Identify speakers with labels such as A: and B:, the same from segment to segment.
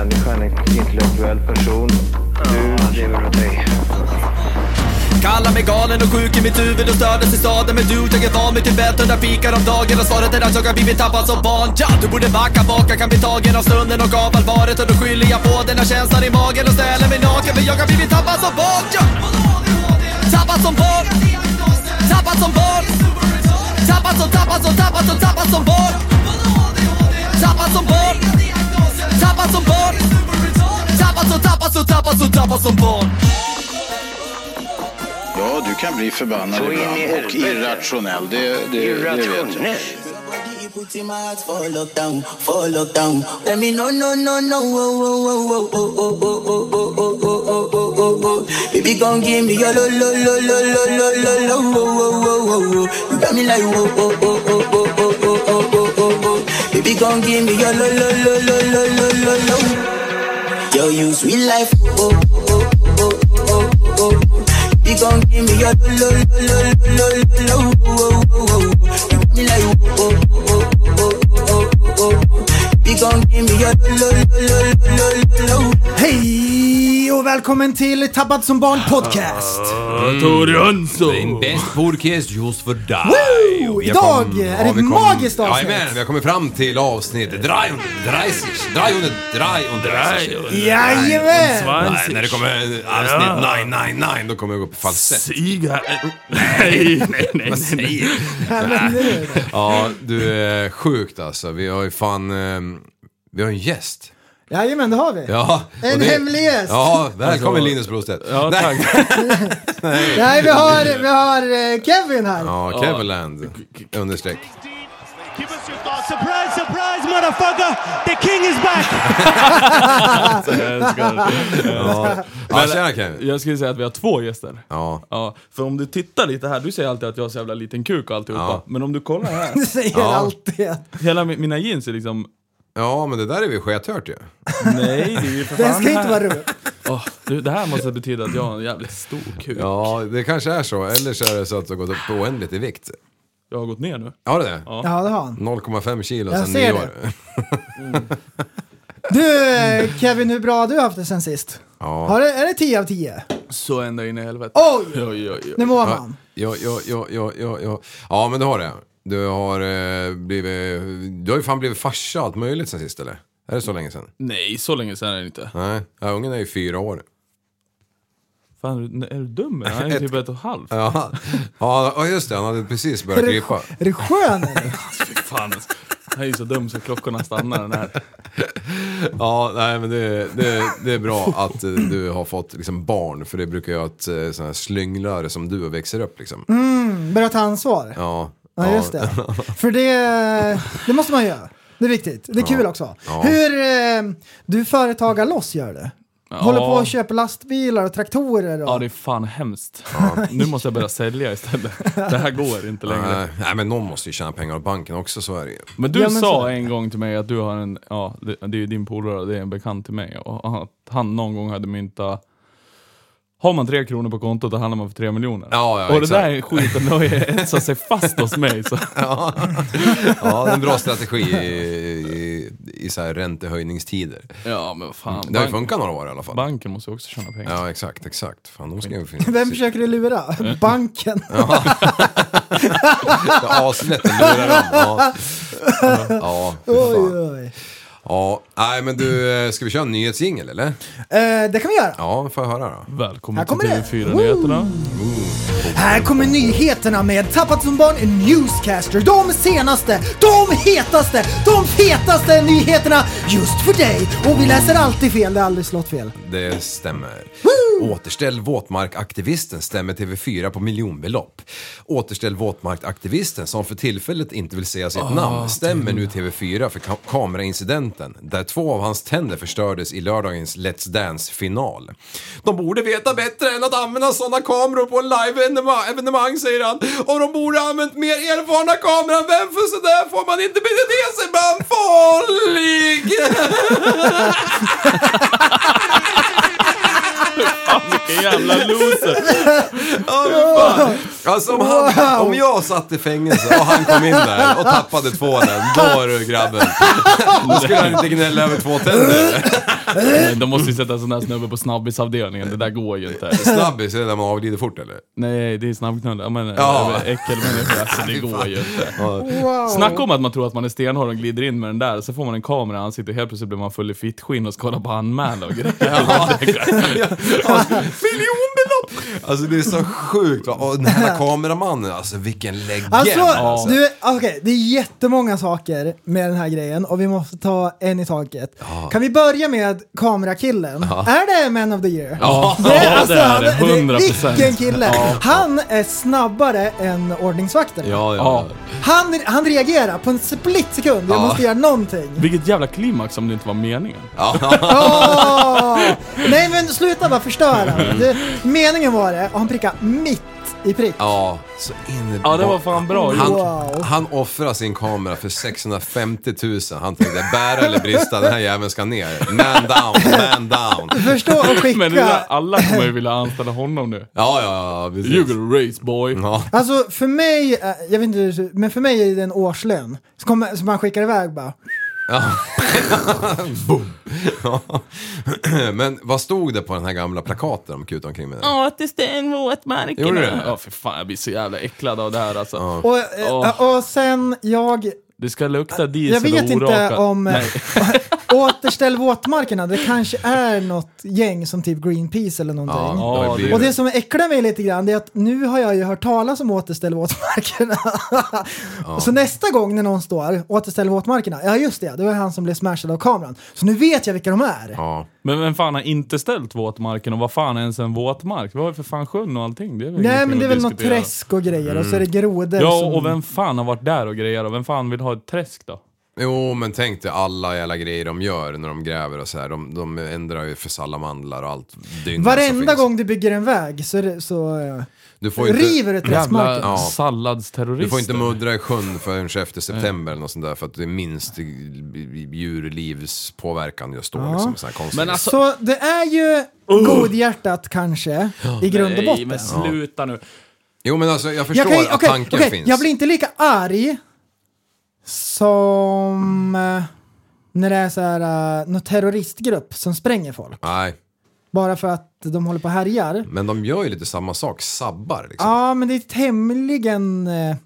A: en intellektuell person. Du lever åt dig.
B: Kallar mig galen och sjuk i mitt huvud och stördes i staden Men du, jag är van vid Tibet, hundra fikar om dagen Och svaret är att jag har blivit tappad som barn ja! Du borde backa bak, jag kan bli tagen av stunden och av allvaret Och då skyller jag på den här känslan i magen och ställer mig naken För jag har blivit tappad som barn ja! Tappad som barn Tappad som barn Tappad som, tappad som, tappad som, tappad som barn Tappad som barn Tappad som barn Tappad som, tappad som, tappad som, tappad som barn
C: Ja, du kan bli förbannad
A: Så in i
C: ibland och
A: helvete.
C: irrationell. Det, det, det vet jag.
A: Irrationell.
D: Everybody put in my heart, follow down, follow down. Let me no no no no oh oh oh oh oh oh oh oh oh oh oh oh oh oh. Baby, gon' give me your lo lo lo lo lo lo lo lo oh oh oh oh oh. You got me like oh oh oh oh oh oh oh oh oh oh oh. Baby, gon' give me your lo lo lo lo lo lo lo lo. Yo, you sweet life. Oh oh oh oh oh oh oh. You gon' give me your lo lo lo lo lo lo lo oh oh oh. You got me like oh oh oh oh oh oh oh oh. You gon' give me your lo lo lo lo lo lo.
E: Hej och välkommen till Tappad som barn podcast.
F: Mm.
G: Tor Jönsson!
F: En bäst podcast just för dig.
E: Woo!
F: Och vi
E: Oh, Idag
F: kom-
E: är det
F: vi
E: ett magiskt avsnitt.
F: Jajamän, vi har kommit fram till avsnittet 330. 330.
E: Jajamän!
F: Nej, när det kommer avsnitt 999 då kommer jag gå på falsett.
G: Siga... Nej, nej, nej. nej.
F: Vad säger du?
E: Ja, men nu är det.
F: Ja, du är sjukt alltså. Vi har ju fan... eh, Vi har en gäst.
E: Jajamän, det har vi.
F: Ja, och
E: En hemlig gäst.
F: Ja, välkommen Linus Brostedt.
G: Alltså, Ja,
F: Nej.
G: tack.
E: Nej, vi har, vi har eh, Kevin här.
F: Ja, Kevinland. Understreck.
H: Give us your thoughts. Surprise, surprise, motherfucker! The king is back!
G: Jag ska-
F: Ja, ja tjena Kevin.
G: Jag skulle säga att vi har två gäster.
F: Ja.
G: Ja, för om du tittar lite här, du säger alltid att jag har så jävla liten kuk och alltihopa.
F: Ja.
G: Men om du kollar här,
E: Du säger alltid att
G: hela mi- mina jeans är liksom...
F: Ja, men det där är vi skethört ju.
G: Nej, det är ju för fan
E: den ska inte
G: här.
E: vara rolig.
G: Åh, du, det här måste betyda att jag har en jävligt stor kuk.
F: Ja, det kanske är så. Eller så är det så att det har gått upp oändligt i vikt.
G: Jag har gått ner nu.
F: Har du det?
E: Ja, det har han.
F: 0,5 kilo
E: Jag
F: sedan
E: ser
F: nyår.
E: Du eh, Kevin, hur bra har du haft det sen sist? Har
F: Ja.
E: det, är det 10 av 10?
G: Så ända in i helvete.
E: Oj!
G: Oj, oj, oj.
E: Nu mår
F: Ja,
E: man.
F: ja, ja, ja, ja, ja, ja. ja, men det har det. Du har eh, blivit... Du har ju fan blivit farsa och allt möjligt sen sist eller? Är det så länge sedan?
G: Nej, så länge sedan är det inte.
F: Nej, ja, ungen är ju fyra år.
G: Fan, är du- är du dum? eller? Han är ju typ ett och ett halvt.
F: Ja, ja just det. Han hade precis börjat krypa.
E: Är du skön eller?
G: Fan, alltså. han är ju så dum så klockorna stannar den här.
F: Ja, nej men det, det, det är bra att eh, du har fått liksom barn. För det brukar ju att eh, såna här slynglare som du växer upp liksom.
E: Börja ta ansvar.
F: Ja.
E: Mm. Ja, just det. För det, det måste man göra. Det är viktigt. Det är kul också. Hur eh, du företagar loss gör det. Håller på och köper lastbilar och traktorer. Och,
G: Ja, det är fan hemskt. Nu måste jag börja sälja istället. Det här går inte längre.
F: Nej, nej men någon måste ju tjäna pengar av banken också, så är det ju.
G: Men du
E: Ja, men så-
G: sa en gång till mig att du har en, ja det, det är ju din polare, det är en bekant till mig, och att han någon gång hade myntat har man tre kronor på kontot då handlar man för tre miljoner.
F: Ja, ja,
G: och det
F: exakt.
G: där skiten har ju etsat sig fast hos mig. Så.
F: Ja, det är en bra strategi i, i, i så här räntehöjningstider.
G: Ja men fan.
F: Det har ju
G: bank-
F: funkat några år i alla fall.
G: banken måste ju också tjäna pengar.
F: Ja, exakt, exakt. Fan, de ska ju finnas.
E: Vem försöker du lura? Banken.
F: Aslätt att lura dem. Ja, ja, fy
E: Oj,
F: fan.
E: oj.
F: ja. Nej, men du, eh, ska vi köra en nyhetsjingel eller?
E: Eh, det kan vi göra.
F: Ja, får jag höra då?
G: Välkommen
E: Här
G: till
E: kommer det.
G: TV4 Nyheterna.
E: Här kommer nyheterna med Tappat som barn en Newscaster. De senaste, de hetaste, de fetaste nyheterna just för dig. Och vi läser alltid fel, det har aldrig slått fel.
F: Det stämmer. Återställ våtmarkaktivisten stämmer TV4 på miljonbelopp. Återställ våtmarkaktivisten som för tillfället inte vill säga sitt namn stämmer nu TV4 för ka- kameraincidenten där två av hans tänder förstördes i lördagens Let's Dance-final. De borde veta bättre än att använda sådana kameror på en live-evenemang, säger han. Och de borde ha använt mer erfarna kameramän för sådär får man inte bete sig bland folk!
G: Vilken jävla loser!
F: Alltså om, han, om jag satt i fängelse och han kom in där och tappade tvålen, då är du grabben. Då skulle han inte gnälla över två tänder.
G: Nej, De måste ju sätta en sån där snubbe på snabbisavdelningen, det där går ju inte.
F: Snabbis är det när man avlider fort eller?
G: Nej, det är snabbknull. Ja, men,
F: Ja.
G: ja. Äckelmänniska, alltså, det går ju inte. Snacka om att man tror att man är stenhård och glider in med den där, så får man en kamera i ansiktet och helt plötsligt blir man full i fittskinn och ska kolla på anmäla och grejer.
F: Miljonbelopp! Alltså det är så sjukt va. Och den här kameramannen, alltså vilken legend.
E: Alltså,
F: alltså.
E: du, okej, det är jättemånga saker med den här grejen och vi måste ta en i taget. Kan vi börja med kamerakillen? Är det Man of the Year? alltså,
G: Ja, det är det. 100%.
E: Vilken kille! Han är snabbare än ordningsvakterna.
F: Ja,
G: Ja.
F: ja.
E: Han, han reagerar på en split sekund, jag
F: Ja.
E: måste göra någonting.
G: Vilket jävla klimax om det inte var meningen.
E: Åh! Nej men sluta bara förstöra. Du, meningen var det, och han prickade mitt i prick.
F: Ja, så in...
G: Ja, det var fan bra
F: Han,
G: gjort.
E: Wow.
F: han offrar sin kamera för 650 000. Han tänkte bära eller brista, den här jäveln ska ner. Man down, man down.
E: Förstå och skicka.
G: Men det där, alla kommer ju vilja anställa honom nu.
F: Ja, ja, ja, precis.
G: You got a race boy.
F: Ja.
E: Alltså för mig, eh, jag vet inte, men för mig är det en årslön. Så, kommer, så man skickar iväg bara.
F: Men vad stod det på den här gamla plakaten de kutade omkring med?
I: Ja, att det står en våtmark.
F: Gjorde det?
G: Ja, för fan, jag blir så jävla äcklad av det här alltså.
E: Och, eh,
G: Åh.
E: och sen jag,
G: Det ska lukta
E: jag
G: diesel
E: vet
G: och
E: inte
G: oraka.
E: om eh,
G: Nej.
E: återställ våtmarkerna, det kanske är något gäng som typ Greenpeace eller någonting.
G: Ja,
F: det-
E: Och det som äcklar mig lite grann det är att nu har jag ju hört talas om återställ våtmarkerna. Och Så nästa gång när någon står återställ våtmarkerna, ja just det, det var han som blev smashad av kameran. Så nu vet jag vilka de är.
F: Ja.
G: Men vem fan har inte ställt våtmarken och vad fan är ens en våtmark? Vi har ju för fan sjön och allting. Det är väl
E: Nej
G: ingenting
E: men det är
G: att
E: väl något
G: diskutera. Mm.
E: träsk och grejer och så är det grodor
G: Ja,
E: som...
G: och vem fan har varit där och grejer och vem fan vill ha ett träsk då?
F: Jo, men tänk dig alla jävla grejer de gör när de gräver och så här. De, de ändrar ju för salamandrar och allt. dynga som
E: Varenda
F: finns.
E: gång du bygger en väg så, är det- så eh,
F: Du får ju inte,
E: river du
G: Jävla
E: träskmarken.
F: Ja.
G: salladsterrorister.
F: du får inte muddra i sjön förrän efter september eller något sånt där för att det är minst djurlivspåverkan just då. Liksom, så här konstigt.
G: Men alltså,
E: Så det är ju godhjärtat kanske i grund och
G: Oh. nej
E: botten.
G: men sluta nu.
F: Jo men alltså jag förstår
E: Jag, kan,
F: att
E: okej,
F: tanken
E: okej,
F: finns.
E: jag blir inte lika arg som eh, när det är så här, eh, någon terroristgrupp som spränger folk.
F: Nej,
E: Bara för att de håller på och härjar.
F: men de gör ju lite samma sak, sabbar liksom.
E: Ja, men det är tämligen eh,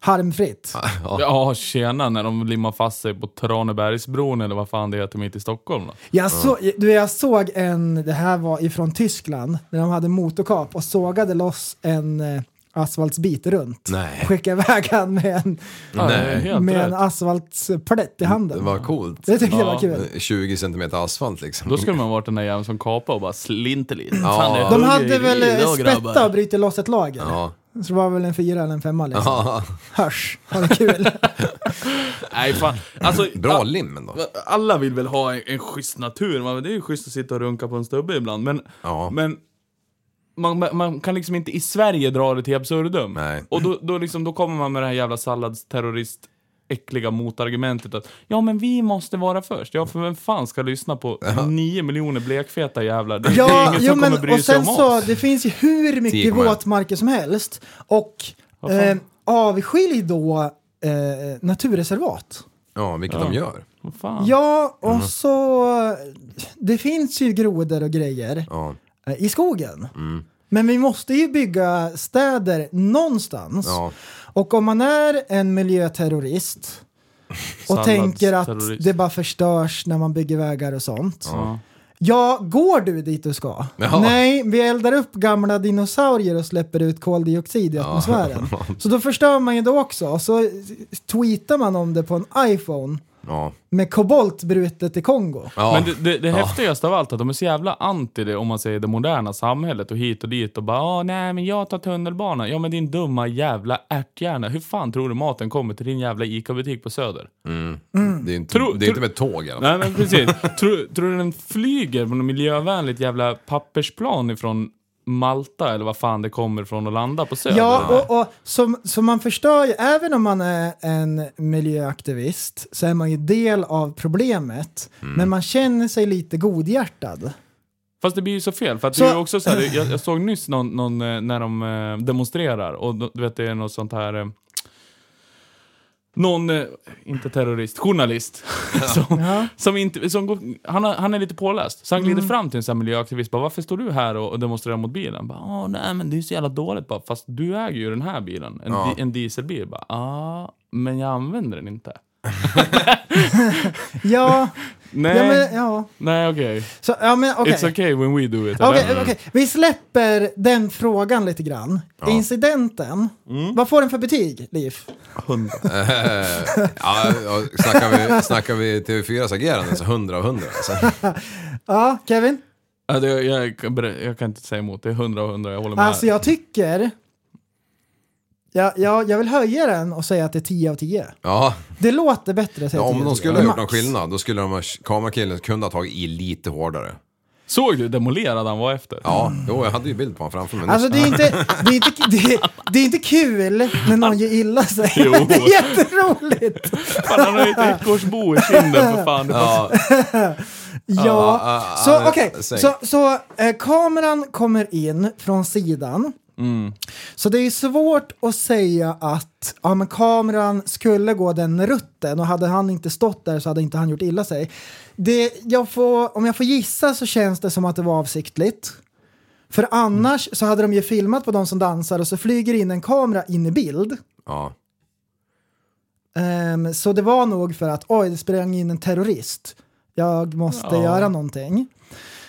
E: harmfritt.
G: Ja, tjena när de limmar fast sig på Tranebergsbron eller vad fan det heter mitt i Stockholm. Då.
E: Jag, så, du, jag såg en, det här var ifrån Tyskland, när de hade motorkap och sågade loss en eh, asfaltsbit runt.
F: Nej.
E: Skickade iväg han med en,
G: Ja, det är helt
E: med
G: rätt.
E: en asfaltsplätt i
F: Det
E: handen.
F: var coolt.
E: Det tyckte jag var
G: Mm, Ja.
E: kul.
F: 20 centimeter asfalt liksom.
G: Då skulle man varit den där jäveln som kapade och bara slinter lite.
F: Ja.
G: Fan, det är
E: De
G: hugger
E: hade
G: i
E: väl
G: det
E: eh,
G: idag,
E: spettat
G: grabbar.
E: och brutit loss ett lager.
F: Ja.
E: Så det var väl en fyra eller en femma liksom.
F: Ja.
E: Hörs, ha det kul.
G: Nej fan. Alltså,
F: Bra lim ändå.
G: Alla vill väl ha en, en schysst natur, man, det är ju schysst att sitta och runka på en stubbe ibland. Men,
F: Ja.
G: men man, man- man kan liksom inte i Sverige dra det till absurdum.
F: Nej.
G: Och då, då, liksom, då kommer man med det här jävla salladsterrorist äckliga motargumentet att ja men vi måste vara först. Ja för vem fan ska lyssna på nio miljoner blekfeta jävlar? Det, det är
E: Ja,
G: ingen
E: jo,
G: som
E: men,
G: kommer bry
E: och
G: sig
E: sen
G: om
E: så,
G: oss.
E: det finns ju hur
F: Tio
E: mycket
F: kommer.
E: våtmarker som helst. Och
G: fan?
E: eh, avskilj då eh, naturreservat.
F: Ja, vilket de gör.
G: Vad fan?
E: Ja, och
F: Mm.
E: så... Det finns ju grodor och grejer
F: Ja. Mm.
E: eh, i skogen. Men vi måste ju bygga städer någonstans.
F: Ja.
E: Och om man är en miljöterrorist och tänker att
G: Salladsterrorist.
E: det bara förstörs när man bygger vägar och sånt. Ja. går du dit du ska?
F: Ja.
E: Nej, vi eldar upp gamla dinosaurier och släpper ut koldioxid i atmosfären. Så då förstör man ju det också. Och så tweetar man om det på en iPhone
F: Ja.
E: med kobolt brutet i Kongo.
F: ja.
G: Men det, det, det häftigaste av allt är att de är så jävla anti det om man säger det moderna samhället och hit och dit och bara Åh, nej men jag tar tunnelbanan. Ja men din dumma jävla ärthjärna. Hur fan tror du maten kommer till din jävla ICA-butik på Söder?
F: Det är inte,
G: Tro-
F: det är
G: tro-
F: inte med tåg i alla
G: Nej
F: fall.
G: men precis. tror, tror du den flyger på något miljövänligt jävla pappersplan ifrån Malta eller vad fan det kommer ifrån och landar på Söder?
E: Ja, och, och som, som man förstör ju, även om man är en miljöaktivist så är man ju del av problemet.
F: Mm.
E: Men man känner sig lite godhjärtad.
G: Fast det blir ju så fel. För att
E: Så-
G: det är ju också så här, det- jag, jag såg nyss någon, någon eh, när de eh, demonstrerar och då- du vet det är något sånt här eh, någon, eh, inte terrorist, journalist. som, som inte, som går, han, har, han är lite påläst. Så han
E: Mm.
G: glider fram till en sån här miljöaktivist bara “Varför står du här och, och demonstrerar mot bilen?” bara, “Åh nej men det är så jävla dåligt” bara, “Fast du äger ju den här bilen, en, di, en dieselbil” bara “Ja, men jag använder den inte”.
E: Ja,
G: Nej,
E: ja men ja.
G: nej okej.
E: Så, ja men okej.
G: It's okay when we do it.
E: Okej,
G: eller?
E: okej. Vi släpper den frågan lite grann. Incidenten,
F: Mm.
E: vad får den för betyg, Liv?
F: Ja, ja, snackar, vi, snackar vi TV4s agerande så 100 av 100. Alltså.
E: Ja, Kevin?
G: Ja, det, jag, kan berä- jag kan inte säga emot, det är hundra av hundra, jag håller med.
E: Alltså jag tycker... Ja, ja, jag vill höja den och säga att det är 10 av 10.
F: Ja,
E: Det låter bättre.
F: ja,
E: Säger
F: om
E: 10
F: de
E: av 10.
F: skulle ha gjort någon
E: Max.
F: skillnad då skulle de ha, kamerakillen kunde ha tagit i lite hårdare.
G: Såg du hur demolerad han var efter?
F: Ja, jo, jag hade ju bild på honom framför mig.
E: Alltså det är, inte, det, är inte, det, är, det är inte kul när någon gör illa sig.
G: Jo.
E: Det är jätteroligt.
G: Fan, han har ju ett ekorrsbo i kinden för fan. Det var
F: Ja,
E: Ja,
F: ah, ah,
E: så
F: ah,
E: okej.
F: säg.
E: Så, så eh, kameran kommer in från sidan. Mm. Så det är svårt att säga att ja, men kameran skulle gå den rutten och hade han inte stått där så hade inte han gjort illa sig. Det, jag får, om jag får gissa så känns det som att det var avsiktligt. För annars så hade de ju filmat på de som dansar och så flyger in en kamera in i bild.
F: ja.
E: Ehm, så det var nog för att oj, det sprang in en terrorist. Jag måste göra någonting.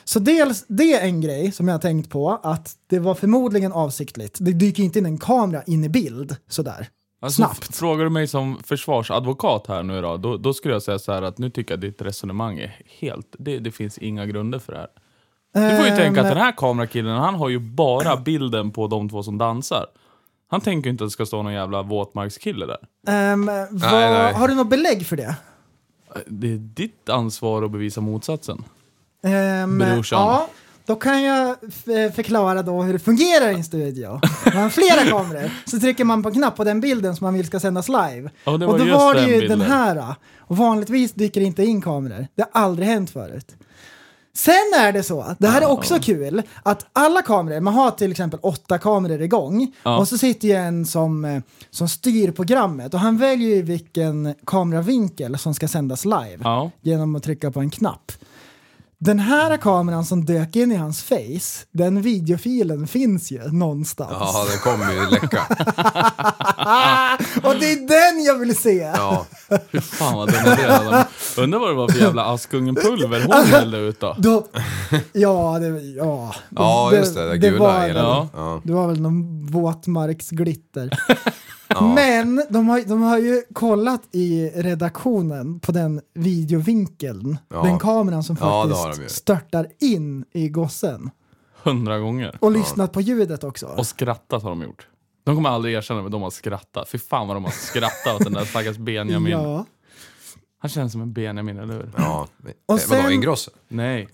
E: Så dels det är en grej som jag har tänkt på att det var förmodligen avsiktligt. Det dyker inte in en kamera in i bild sådär.
G: Alltså,
E: Snabbt.
G: f- Frågar du mig som försvarsadvokat här nu då, då, då skulle jag säga så här att nu tycker jag ditt resonemang är helt... Det, det finns inga grunder för det här. Du
E: Ehm.
G: får ju tänka att den här kamerakillen, han har ju bara bilden på de två som dansar. Han tänker ju inte att det ska stå någon jävla våtmarkskille där.
E: Ehm, vad,
F: nej.
E: Har du något belägg för det?
G: Det är ditt ansvar att bevisa motsatsen.
E: Ehm,
G: Brorsan.
E: Ja, då kan jag f- eh, förklara då hur det fungerar i en studio. Man har flera kameror, så trycker man på en knapp på den bilden som man vill ska sändas live.
G: Ja, det var
E: och då
G: just
E: var det
G: den
E: ju
G: bilden.
E: den här. Och vanligtvis dyker det inte in kameror. Det har aldrig hänt förut. Sen är det så, det här är också kul, att alla kameror, man har till exempel åtta kameror igång
G: Ja.
E: och så sitter ju en som, eh, som styr programmet och han väljer ju vilken kameravinkel som ska sändas live
G: Ja.
E: genom att trycka på en knapp. Den här kameran som dök in i hans face, den videofilen finns ju någonstans.
F: ja, den kommer ju läcka.
E: Ah, Och det är den jag vill se!
F: Ja.
G: Fy fan vad demolerad han Undrar vad det var för jävla Askungen-pulver hon hällde ut då?
E: Då, ja, det, ja.
F: ja, just det. Det, gula
E: var,
F: eländet.
G: Ja.
F: Ja.
E: det var väl någon våtmarksglitter. Men de har, de har ju kollat i redaktionen på den videovinkeln,
F: Ja.
E: den kameran som
F: Ja, det har
E: faktiskt
F: de ju.
E: störtar in i gossen.
G: Hundra gånger.
E: Och lyssnat på ljudet också.
G: Och skrattat har de gjort. De kommer aldrig erkänna men de har skrattat. Fy fan vad de har skrattat åt den där stackars Benjamin.
E: Ja.
G: Han känns som en Benjamin, eller hur?
F: Ja.
E: Och
F: Och
E: sen-
F: Vadå, Ingrosso?
G: Nej.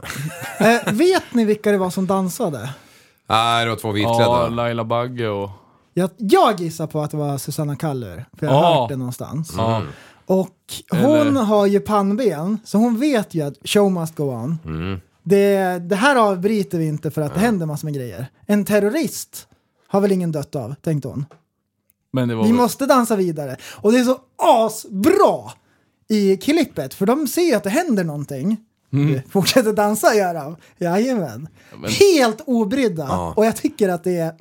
E: Eh, vet ni vilka det var som dansade?
F: Nej, det var två
G: Ja,
F: vitklädda.
G: Laila Bagge och...
E: Jag, jag gissar på att det var Susanna Kallur, för jag har
G: Ja.
E: hört det någonstans.
G: Ja.
F: Mm.
E: Och hon
G: Eller-
E: har ju pannben, så hon vet ju att show must go on.
G: Mm.
E: Det, det här avbryter vi inte för att det händer massor med grejer. En terrorist har väl ingen dött av, tänkte hon.
G: Men det var...
E: Vi
G: väl-
E: måste dansa vidare. Och det är så asbra i klippet, för de ser ju att det händer någonting.
G: Mm.
E: Du, Fortsätter dansa gör de. Jajamän. Helt obrydda. Och jag tycker att det, är-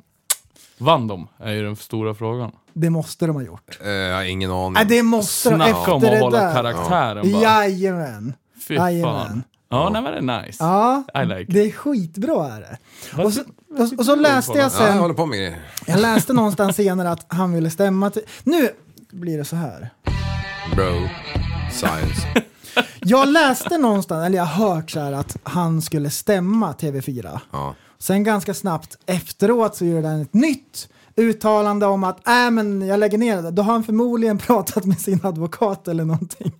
G: Vann de? Är ju den stora frågan.
E: det måste de ha gjort.
F: Eh, Jag har ingen
E: Nej,
F: aning.
E: Äh, det måste de
G: Snacka
E: efter
G: om att
E: det
G: hålla
E: där.
G: karaktären bara.
E: Jajamän.
G: Fy
E: Jajamän.
G: fan. Ja, nej men det är nice.
E: Ja,
G: I like.
E: det är skitbra är det.
G: Vad
E: Och så,
G: sit- vad
E: och,
G: sitter
E: och så
G: du
E: läste
G: på
E: jag
G: då?
F: Ja, jag
E: sen,
F: håller på med grejer.
E: jag läste någonstans senare att han ville stämma till... Nu blir det så här.
F: Bro. Science.
E: Jag läste någonstans, eller jag har hört så här att han skulle stämma TV4.
F: Ja.
E: Sen ganska snabbt efteråt så gjorde han ett nytt uttalande om att äh, men jag lägger ner det. Då har han förmodligen pratat med sin advokat eller någonting.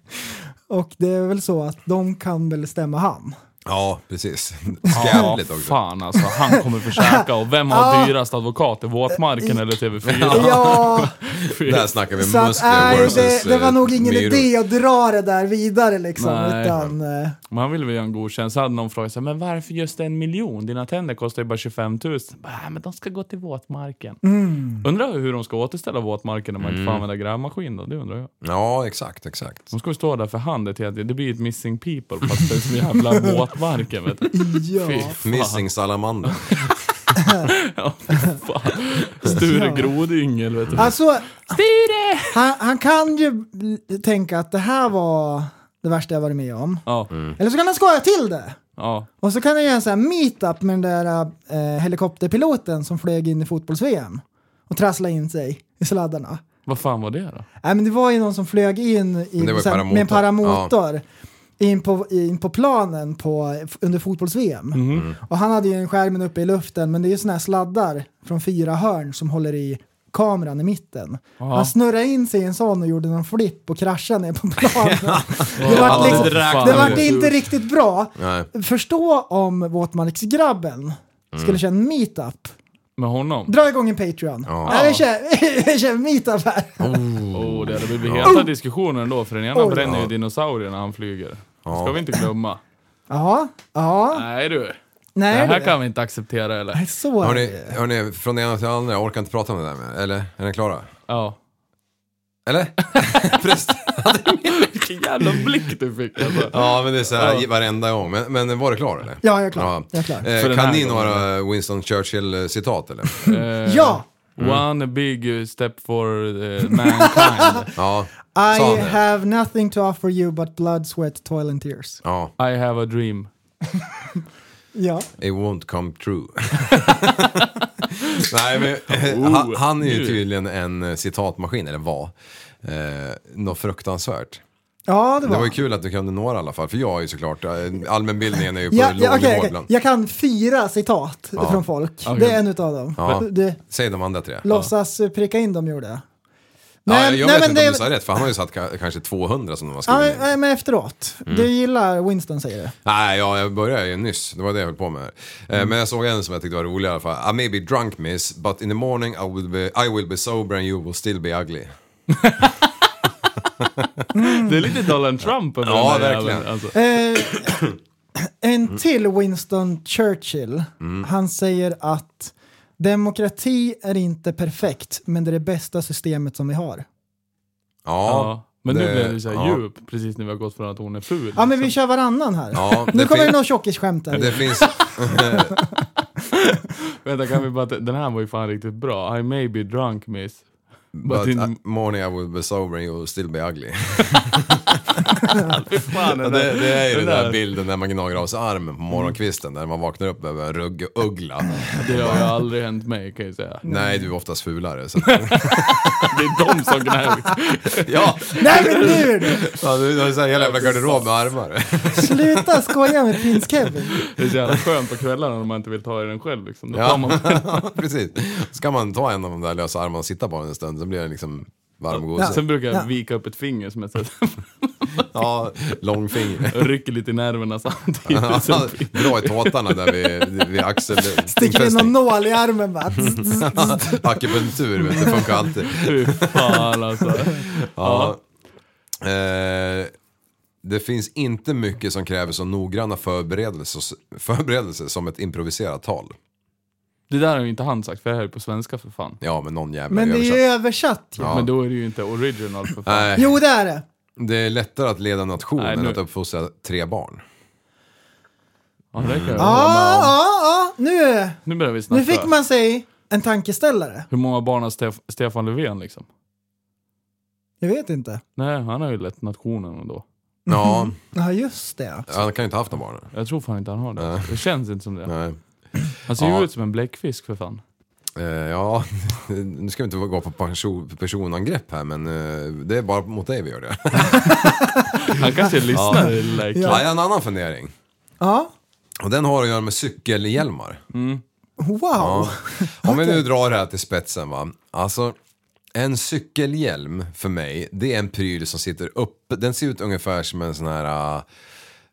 E: Och det är väl så att de kan väl stämma han.
F: Ja, precis.
G: Ja,
F: Jävligt också.
G: fan alltså. Han kommer försöka. Och vem har dyrast advokat? Är Våtmarken eller TV4?
E: Ja,
F: Där snackar vi
E: så att,
F: muskler
E: nej,
F: versus
E: det, det var
F: eh,
E: nog ingen
F: myror.
E: idé att dra det där vidare liksom.
G: Nej.
E: Utan, eh,
G: Man ville väl göra en god tjänst. Så hade någon frågat så här, men varför just en miljon? Dina tänder kostar ju bara 25 000. Bara, "Ah, men de ska gå till våtmarken.
E: Mm.
G: Undrar hur de ska återställa våtmarken om man inte får använda grävmaskin då? Det undrar jag.
F: Ja, exakt, exakt.
G: De ska ju stå där för hand ett helt Det blir ju ett missing people fast det är som jävla våtmarken vet du.
E: ja.
G: Fy fan.
F: Missing salamander.
G: Ja, fy fan. Sture Grodyngel vet du.
E: Alltså, han, han kan ju tänka att det här var det värsta jag varit med om.
G: Ja,
E: Eller så kan han skoja till det.
G: ja.
E: Och så kan han göra en sån här meetup med den där eh, helikopterpiloten som flög in i fotbolls-VM och trasslade in sig i sladdarna.
G: Vad fan var det då?
E: Nej men det var ju någon som flög in
F: Men det var
E: i,
F: ju
E: så här, med en
F: paramotor.
E: paramotor. In på, in på planen på, under fotbolls-VM.
F: Mhm. Mm.
E: Och han hade ju en skärmen uppe i luften men det är ju såna här sladdar från fyra hörn som håller i kameran i mitten. Han snurrade in sig i en sån och gjorde någon flipp och kraschade ner på planen. det
F: Ja,
E: var, liksom,
F: det
G: räknar
E: det
G: vi
E: vart
G: ut.
E: inte riktigt bra.
F: Nej.
E: Förstå om våtmarksgrabben
F: Mm.
E: skulle köra en meetup.
G: Med honom?
E: Dra igång en Patreon.
F: Ja.
E: Nej, vi kör, vi kör en meetup här.
G: Oh, det hade blivit heta diskussioner ändå för den ena
E: Oj.
G: bränner ju dinosaurier när han flyger. Det ska vi inte glömma.
E: Ja, ja.
G: Nej du.
E: Nej,
G: det här
E: du.
G: kan vi inte acceptera eller?
E: Nej, Så är
F: Hörni,
E: det.
F: hörni, från det ena till det andra, jag orkar inte prata om det där med. Eller? Är ni klara?
G: Ja.
F: Eller? Förresten.
G: Vilken jävla blick du fick alltså.
F: Ja, men det är så här varenda gång. Men, men var du klar eller?
E: Ja, jag är klar. Jag är klar.
F: Eh,
G: För den
F: kan
G: här
F: ni
G: gången.
F: några Winston Churchill-citat eller?
E: Ja,
F: Mm.
G: One big step for eh, mankind.
F: Ja, sa han
E: I
F: det?
E: have nothing to offer you but blood, sweat, toil and tears.
F: ja.
G: I have a dream.
E: Ja.
F: It won't come true. Nej, men, eh, han, han är ju tydligen en eh, citatmaskin, eller var. Eh, något fruktansvärt.
E: Ja, det
F: Det var
E: var.
F: ju kul att du kunde några i alla fall, för jag är ju såklart, eh, allmänbildningen är ju på
E: Ja,
F: låg
E: ja, okej,
F: nivå
E: okej.
F: ibland.
E: Jag kan fyra citat från folk. Det är en utav dem.
F: Ja.
E: Du,
F: Säg de andra tre.
E: låtsas pricka in dem gjorde jag.
F: ja, jag vet inte
E: det-
F: om du sa rätt, för han har ju satt ka- kanske 200 som de har
E: Ja,
F: skrivit
E: men,
F: ner.
E: nej, men efteråt.
F: Mm.
E: Du gillar Winston säger det.
F: Nej, ja, jag började ju nyss. Det var det jag höll på med. Eh,
E: Mm.
F: Men jag såg en som jag tyckte var rolig i alla fall. I may be drunk miss, but in the morning I will be, I will be sober and you will still be ugly.
G: Det är lite Donald Trump över
F: Ja,
G: den där
F: verkligen.
G: jäveln, Alltså.
E: Eh,
F: Mm.
E: en till Winston Churchill. Han säger att demokrati är inte perfekt, men det är det bästa systemet som vi har.
F: Ja,
G: Ja. Men nu
F: det-
G: blev det så här
F: ja.
G: djup precis när vi har gått från att hon är ful.
E: Ja, men vi kör varannan här.
F: Ja,
E: nu
F: det
E: kommer det
F: fin-
E: något tjockisskämt här.
F: det finns...
G: Vänta, kan vi bara... Den här var ju fan riktigt bra. I may be drunk miss. But
F: But in
G: in...
F: the morning I will be sober and you will still be ugly.
G: Fy fan,
F: Ja,
G: den
F: det,
G: där-
F: det är ju den
G: den
F: där bilden när man gnager av sig armen på morgonkvisten när man vaknar upp över en ruggugla.
G: Det har ju aldrig hänt mig kan jag säga.
F: Nej, du är oftast fulare. Så.
G: Det är de som gnäller.
F: Ja,
E: Nej men nu! är det-
F: ja, du du har så här hela jävla garderob med armar.
E: Sluta skoja med prins-Kevin.
G: Det är så jävla skönt på kvällarna när man inte vill ta i den själv. Liksom. Då tar man...
F: Ja, precis. Så kan man ta en av de där lösa armarna och sitta på den en stund, så blir den liksom varm och gosig.
G: Sen brukar jag vika upp ett finger som jag så här-
F: Ja, långfinger.
G: och rycker lite i nerverna samtidigt.
F: Ja,
G: Sen-
F: Dra i tåtarna där vid, vid axel...
E: Sticker in någon nål i armen bara.
F: Akupunktur, vet du, funkar alltid.
G: Fy fan alltså.
F: Ja. Eh, det finns inte mycket som kräver så noggranna förberedelser, förberedelser som ett improviserat tal.
G: Det där har ju inte han sagt för jag är ju på svenska för fan.
F: Ja, men någon jävla
E: Men det är ju
F: översatt.
E: översatt ju.
F: Ja.
G: Men då är det ju inte original för fan.
F: Nej,
E: Jo det är det.
F: det är lättare att leda nationen
G: Nej,
F: än
G: nu-
F: att uppfostra tre barn.
E: Mhm.
G: Ja, det kan
E: Ja,
G: jag hålla med om.
E: ja, ja. Nu,
G: Nu börjar vi snacka.
E: Ah, nu fick man sig en tankeställare.
G: Hur många barn har Stef Stefan Löfven liksom?
E: Jag vet inte.
G: Nej, han har ju lett nationen ändå.
F: Ja,
E: Ja just det.
F: han kan ju inte ha haft några barn.
G: Jag tror fan inte han har det. Det känns inte som det.
F: Nej.
G: Han ser ju
F: Ja.
G: ut som en bläckfisk för fan.
F: Eh, ja, nu ska vi inte gå på person, personangrepp här, men eh, det är bara mot dig vi gör det.
G: Han kanske lyssnar i det där
F: Ja,
G: klippet.
F: jag har en annan fundering.
E: Ja.
F: Och den har att göra med cykelhjälmar.
E: Wow.
F: Ja. Om vi nu drar det här till spetsen va. Alltså, en cykelhjälm för mig, det är en pryl som sitter upp. Den ser ut ungefär som en sån här...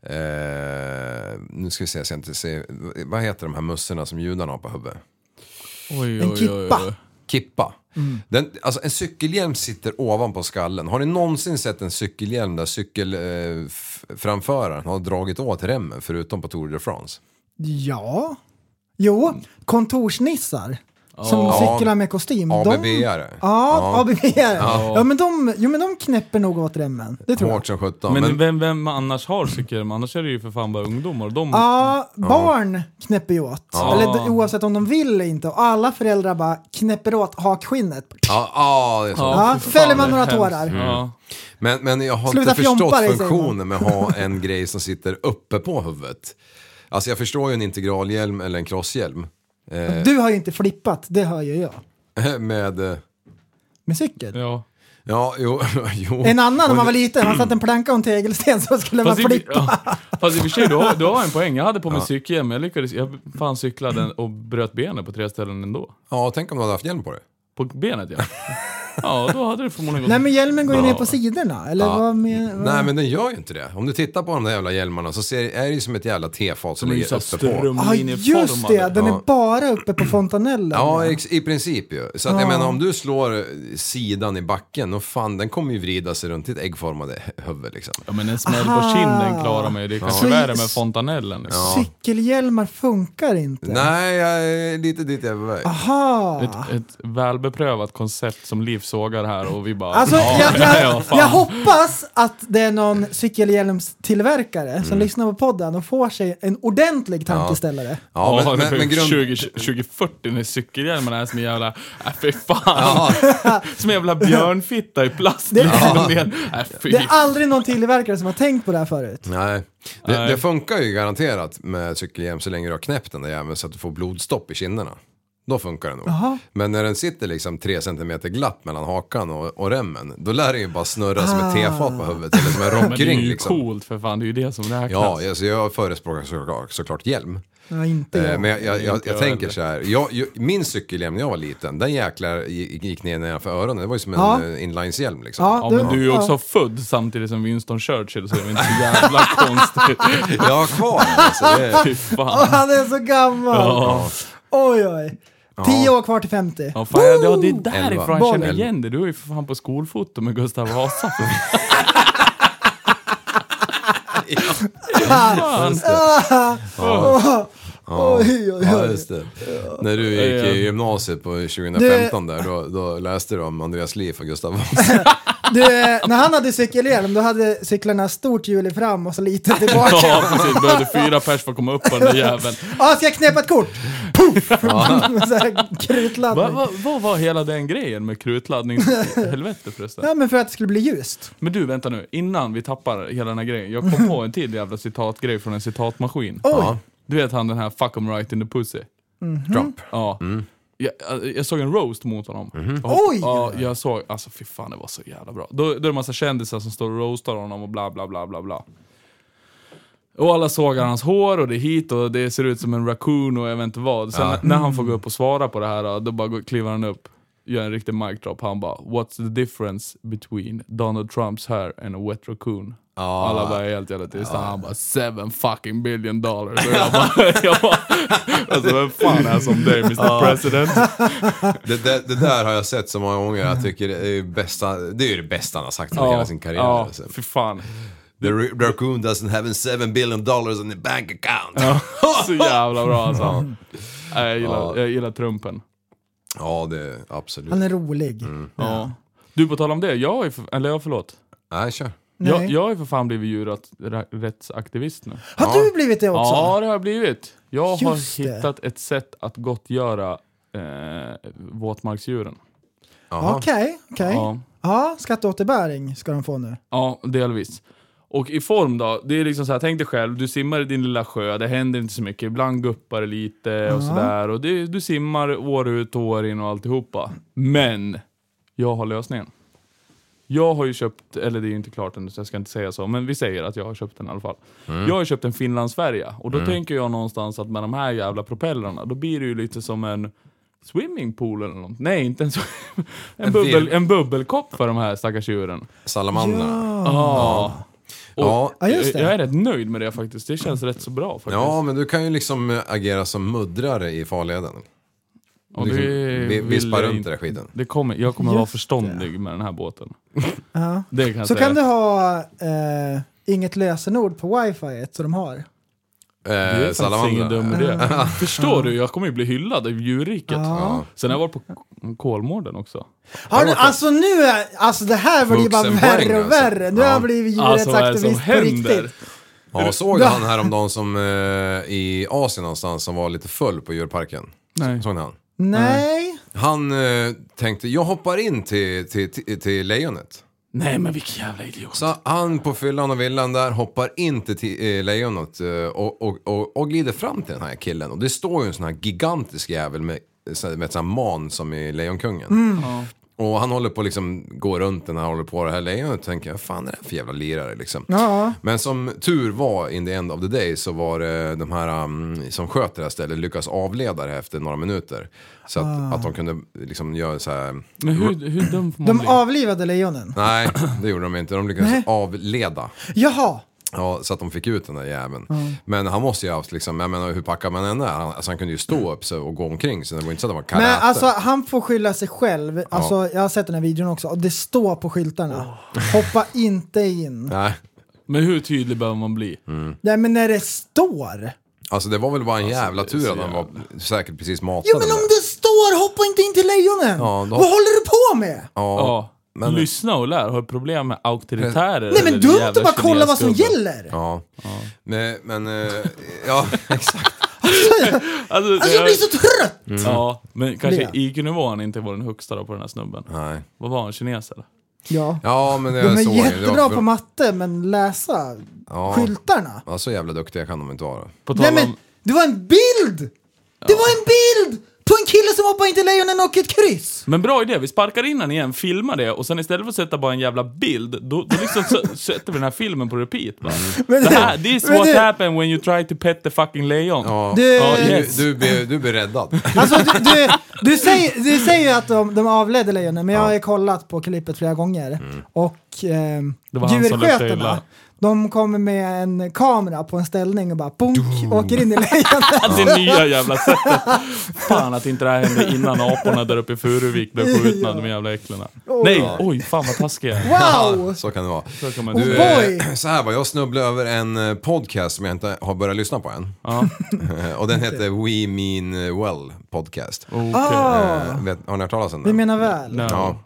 F: Eh, nu ska vi se så jag inte säger, vad heter de här mössorna som judarna har på huvudet?
G: Oj,
E: En
G: oj,
E: kippa.
G: oj, oj.
F: Kippa.
E: Mm.
F: Den, alltså en cykelhjälm sitter ovanpå skallen. Har ni någonsin sett en cykelhjälm där cykelframföraren eh, f- framföraren har dragit åt remmen förutom på Tour de France?
E: Ja. Jo, kontorsnissar. Som
F: Ja.
E: cyklar med kostym.
F: ABB-are.
E: De... Ja, ABB-are. Ja. men de, jo, men de knäpper nog åt remmen. Det tror jag.
F: Hårt som sjutton.
G: Men,
F: Men,
G: vem, vem annars har cykelhjälm? Annars är det ju för fan bara ungdomar. och De,
E: Ja, barn knäpper ju åt. Eller d- oavsett om de vill eller inte. Och alla föräldrar bara knäpper åt hakskinnet.
F: ja, ja, det är så.
E: Ja,
G: fy fan,
E: fäller man
G: det är
E: några
G: hemskt.
E: tårar.
G: Ja.
F: Men, men jag har
E: Sluta
F: inte förstått
E: fjompa dig, säger
F: funktionen med att ha en grej som sitter uppe på huvudet. Alltså jag förstår ju en integralhjälm eller en crosshjälm.
G: Mm.
E: Du har ju inte flippat, det hör ju jag.
F: Med, eh,
E: Med cykel.
G: Ja.
F: ja, jo, jo.
E: En annan när man var liten, man satte en planka och en tegelsten så skulle man
G: Fast, i,
E: flippa.
G: ja. Fast i och för sig, du har, du har en poäng. Jag hade på mig cykelhjälm, men jag lyckades... Jag fan cyklade och bröt benet på tre ställen ändå.
F: Ja, tänk om du hade haft hjälm på dig.
G: På benet, ja. Ja, då hade det förmodligen gått...
E: Nej men hjälmen går ju
G: Bra.
E: ner på sidorna, eller vad med, vad?
F: Nej men den gör ju inte det. Om du tittar på de där jävla hjälmarna så ser, är det ju som ett jävla tefat som
G: De är ju
F: ligger
G: så
F: uppe på.
E: Ja ah, just det, den är
F: Ja.
E: bara uppe på fontanellen.
F: Ja ex, i princip ju. Så att jag menar om du slår eh, sidan i backen, och fan den kommer ju vrida sig runt ditt äggformade huvud liksom.
G: Ja, men en smäll på
E: Aha.
G: kinden klarar man ju. Det är kanske
E: Så-
G: värre med fontanellen. Liksom.
E: Cykelhjälmar funkar inte.
F: Nej, jag är lite dit jag är på väg.
E: Ah. Aha.
G: Ett, ett välbeprövat koncept som Liv sågar här och vi bara...
E: Alltså,
G: ja,
E: jag, jag,
G: ja, fan.
E: jag hoppas att det är någon cykelhjälmstillverkare
G: Mm.
E: som lyssnar på podden och får sig en ordentlig tankeställare.
F: Ja, men, men, men grund...
G: 20, 2040 när cykelhjälmarna är som en jävla... Äh, fy fan! som en jävla björnfitta i plast. Det, liksom. ja. äh, fy
E: Det är aldrig någon tillverkare som har tänkt på det här förut.
F: Nej. Det, det funkar ju garanterat med cykelhjälm så länge du har knäppt den där jäveln så att du får blodstopp i kinderna. Då funkar det nog. Men när den sitter liksom 3 cm glapp mellan hakan och, och remmen, då lär den ju bara snurra som
E: Ah.
F: ett tefat på huvudet eller som en
G: Men det är
F: rockring
G: ju
F: liksom.
G: coolt för fan, det är ju det som räknas.
F: Ja, alltså jag förespråkar såklart, såklart hjälm.
E: Ja, inte
F: Eh,
E: jag.
F: Men jag, jag, jag,
G: Inte
F: jag
G: jag
F: tänker
G: heller.
F: så här. Jag, jag, min cykelhjälm när jag var liten, den jäklar gick gick ner nedanför öronen. Det var ju som en
E: Ja.
F: eh, inlineshjälm liksom.
E: Ja,
G: Ja, men du är ju också född samtidigt som Winston Churchill, så det är väl inte så jävla konstigt.
F: Jag har kvar den alltså. Det är...
G: Fy
E: Åh,
G: fan.
E: han är så gammal!
G: Ja,
E: Oj, oj. Tio år kvar till 50.
G: ja, fan, ja, det är därifrån jag
F: Elva.
G: känner igen det. Du är ju för fan på skolfoto med Gustav Vasa.
E: Ah.
G: Fan.
E: Oj, oj,
F: Ja,
E: oj.
F: just det. När du gick
G: Ja.
F: i gymnasiet på 2015 där, då, då läste du om Andreas Liv och Gustav Vasa.
E: Du, eh, när han hade cykelhjälm då hade cyklarna stort hjul i fram och så lite tillbaka.
G: Ja, precis. Behövde fyra pers för att komma upp på den där jäveln.
E: Ja, ska jag knäppa ett kort? Puff! Med så här
G: Vad
E: Krutladdning.
G: va, vad var hela den grejen med krutladdning? Helvete förresten.
E: Ja, men för att det skulle bli ljust.
G: Men du, vänta nu. Innan vi tappar hela den här grejen. Jag kom på en till jävla citatgrej från en citatmaskin.
E: Oj. Mhm.
G: Du vet han den här 'fuck 'em right in the pussy?
F: Trump.
G: Ja. Jag, jag såg en roast mot honom. Jag hopp-
E: Oj!
G: Ja, jag såg, alltså fy fan det var så jävla bra. Då, då är det en massa kändisar som står och roastar honom och bla bla bla bla bla. Och alla sågar hans hår och det är hit och det ser ut som en raccoon och jag vet inte vad. Sen när han får gå upp och svara på det här då bara går- kliver han upp, gör en riktig mic drop. Han bara “What's the difference between Donald Trumps hair and a wet raccoon?” Alla bara är helt jävla tysta. Han bara “Seven fucking billion dollars”. Och jag bara, jag bara “Alltså vem fan är som dig Mr President?”
F: Det, det, det där har jag sett så många gånger. Jag tycker det är, bästa, det, är ju det bästa han har sagt i hela sin karriär.
G: Ja,
F: alltså.
G: för fan.
F: The ra- raccoon doesn't have seven billion dollars in the bank account.
G: Så jävla bra alltså. Nej, Jag, gillar, jag gillar trumpen.
F: Ja, det absolut.
E: Han är rolig.
G: Mm. Ja. Du, på tal om det. Jag är för, eller jag förlåt.
F: Nej, kör.
E: Nej.
G: Jag, jag är för fan blivit djurrättsaktivist nu.
E: Har du blivit det också?
G: Ja, det har jag blivit. Jag
E: Just
G: har
E: det.
G: hittat ett sätt att gottgöra eh, våtmarksdjuren.
E: Okej, okej.
G: Ja.
E: Ja, skatteåterbäring ska de få nu.
G: Ja, delvis. Och i form då, det är liksom så här, tänk dig själv, du simmar i din lilla sjö, det händer inte så mycket, ibland guppar det lite och sådär. Och det, du simmar år ut och år in och alltihopa. Men, jag har lösningen. Jag har ju köpt, eller det är ju inte klart ännu så jag ska inte säga så, men vi säger att jag har köpt den i alla fall. Jag har köpt en finlandsfärja och då tänker jag någonstans att med de här jävla propellrarna, då blir det ju lite som en swimmingpool eller något. Nej, inte en, sw- en, bubbel, en bubbelkopp för de här stackars djuren.
F: Salamandra.
G: Ja. Och
F: Ja.
E: Ja, just det.
G: Jag är rätt nöjd med det faktiskt. Det känns rätt så bra faktiskt.
F: Ja, men du kan ju liksom eh, agera som muddrare i farleden. Eh,
G: och
F: liksom,
G: det
F: vi-
G: vill
F: vispa
G: jag
F: runt
G: inte.
F: den där skiten.
G: Det kommer, jag kommer vara
E: Just
G: förståndig med den här båten.
E: Ja.
G: Det kan jag
E: Så
G: säga.
E: kan du ha eh, inget lösenord på wifi så de har.
G: Det är
F: Eh,
G: faktiskt ingen dum
F: Salamandra.
G: idé. Förstår du? Jag kommer ju bli hyllad av djurriket.
E: Ja.
G: Sen har jag varit på Kolmården också.
E: Har du,
F: låter-
E: alltså nu är, alltså det här blir ju bara
F: Vuxenpoäng,
E: värre och
F: alltså.
E: värre. Nu har
F: Ja.
E: jag blivit
G: Alltså vad är det som
E: djurrättsaktivist på
G: händer?
E: riktigt.
F: Ja, såg du han häromdagen som eh, i Asien någonstans som var lite full på djurparken?
G: Nej.
F: Såg ni han?
E: Nej.
F: Han eh, tänkte, jag hoppar in till, till, till, till lejonet.
G: Nej men vilken jävla idiot.
F: Så han på fyllan och villan där hoppar in till ti- eh, lejonet eh, och, och, och, och glider fram till den här killen. Och det står ju en sån här gigantisk jävel med, eh, med ett sånt här man som i Lejonkungen.
E: Mm.
F: Och han håller på att liksom gå runt den här, håller på det här lejonet och tänker, vad fan är det här för jävla lirare liksom?
E: Ja.
F: Men som tur var in the end of the day så var det de här um, som sköt det här stället lyckas avleda det här efter några minuter. Så att,
E: Ah.
F: att de kunde liksom göra så här.
G: Men hur, hur dum får man
E: De
G: bli?
E: avlivade lejonen.
F: Nej, det gjorde de inte. De lyckades
E: Nej.
F: avleda.
E: Jaha.
F: Ja, så att de fick ut den där jäveln. Men han måste ju ha haft liksom, jag menar hur packar man än är? Han, alltså, han kunde ju stå upp sig och gå omkring så det var inte så att han var karate.
E: Men alltså han får skylla sig själv. Alltså jag har sett den här videon också och det står på skyltarna. Hoppa inte in.
F: Nej,
G: Men hur tydlig behöver man bli?
F: Mm.
E: Nej men när det står.
F: alltså det var väl bara en jävla
G: är
F: tur
G: så
F: att han var säkert precis matad.
E: Jo men
F: den
E: om
F: där.
E: det står hoppa inte in till lejonen.
F: Ja, då-
E: Vad håller du på med?
F: Ja,
G: Ja.
F: men-
G: Lyssna och lär. Har du problem med auktoritärer?
E: Nej
G: eller
E: men dumt
G: jävla
E: att bara kolla vad som
G: kinesgubbar?
E: gäller.
F: ja. Men, men eh, ja, exakt.
G: Alltså, det
E: Alltså jag
G: är-
E: blir så trött.
F: Mm.
G: Ja, men kanske
E: Lea.
G: IQ-nivån inte var den högsta då på den här snubben.
F: Nej.
G: Vad var han, kines eller?
E: Ja.
F: Ja, men det
E: De
F: jag
E: är
F: såg ju. Det
E: jättebra
F: var-
E: på matte men läsa
F: Ja.
E: skyltarna.
F: Ja, så jävla duktiga kan de inte vara.
G: På
E: Nej
G: tal
E: men
G: om...
E: det var en bild! Det var en bild på en kille som hoppade in till lejonen och ett kryss.
G: Men bra idé, vi sparkar in den igen, filmar det och sen istället för att sätta bara en jävla bild, då, då liksom s- sätter vi den här filmen på repeat. Va?
F: Mm.
E: Men
G: Det
E: du-
G: här, this is
E: men
G: what
E: du-
G: happen when you try to pet the fucking lejon.
F: Ja,
E: Du-
F: ja,
G: yes.
F: du, du, blir, du blir räddad.
G: Typ.
E: Alltså du, du, du, säger, du säger ju att de, de avledde lejonen men jag har ju kollat på klippet flera gånger. Och eh,
G: Mm. Det var han som luktade
E: djurskötarna,
G: illa.
E: de kommer med en kamera på en ställning och bara bunk, åker in i lejonet.
G: Att Alltså, Det nya jävla sättet. Fan att inte det här hände innan aporna där uppe i Furuvik blev skjutna, de jävla äcklena. Nej, oj fan vad taskig jag är.
E: Wow!
F: Så kan det vara.
G: Så kan man
E: Oh
G: inte-
F: Du,
E: boy!
F: eh, så här var jag snubblade över en eh, podcast som jag inte har börjat lyssna på än.
G: Ja,
F: Eh, Och den heter We Mean Well Podcast.
G: okej.
E: Ah,
F: Eh, vet, har ni hört talas om
E: vi
F: den?
E: menar väl.
G: Nej.
F: Ja.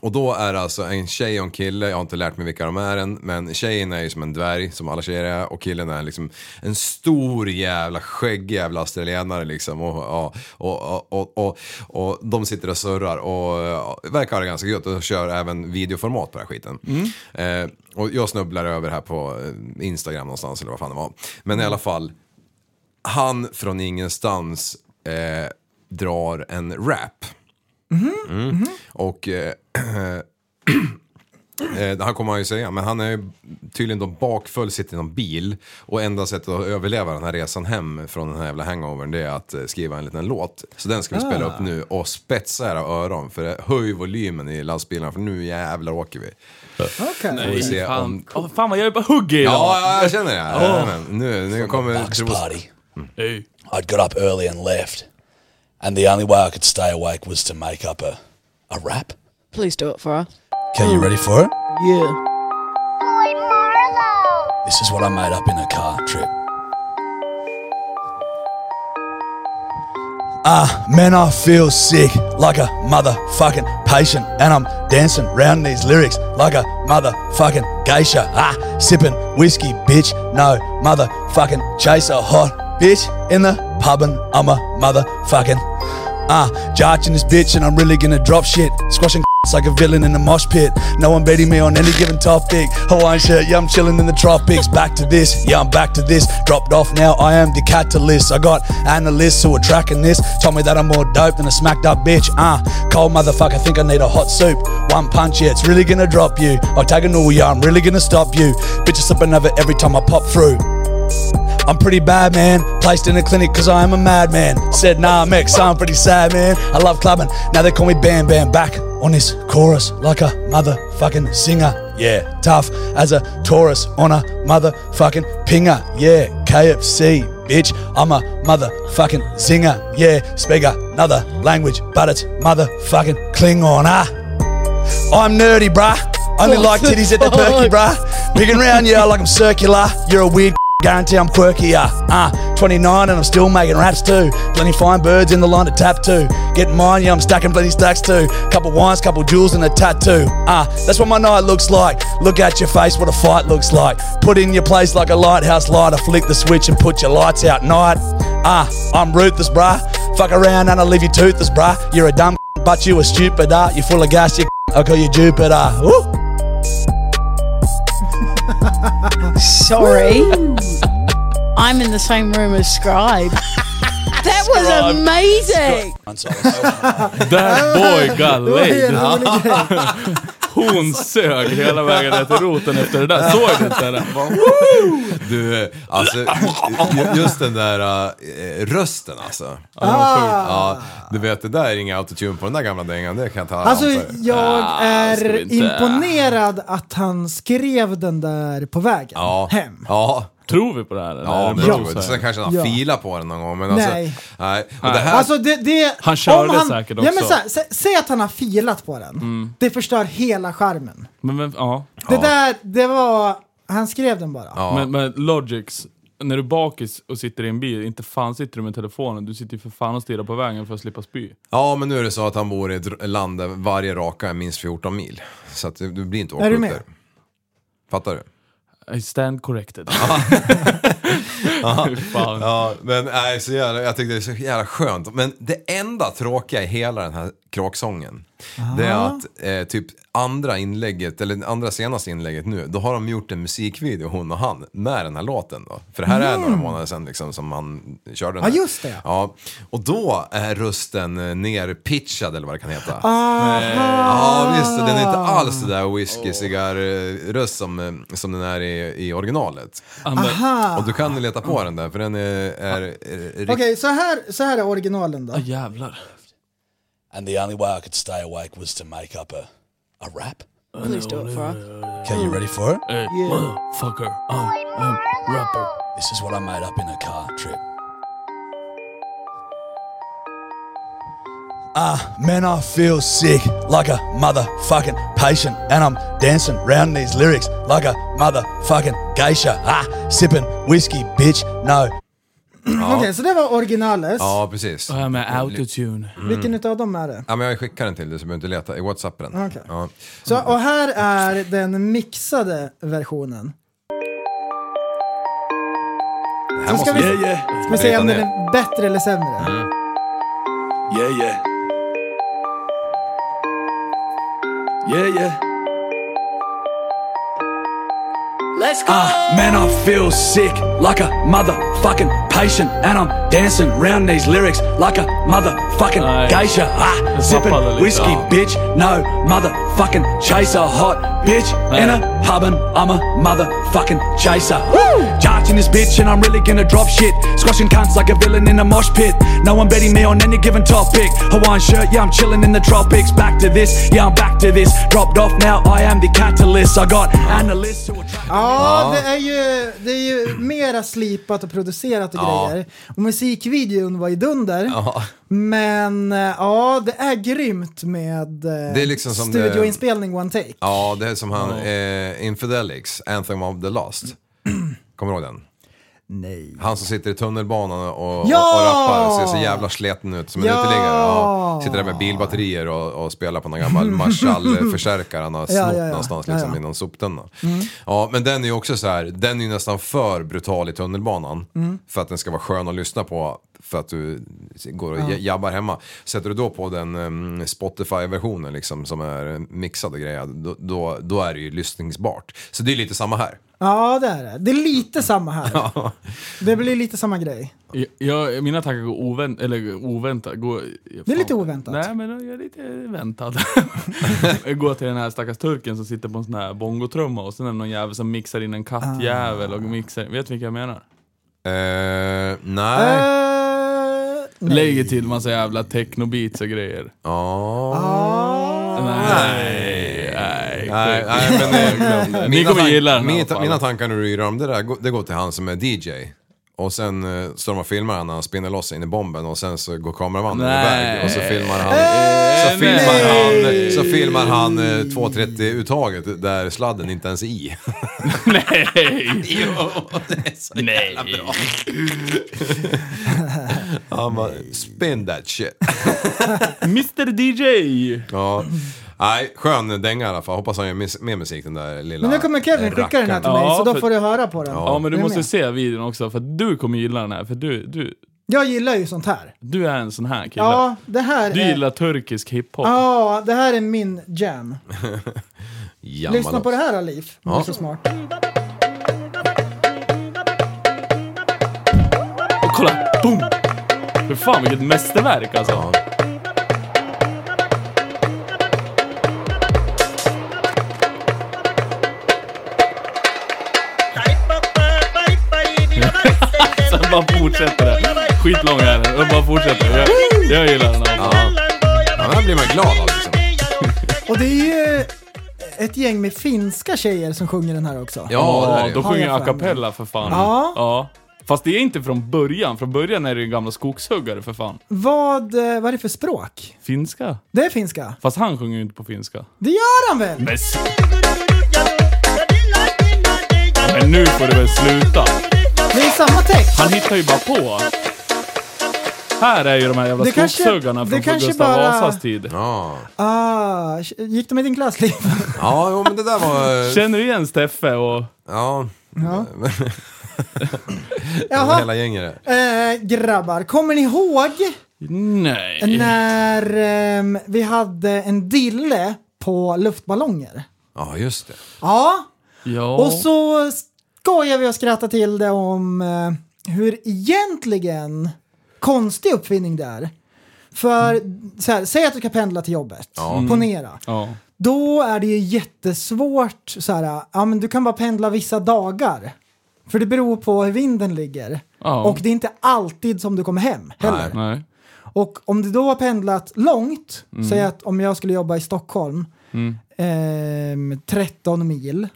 F: Och då är det alltså en tjej och en kille, jag har inte lärt mig vilka de är än, men tjejen är ju som en dvärg som alla tjejer är och killen är liksom en stor jävla skäggig jävla australienare liksom och, ja, och, och, och, och, och de sitter och surrar och ja, verkar ha det ganska gött och kör även videoformat på den här skiten. Eh, och jag snubblar över här på eh, Instagram någonstans eller vad fan det var. Men i alla fall, han från ingenstans eh, drar en rap. Och eh, eh, det här kommer han ju säga, men han är ju tydligen då bakfull, sitter i någon bil och enda sättet att överleva den här resan hem från den här jävla hangovern det är att eh, skriva en liten låt. Så den ska vi spela upp nu och spetsa era öron för det höj volymen i lastbilarna för nu jävlar åker vi.
E: Okej.
F: Får vi se om...
G: Fan, Åh, fan vad jag är bara hugger idag.
F: Ja, ja, jag känner det. Jajamän. Nu, nu kommer...
J: Bucks
F: tros-
J: party.
G: Ey.
J: I'd got up early and left, and the only way I could stay awake was to make up a, a rap.
I: Please do it for us.
J: Okay, you ready for it?
I: Yeah.
J: This is what I made up in a car trip. Ah, man, I feel sick like a motherfucking patient, and I'm dancing round these lyrics like a motherfucking geisha. Ah, sipping whiskey, bitch. No, motherfucking chaser, hot bitch in the pub, and I'm a motherfucking ah, jarching this bitch, and I'm really gonna drop shit, squashing. It's like a villain in a mosh pit. No one beating me on any given topic. Hawaiian shirt, yeah, I'm chilling in the tropics. Back to this, yeah, I'm back to this. Dropped off now, I am the catalyst. I got analysts who are tracking this. Told me that I'm more dope than a smacked up bitch. Ah, cold motherfucker, think I need a hot soup. One punch, yeah, it's really gonna drop you. I take a null, yeah, I'm really gonna stop you. Bitches up another every time I pop through. I'm pretty bad, man. Placed in a clinic because I am a madman. Said, nah, Mex, I'm pretty sad, man. I love clubbing. Now they call me Bam Bam. Back on this chorus like a motherfucking singer. Yeah, tough as a Taurus on a motherfucking pinger. Yeah, KFC, bitch. I'm a motherfucking zinger. Yeah, speak another language, but it's motherfucking Klingon. Ah, I'm nerdy, bruh. Only like titties at the perky, bruh. Big and round, yeah, like I'm circular. You're a weird Guarantee I'm quirky, yeah. Uh, 29 and I'm still making raps too. Plenty fine birds in the line to tap too. Getting mine, yeah, I'm stacking plenty stacks too. Couple wines, couple jewels and a tattoo. Ah, uh, that's what my night looks like. Look at your face, what a fight looks like. Put in your place like a lighthouse light. I flick the switch and put your lights out night. Ah, uh, I'm ruthless, bruh. Fuck around and I leave you toothless, bruh. You're a dumb, but you a stupid, ah. You're full of gas, you I call you Jupiter. Woo!
I: Sorry. I'm in the same room as Scribe. That was
J: Scribe.
I: amazing.
G: That boy got
E: Det var
G: laid.
E: en rolig grej.
G: Hon sög hela vägen ner till roten efter det där. Såg du inte det?
F: Du, eh, alltså ju- just den där eh, rösten alltså. Ja, du vet det där är inga autotune på den där gamla dängan, det kan jag ta
E: Alltså
F: ansvar för.
E: jag
G: Ah, ska
E: är
G: vi inte-
E: imponerad att han skrev den där på vägen
F: ja.
E: hem.
F: Ja.
G: Tror vi på det här eller?
F: Ja,
G: Är
F: det
G: bra
F: tror jag.
G: så här?
F: Sen kanske han
E: Ja.
F: filar på den någon gång, men alltså...
E: Nej.
F: Nej. Och det här...
E: Alltså det, det,
G: Han körde
E: om
G: säkert
E: Ja, men
G: också. Mm.
E: så här, sä, säg att han har filat på den. Det förstör hela skärmen.
G: Men, men, ja.
E: Det där, det var... Han skrev den bara.
F: Ja.
G: Men, men Logics, när du är bakis och sitter i en bil, inte fan sitter du med telefonen. Du sitter ju för fan och stirrar på vägen för att slippa spy.
F: Ja, men nu är det så att han bor i ett dr- land där varje raka är minst 14 mil. Så att du, du blir inte åkt
E: du
F: upp
E: med?
F: där. Fattar du?
G: I stand corrected. Fy fan.
F: Ja, men nej, så jävla, jag tyckte det var så jävla skönt. Men det enda tråkiga i hela den här kråksången, det är att eh, typ andra inlägget, eller andra senaste inlägget nu, då har de gjort en musikvideo, hon och han, med den här låten då. För det här är några månader sedan liksom, som han körde den
E: Ja,
F: här.
E: just det.
F: Ja, och då är rösten eh, nerpitchad eller vad det kan heta. Ja, visst. Den är inte alls det där whisky cigarr röst som, eh, som den är i, i originalet. Och du kan leta på den där, för den är... är, är
E: Okej, så, här, så här är originalen då.
G: Ah, jävlar.
J: And the only way I could stay awake was to make up a, a rap.
I: Please do it for us.
J: Okay, you ready for it?
G: Hey, motherfucker. I'm a rapper.
J: This is what I made up in a car trip. Ah, man, I feel sick like a motherfucking patient, and I'm dancing round these lyrics like a motherfucking geisha. Ah, sipping whiskey, bitch. No,
E: Okej, så det var originalet.
F: Ja, Mm. precis.
G: Och jag är med autotune.
E: Vilken utav dem är det?
F: Ja, men jag skickar den till dig så behöver du inte leta i Whatsapp den.
E: Okej.
F: Ja.
E: Så, och här är den mixade versionen.
F: Det
E: Så
F: här
E: ska
F: måste
E: vi,
F: vi...
E: ska vi se om
F: Leta
E: den är bättre eller sämre.
H: Yeah, yeah. Yeah, yeah.
I: Let's go.
J: Ah, man, I feel sick like a motherfucking patient, and I'm dancing round these lyrics like a motherfucking
G: Nice.
J: geisha. Ah,
G: That's
J: sipping
G: my father,
J: whiskey,
G: Lisa.
J: bitch. No motherfucking chaser, hot bitch. In a pub and I'm a motherfucking chaser. Charging this bitch, and I'm really gonna drop shit. Squashing cunts like a villain in a mosh pit. No one betting me on any given topic. Hawaiian shirt, yeah, I'm chilling in the tropics. Back to this, yeah, I'm back to this. Dropped off now, I am the catalyst. I got analysts who attract.
E: Ja, det är ju, det är ju mera slipat och producerat och grejer. Och musikvideon var ju dunder.
F: Ja.
E: Men eh, ja, det är grymt med eh,
F: Det är liksom som det-
E: studioinspelning one take.
F: Ja, det är som han... Eh, Infidelics, Anthem of the Lost. Kommer du ihåg den?
E: Nej.
F: Han som sitter i tunnelbanan och,
E: Ja!
F: och, och rappar och ser så jävla sleten ut som en
E: Ja!
F: uteliggare. Ja, sitter där med bilbatterier och, och spelar på någon gammal Marshall-förstärkare han har snott
E: ja, ja.
F: någonstans
E: Ja, Mm.
F: liksom
E: ja.
F: i någon soptunna. Ja, men den är ju också så här, den är ju nästan för brutal i tunnelbanan
E: Mm.
F: för att den ska vara skön att lyssna på för att du går och ja. jabbar hemma. Sätter du då på den em, Spotify-versionen liksom som är mixad och grejer, då, då, då är det ju lyssningsbart. Så det är lite samma här.
E: Ja, det är det. Det är lite samma här. det blir lite samma grej.
G: Jag, mina tankar går ovänt, eller oväntat. Går,
E: Det är lite oväntat.
G: Nej, men jag är lite väntad. jag går till den här stackars turken som sitter på en sån här bongotrumma och sen är det någon jävel som mixar in en kattjävel
E: Ah.
G: och mixar Vet ni vilka jag menar?
F: Eh, nej.
E: Eh, nej. Ah.
G: Lägger till massa jävla technobeats och grejer.
F: Ja.
E: Ja,
G: Nej, nej.
F: Nej, nej, men det, mina
G: Ni kommer
F: tank-
G: gilla den i
F: mina,
G: alla fall.
F: mina tankar när du yra om det där, gå- det går till han som är DJ. Och sen eh, står de och filmar han när han spinner loss in i bomben och sen så går kameramannen
G: Nej. Eh,
F: iväg och så filmar han... Så filmar han, så filmar han eh, 2.30-uttaget där sladden inte ens är i.
G: Nej. Nej.
F: Han bara, spin that shit.
G: Mr DJ!
F: Ja. Nej, skön dänga i alla fall. Hoppas han gör mis- mer musik den där lilla
E: Men nu kommer Kevin skicka den här till mig,
G: Ja,
E: så då
G: för-
E: får du höra på den.
G: Ja, men du
E: Jag är
G: måste
E: med.
G: se videon också för att du kommer gilla den här. För du, du,
E: Jag gillar ju sånt här.
G: du är en sån här kille.
E: Ja, det här
G: Du
E: är...
G: gillar turkisk hiphop.
E: Ja, det här är min jam.
F: Jamman
E: Lyssna på
F: också.
E: det här, Alif. Du är så smart.
G: Och kolla! Boom! Fy fan vilket mästerverk alltså. Sen bara fortsätter det. Skitlång är den. Den bara fortsätter. Jag, jag gillar den. alltså.
F: Ja, den här blir man glad av liksom.
E: Och det är ju ett gäng med finska tjejer som sjunger den här också.
F: Ja, det är det.
G: de
E: Har
G: sjunger
E: jag
G: a
E: för mig.
G: cappella för fan.
E: Ja.
G: Fast det är inte från början. Från början är det ju gamla skogshuggare för fan.
E: Vad, eh, vad är det för språk?
G: Finska.
E: Det är finska.
G: Fast han sjunger ju inte på finska.
E: Det gör han väl?
G: Men, s- men nu får du väl sluta.
E: Det är samma text.
G: Han hittar ju bara på. Här är ju de här jävla
E: Det kanske-
G: skogshuggarna
E: det
G: från
E: kanske
G: Gustav
E: bara-
G: Vasas tid.
F: Ja.
E: Ah, gick de i din klass, Liv?
F: ja, jo men det där var... eh,
G: Känner du igen Steffe och...
F: Ja,
E: Ja. Jaha.
F: hela gänget där.
E: Eh, grabbar, kommer ni ihåg
G: Nej.
E: när ehm, vi hade en dille på luftballonger?
F: Ja, just det.
E: Ja,
G: Ja.
E: Och så skojar vi och skrattar till det om eh, hur egentligen konstig uppfinning det är. För så här, säg att du ska pendla till jobbet, ponera.
G: Ja.
E: Då är det ju jättesvårt, så här, ja men du kan bara pendla vissa dagar. För det beror på hur vinden ligger.
G: Ja.
E: Och det är inte alltid som du kommer hem heller.
G: Nej.
E: Och om du då har pendlat långt, säg att om jag skulle jobba i Stockholm, ehm, 13 mil.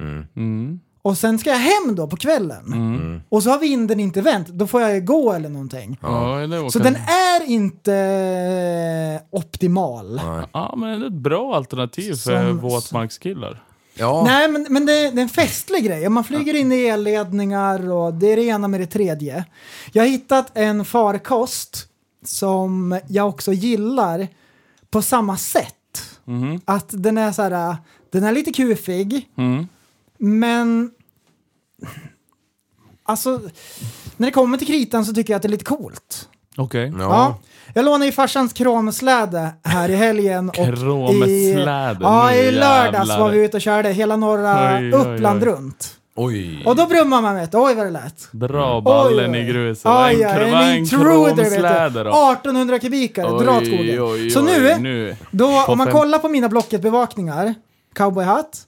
E: Och sen ska jag hem då på kvällen. Och så har vinden inte vänt, då får jag ju gå eller någonting.
G: Ja, eller åka.
E: Så den är inte eh, optimal. Nej,
G: Ja, men det är ett bra alternativ för
E: Som-
G: våtmarkskillar.
F: Ja,
E: men, men det, det är en festlig grej. Man flyger in i elledningar och det är det ena med det tredje. Jag har hittat en farkost som jag också gillar på samma sätt. Att den är så här, den är lite kufig,
G: Mm.
E: men alltså när det kommer till kritan så tycker jag att det är lite coolt.
G: Okej.
E: Ja. Jag lånade ju farsans kromsläde här i helgen. och
G: Kromsläde,
E: I, ja,
G: nu
E: i lördags
G: jävlar.
E: var vi ute och körde hela norra
G: Oj, oj,
E: Uppland
G: oj.
E: runt.
F: oj.
E: Och då brummar man vet du, oj vad det lät.
G: Dra ballen
E: Oj,
G: i
E: oj.
G: gruset.
E: Aj,
G: Aj,
E: aj,
G: en,
E: en
G: ja, en
E: intruder vet
G: kromsläder
E: du.
G: då.
E: 1800 kubikare, dra åt skogen.
G: oj,
E: Så
G: oj,
E: nu,
G: nu.
E: då, om man
G: Toppen.
E: kollar på mina Blocket-bevakningar, cowboyhatt,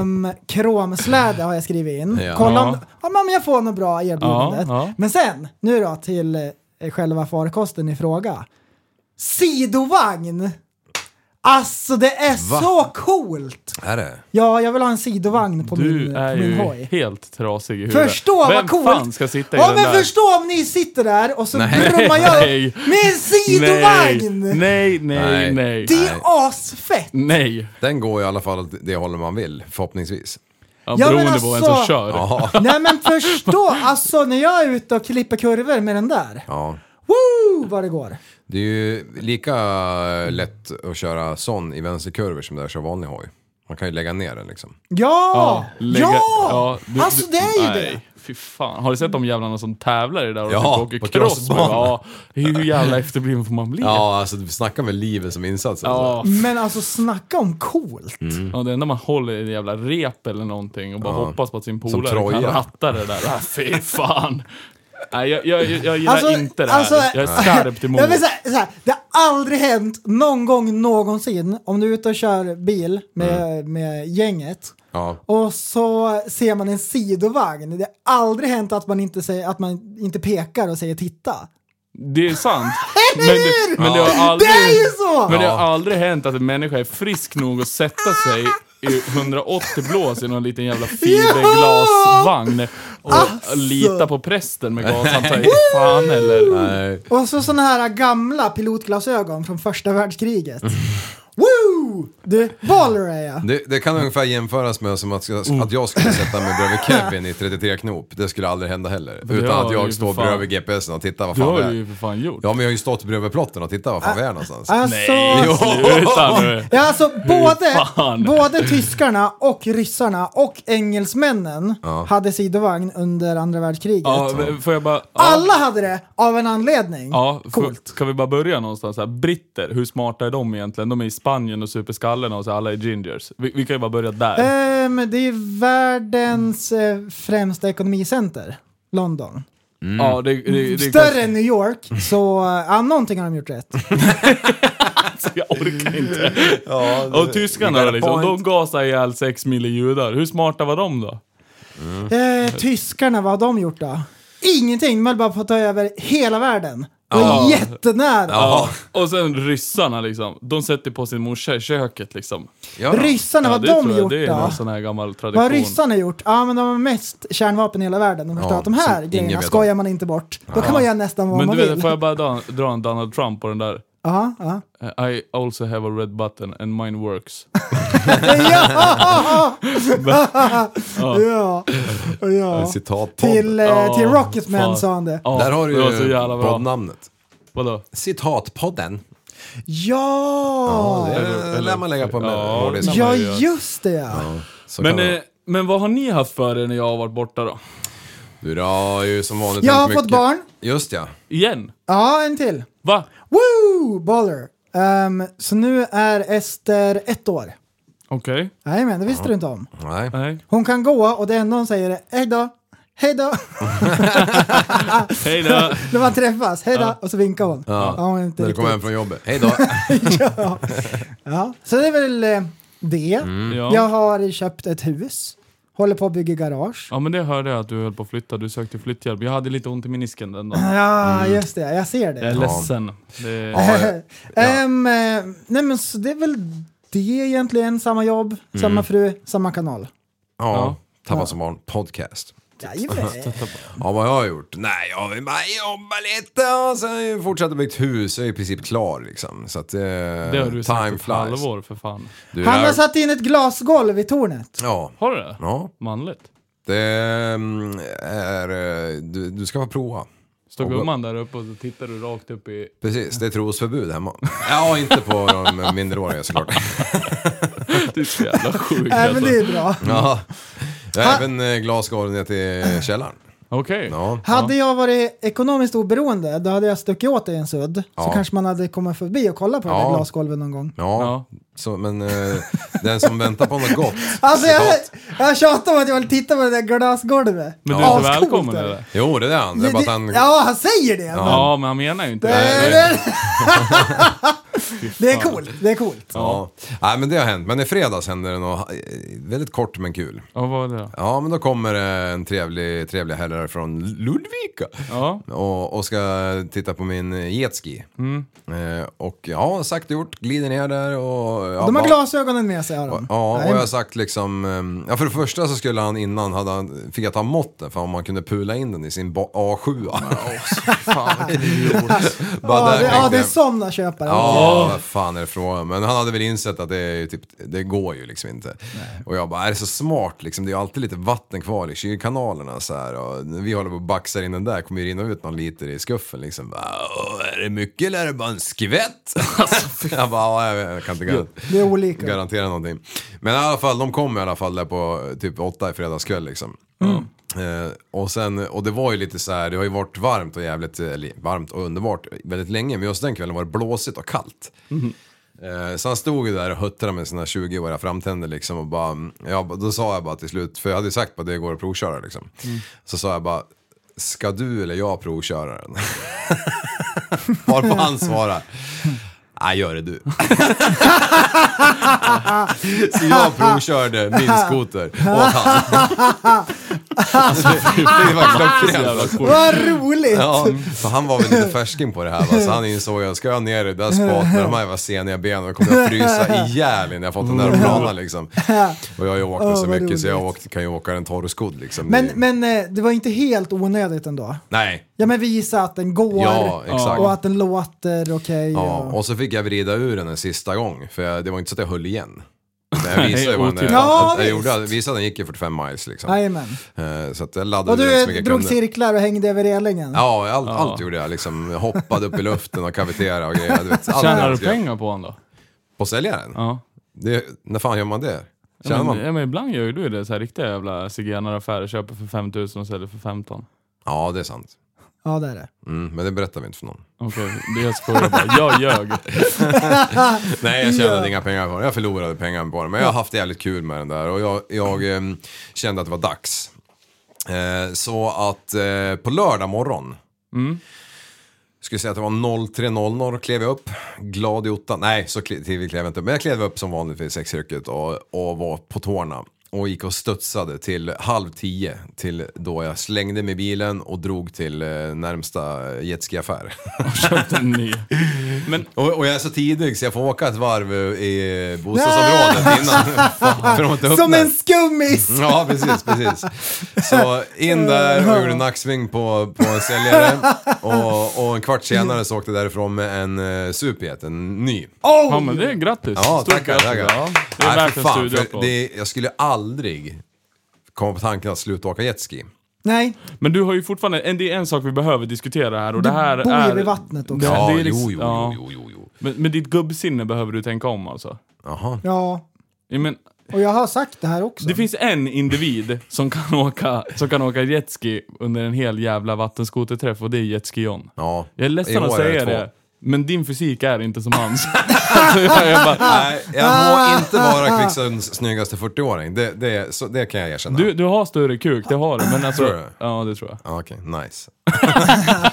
E: um, kromsläde har jag skrivit in.
F: Ja.
E: Kolla om,
G: Ja.
E: ja, men om jag får något bra erbjudandet.
G: Ja, ja.
E: Men sen, nu då till eh, själva farkosten i fråga. Sidovagn! Alltså det är
F: Va?
E: så coolt!
F: Är det?
E: Ja, jag vill ha en sidovagn på min,
G: Du
E: på
G: är
E: min
G: ju
E: hoj.
G: helt trasig i huvudet.
E: Förstå
G: Vem
E: vad coolt!
G: fan ska sitta i
E: ja,
G: den
E: men
G: där?
E: förstå om ni sitter där och så brummar jag
G: Nej.
E: upp med en sidovagn!
G: Nej, nej, nej.
F: Nej.
G: Nej.
E: Det är asfett!
G: nej.
F: Den går i alla fall åt det håller man vill, förhoppningsvis.
G: Ja,
E: Ja, men
G: beroende på vem som
E: alltså-
G: kör.
F: Ja.
E: Nej men förstå, alltså när jag är ute och klipper kurvor med den där.
F: ja.
E: Woo vad det går!
F: Det är ju lika eh, lätt att köra sån i vänsterkurvor som det är att köra vanlig hoj. Man kan ju lägga ner den liksom.
E: Ja!
G: lägga-
E: Ja!
G: du-
E: alltså det är ju
G: nej,
E: det!
G: Fy fan. Har du sett de jävlarna som tävlar i det där och
F: Ja,
G: typ åker
F: på
G: cross? med-
F: crossbanan.
G: Ja, hur jävla efterbliven får man bli?
F: Ja, alltså snacka med livet som insats.
G: Ja,
F: Alltså.
E: Men alltså snacka om coolt!
G: Ja, det enda man håller är en jävla rep eller någonting och bara hoppas på att sin
F: Som
G: polare kan
F: Troja.
G: ratta det där. Ah, fy fan. Nej, jag, jag, jag gillar
E: Alltså,
G: inte det här.
E: alltså-
G: jag är skarpt emot.
E: Jag vill säga, så här, det har aldrig hänt någon gång någonsin om du är ute och kör bil med,
G: Mm.
E: med gänget
F: Ja.
E: och så ser man en sidovagn. Det har aldrig hänt att man inte, säger, att man inte pekar och säger titta.
G: Det är sant. Men det, men det har
E: Det
G: aldrig...
E: är ju så!
G: Men det har aldrig hänt att en människa är frisk nog att sätta sig i 180 blås i någon liten jävla fiberglasvagn och
E: Alltså.
G: lita på prästen med gas. Han tar inte fan eller...
F: Nej.
E: Och så såna här gamla pilotglasögon från första världskriget. Woo! Du, baller är jag.
F: Det, det kan ungefär jämföras med som att,
G: Mm.
F: att jag skulle sätta mig bredvid Kevin i 33 knop. Det skulle aldrig hända heller.
G: det har
F: Utan att
G: du ju
F: jag
G: för
F: står
G: fan.
F: bredvid GPSen och tittar vad
G: Det
F: fan
G: har
F: det
G: du ju
F: är.
G: för fan gjort.
F: Ja men jag har ju stått bredvid plotten och tittat vad fan vi är någonstans.
E: Alltså,
G: Sluta nu.
E: ja, alltså både,
G: fan?
E: både tyskarna och ryssarna och engelsmännen hade sidovagn under andra världskriget.
G: Ja, men får jag bara... ja.
E: Alla hade det av en anledning.
G: Ja, för,
E: Coolt.
G: Ska vi bara börja någonstans? Här? Britter, hur smarta är de egentligen? De är i Spanien och super skallen och så alla är gingers. Vi, vi kan ju bara börja där.
E: Ehm, det är världens eh, främsta ekonomicenter, London.
G: Ja, det, det, det, det
E: Större än New York, så eh, ja, någonting har de gjort rätt.
G: Jag orkar inte. och tyskarna då, liksom, de gasar ihjäl sex miljoner judar. Hur smarta var de då?
E: Eh, tyskarna, vad har de gjort då? Ingenting, de höll bara på att ta över hela världen. Det var
F: Ja.
E: jättenära.
G: Och sen ryssarna liksom, de sätter på sin morsa i köket liksom.
F: Ja.
E: Ryssarna, vad
G: det
E: har
G: tror
E: de
G: jag,
E: gjort
G: det är
E: då?
G: någon sån här gammal tradition.
E: Vad har ryssarna gjort? Ja, men de har mest kärnvapen i hela världen. De förstår
F: Ja,
E: att de
F: som
E: här
F: ingen
E: grejerna
F: vet
E: skojar
F: om.
E: man inte bort. Då kan man göra nästan vad
G: Men
E: man
G: du vet,
E: vill.
G: får jag bara dra, dra en Donald Trump på den där?
E: Ja, ja.
G: Eh, I also have a red button and mine works.
E: ja! ja! ja.
F: Citat
E: Till,
F: Till...
E: eh, till
G: Ja,
E: Rocketman
G: Ah, fan.
E: sa han det.
G: Ja,
F: Där har
G: det var så
F: du ju
G: jävla bra.
F: poddnamnet.
G: Vadå?
F: Citatpodden.
E: Ja!
F: Det lär man lägga på med
G: Ja.
F: hårdisar.
G: Ja.
E: Ja,
G: man gör.
E: just det ja.
F: Så
G: Men,
F: kan
G: eh, men vad har ni haft för er när jag har varit borta då?
F: Du då har ju som vanligt
E: Jag
F: hänt
E: har fått
F: mycket.
E: barn.
F: Just ja.
G: Igen?
E: Ja, en till.
G: Va?
E: Woo! Baller! Ehm, så nu är Ester ett år.
G: Okej.
E: Jajamän, det visste du inte om.
F: Nej.
G: Nej.
E: Hon kan gå och det enda hon säger är hej då, hej då.
G: Hej då!
E: När man träffas, hej då. Och så vinkar hon. Ja. hon är inte
F: När du
E: riktigt.
F: kommer hem från jobbet. Hej då.
E: ja. Så det är väl eh, det.
G: Ja.
E: Jag har köpt ett hus. Håller på att bygga garage.
G: ja men det hörde jag att du höll på att flytta, du sökte flytthjälp. Jag hade lite ont i menisken den dagen.
E: Ja, just det. Jag ser
G: Jag är
E: det.
G: ledsen. Det...
E: Ehm, eh, nej men så det är väl det egentligen. Samma jobb, samma fru, samma kanal.
F: Ja. Tappa som barn podcast.
E: Jajamän.
F: Ja, vad jag har gjort? Nej, jag har bara jobbat lite och sen har jag fortsatt att bygga ett hus. Jag är i princip klar liksom. Så att, eh,
G: Det har du
F: time
G: sagt ett
F: flies.
G: halvår för fan.
F: Du,
E: Han har
F: jag-
E: satt in ett glasgolv i tornet.
F: Ja.
G: Har du det?
F: Ja.
G: Manligt.
F: Det mm, är... eh, Du, du ska få prova.
G: Står
F: Och-
G: gumman där uppe och så tittar du rakt upp i...
F: Precis, det är trosförbud hemma. Ja, inte på de minderåriga såklart.
G: Du är så jävla sjuk
E: Nej, Äh, men
G: alltså.
E: det är bra.
F: Ja. Jag har även eh, glasgolv ner till källaren.
G: Okej.
F: Ja.
E: Hade jag varit ekonomiskt oberoende, då hade jag stuckit åt dig en sudd. Så
F: Ja.
E: kanske man hade kommit förbi och kollat på det där
F: Ja.
E: glasgolvet någon gång.
F: Ja, Så, men eh, den som väntar på något gott.
E: Alltså jag,
F: citat.
E: jag tjatar om att jag vill titta på det där glasgolvet.
G: Men du är inte
E: Ascoolt
G: välkommen
E: är det.
G: eller?
F: Jo, det är han. Det är bara att han...
E: Ja, han säger det. men-
G: Ja, men han menar ju inte det.
E: Nej,
F: Nej.
E: det- Det är coolt, det är coolt.
F: Ja. Nej, men det har hänt. Men i fredags hände det något eh, väldigt kort men kul.
G: Ja, vad var det då?
F: Ja, men då kommer eh, en trevlig, trevlig herre från Ludvika.
G: Ja.
F: Och, och ska titta på min eh, jetski.
E: Mm.
F: Eh, och ja, sagt och gjort, glider ner där och... Ja,
E: De har
F: bara-
E: glasögonen med sig har de.
F: Ja, och
E: Nej,
F: jag har sagt liksom... eh, Ja, för det första så skulle han innan, hade han, fick jag ta måtten för om man kunde pula in den i sin ba- A7. Bara
E: ja,
F: där
E: det, ja,
F: tänkte
E: det är
F: jag,
E: sådana köpare.
F: Ja, vad fan är det frågan? Men han hade väl insett att det, är ju typ, det går ju liksom inte. Och jag bara, är det så smart liksom? Det är ju alltid lite vatten kvar i kylkanalerna så här. Och när vi håller på och baxar in den där, kommer ju rinna ut någon liter i skuffen liksom. Bara, "Åh, är det mycket eller är det bara en skvätt? jag bara, "Ja, jag vet, jag kan inte gar-
E: Det är olika.
F: garantera någonting. Men i alla fall, de kom i alla fall där på eh, typ åtta i fredagskväll liksom.
E: Mm.
F: Eh, och, sen, och det var ju lite så här, det har ju varit varmt och jävligt, eh, eller varmt och underbart väldigt länge. Men just den kvällen var det blåsigt och kallt.
E: Mm-hmm.
F: Eh, Så han stod ju där och huttrade med sina 20-åriga framtänder liksom och bara, mm, ja, då sa jag bara till slut, för jag hade ju sagt att det går att provköra liksom.
E: Mm.
F: Så sa jag bara, ska du eller jag provköra den? Varpå han svarar, nej gör det du. Så jag provkörde min skoter åt han. Alltså, Det var
G: Jävla
F: klockrent.
G: coolt.
E: Vad roligt!
F: Ja, för han var väl lite färsking på det här va? så han insåg att ska jag ner i det där spat med de här jävla seniga benen då kommer jag frysa ihjäl innan jag fått den där planen liksom. Och jag har ju åkt den
E: Åh,
F: så
E: vad
F: mycket så jag
E: roligt.
F: åkt, kan ju åka den torrskodd liksom.
E: Men,
F: Det-
E: men eh, det var inte helt onödigt ändå.
F: Nej,
E: Ja men visa att den går
F: Ja, exakt.
E: och att den låter okej.
F: Ja,
E: och-
F: och så fick jag vrida ur den en sista gång, för jag, det var inte så att jag höll igen. Men jag visade
G: Nej,
F: ju vad den,
G: otippat.
E: Ja,
F: jag,
E: visst.
F: jag gjorde, jag visade att den gick i 45 miles liksom.
E: Jajamän.
F: Eh, Så att jag laddade
E: Och
F: ur den så
E: du
F: mycket
E: drog
F: jag kunde.
E: cirklar och hängde över relingen?
F: Ja, allt, allt gjorde jag liksom. Jag Hoppade upp i luften och kaviterade och grejer. Du vet, allt
G: Tjänar du
F: jag-
G: pengar på honom då?
F: På säljaren?
G: Ja.
F: Det, när fan gör man det?
G: Ja,
F: Tjänar
G: men,
F: man?
G: ja, men ibland gör ju du det, så här riktiga jävla zigenaraffärer. Köper för 5000 och säljer för 15.
F: Ja, det är sant.
E: Ja, det är det.
F: Mm, men det berättar vi inte för någon.
G: Okej, det jag skojar bara. Jag ljög.
F: Nej, jag tjänade inga pengar på det. Jag förlorade pengar på det. Men jag har haft jävligt kul med den där och jag, jag ehm, kände att det var dags. Eh, så att eh, på lördag morgon Skulle säga att det var 03.00 klev jag upp. Glad i ottan. Nej, så kle- tidigt klev jag inte upp. Men jag klev upp som vanligt vid sexrycket och, och var på tårna. Och gick och studsade till halv tio. Till då jag slängde med bilen och drog till eh, närmsta jetskiaffär.
G: Köpte en ny.
F: Och, och jag är så tidig så jag får åka ett varv eh, i bostadsområdet innan. Fan, för de har inte
E: Som
F: öppnat.
E: en skummis!
F: Ja, precis, precis. Så in där och gjorde nacksving på, på en säljare. Och, och en kvart senare så åkte jag därifrån med en eh, superjet, en ny.
E: Oh!
G: Ja men det är grattis.
F: Ja,
G: Stort
F: tackar,
G: grattis.
F: tackar.
G: Ja, det är
F: Nej,
G: värt
F: för
G: en
F: fan,
G: studieapplåd.
F: för det, Jag skulle aldrig komma på tanken att sluta åka jetski.
E: Nej,
G: Men du har ju fortfarande, en, det är en sak vi behöver diskutera här och det här
E: bor ju
G: är...
E: vid vattnet också.
G: Det-
F: Ja,
G: det är
F: jo,
G: liksom-
F: jo, jo,
G: ja.
F: jo, jo, jo.
G: Men, men ditt gubbsinne behöver du tänka om alltså.
F: Jaha.
E: ja.
G: Ja, Men,
E: Och jag har sagt det här också.
G: det finns en individ som kan åka, som kan åka jetski under en hel jävla vattenskoterträff och det är jetski John.
F: Ja.
G: Jag är
F: I
G: ledsen att
F: år är
G: säga
F: två.
G: det, men din fysik är inte som hans. alltså, jag, jag bara,
E: Ah.
F: Nej, jag må inte vara Kvicksunds snyggaste 40-åring. Det, det, så, det kan jag erkänna.
G: du, du har större kuk, det har du. Men alltså,
F: Tror du?
G: Ja, det tror jag.
F: Ja, Ah, Okej, nice.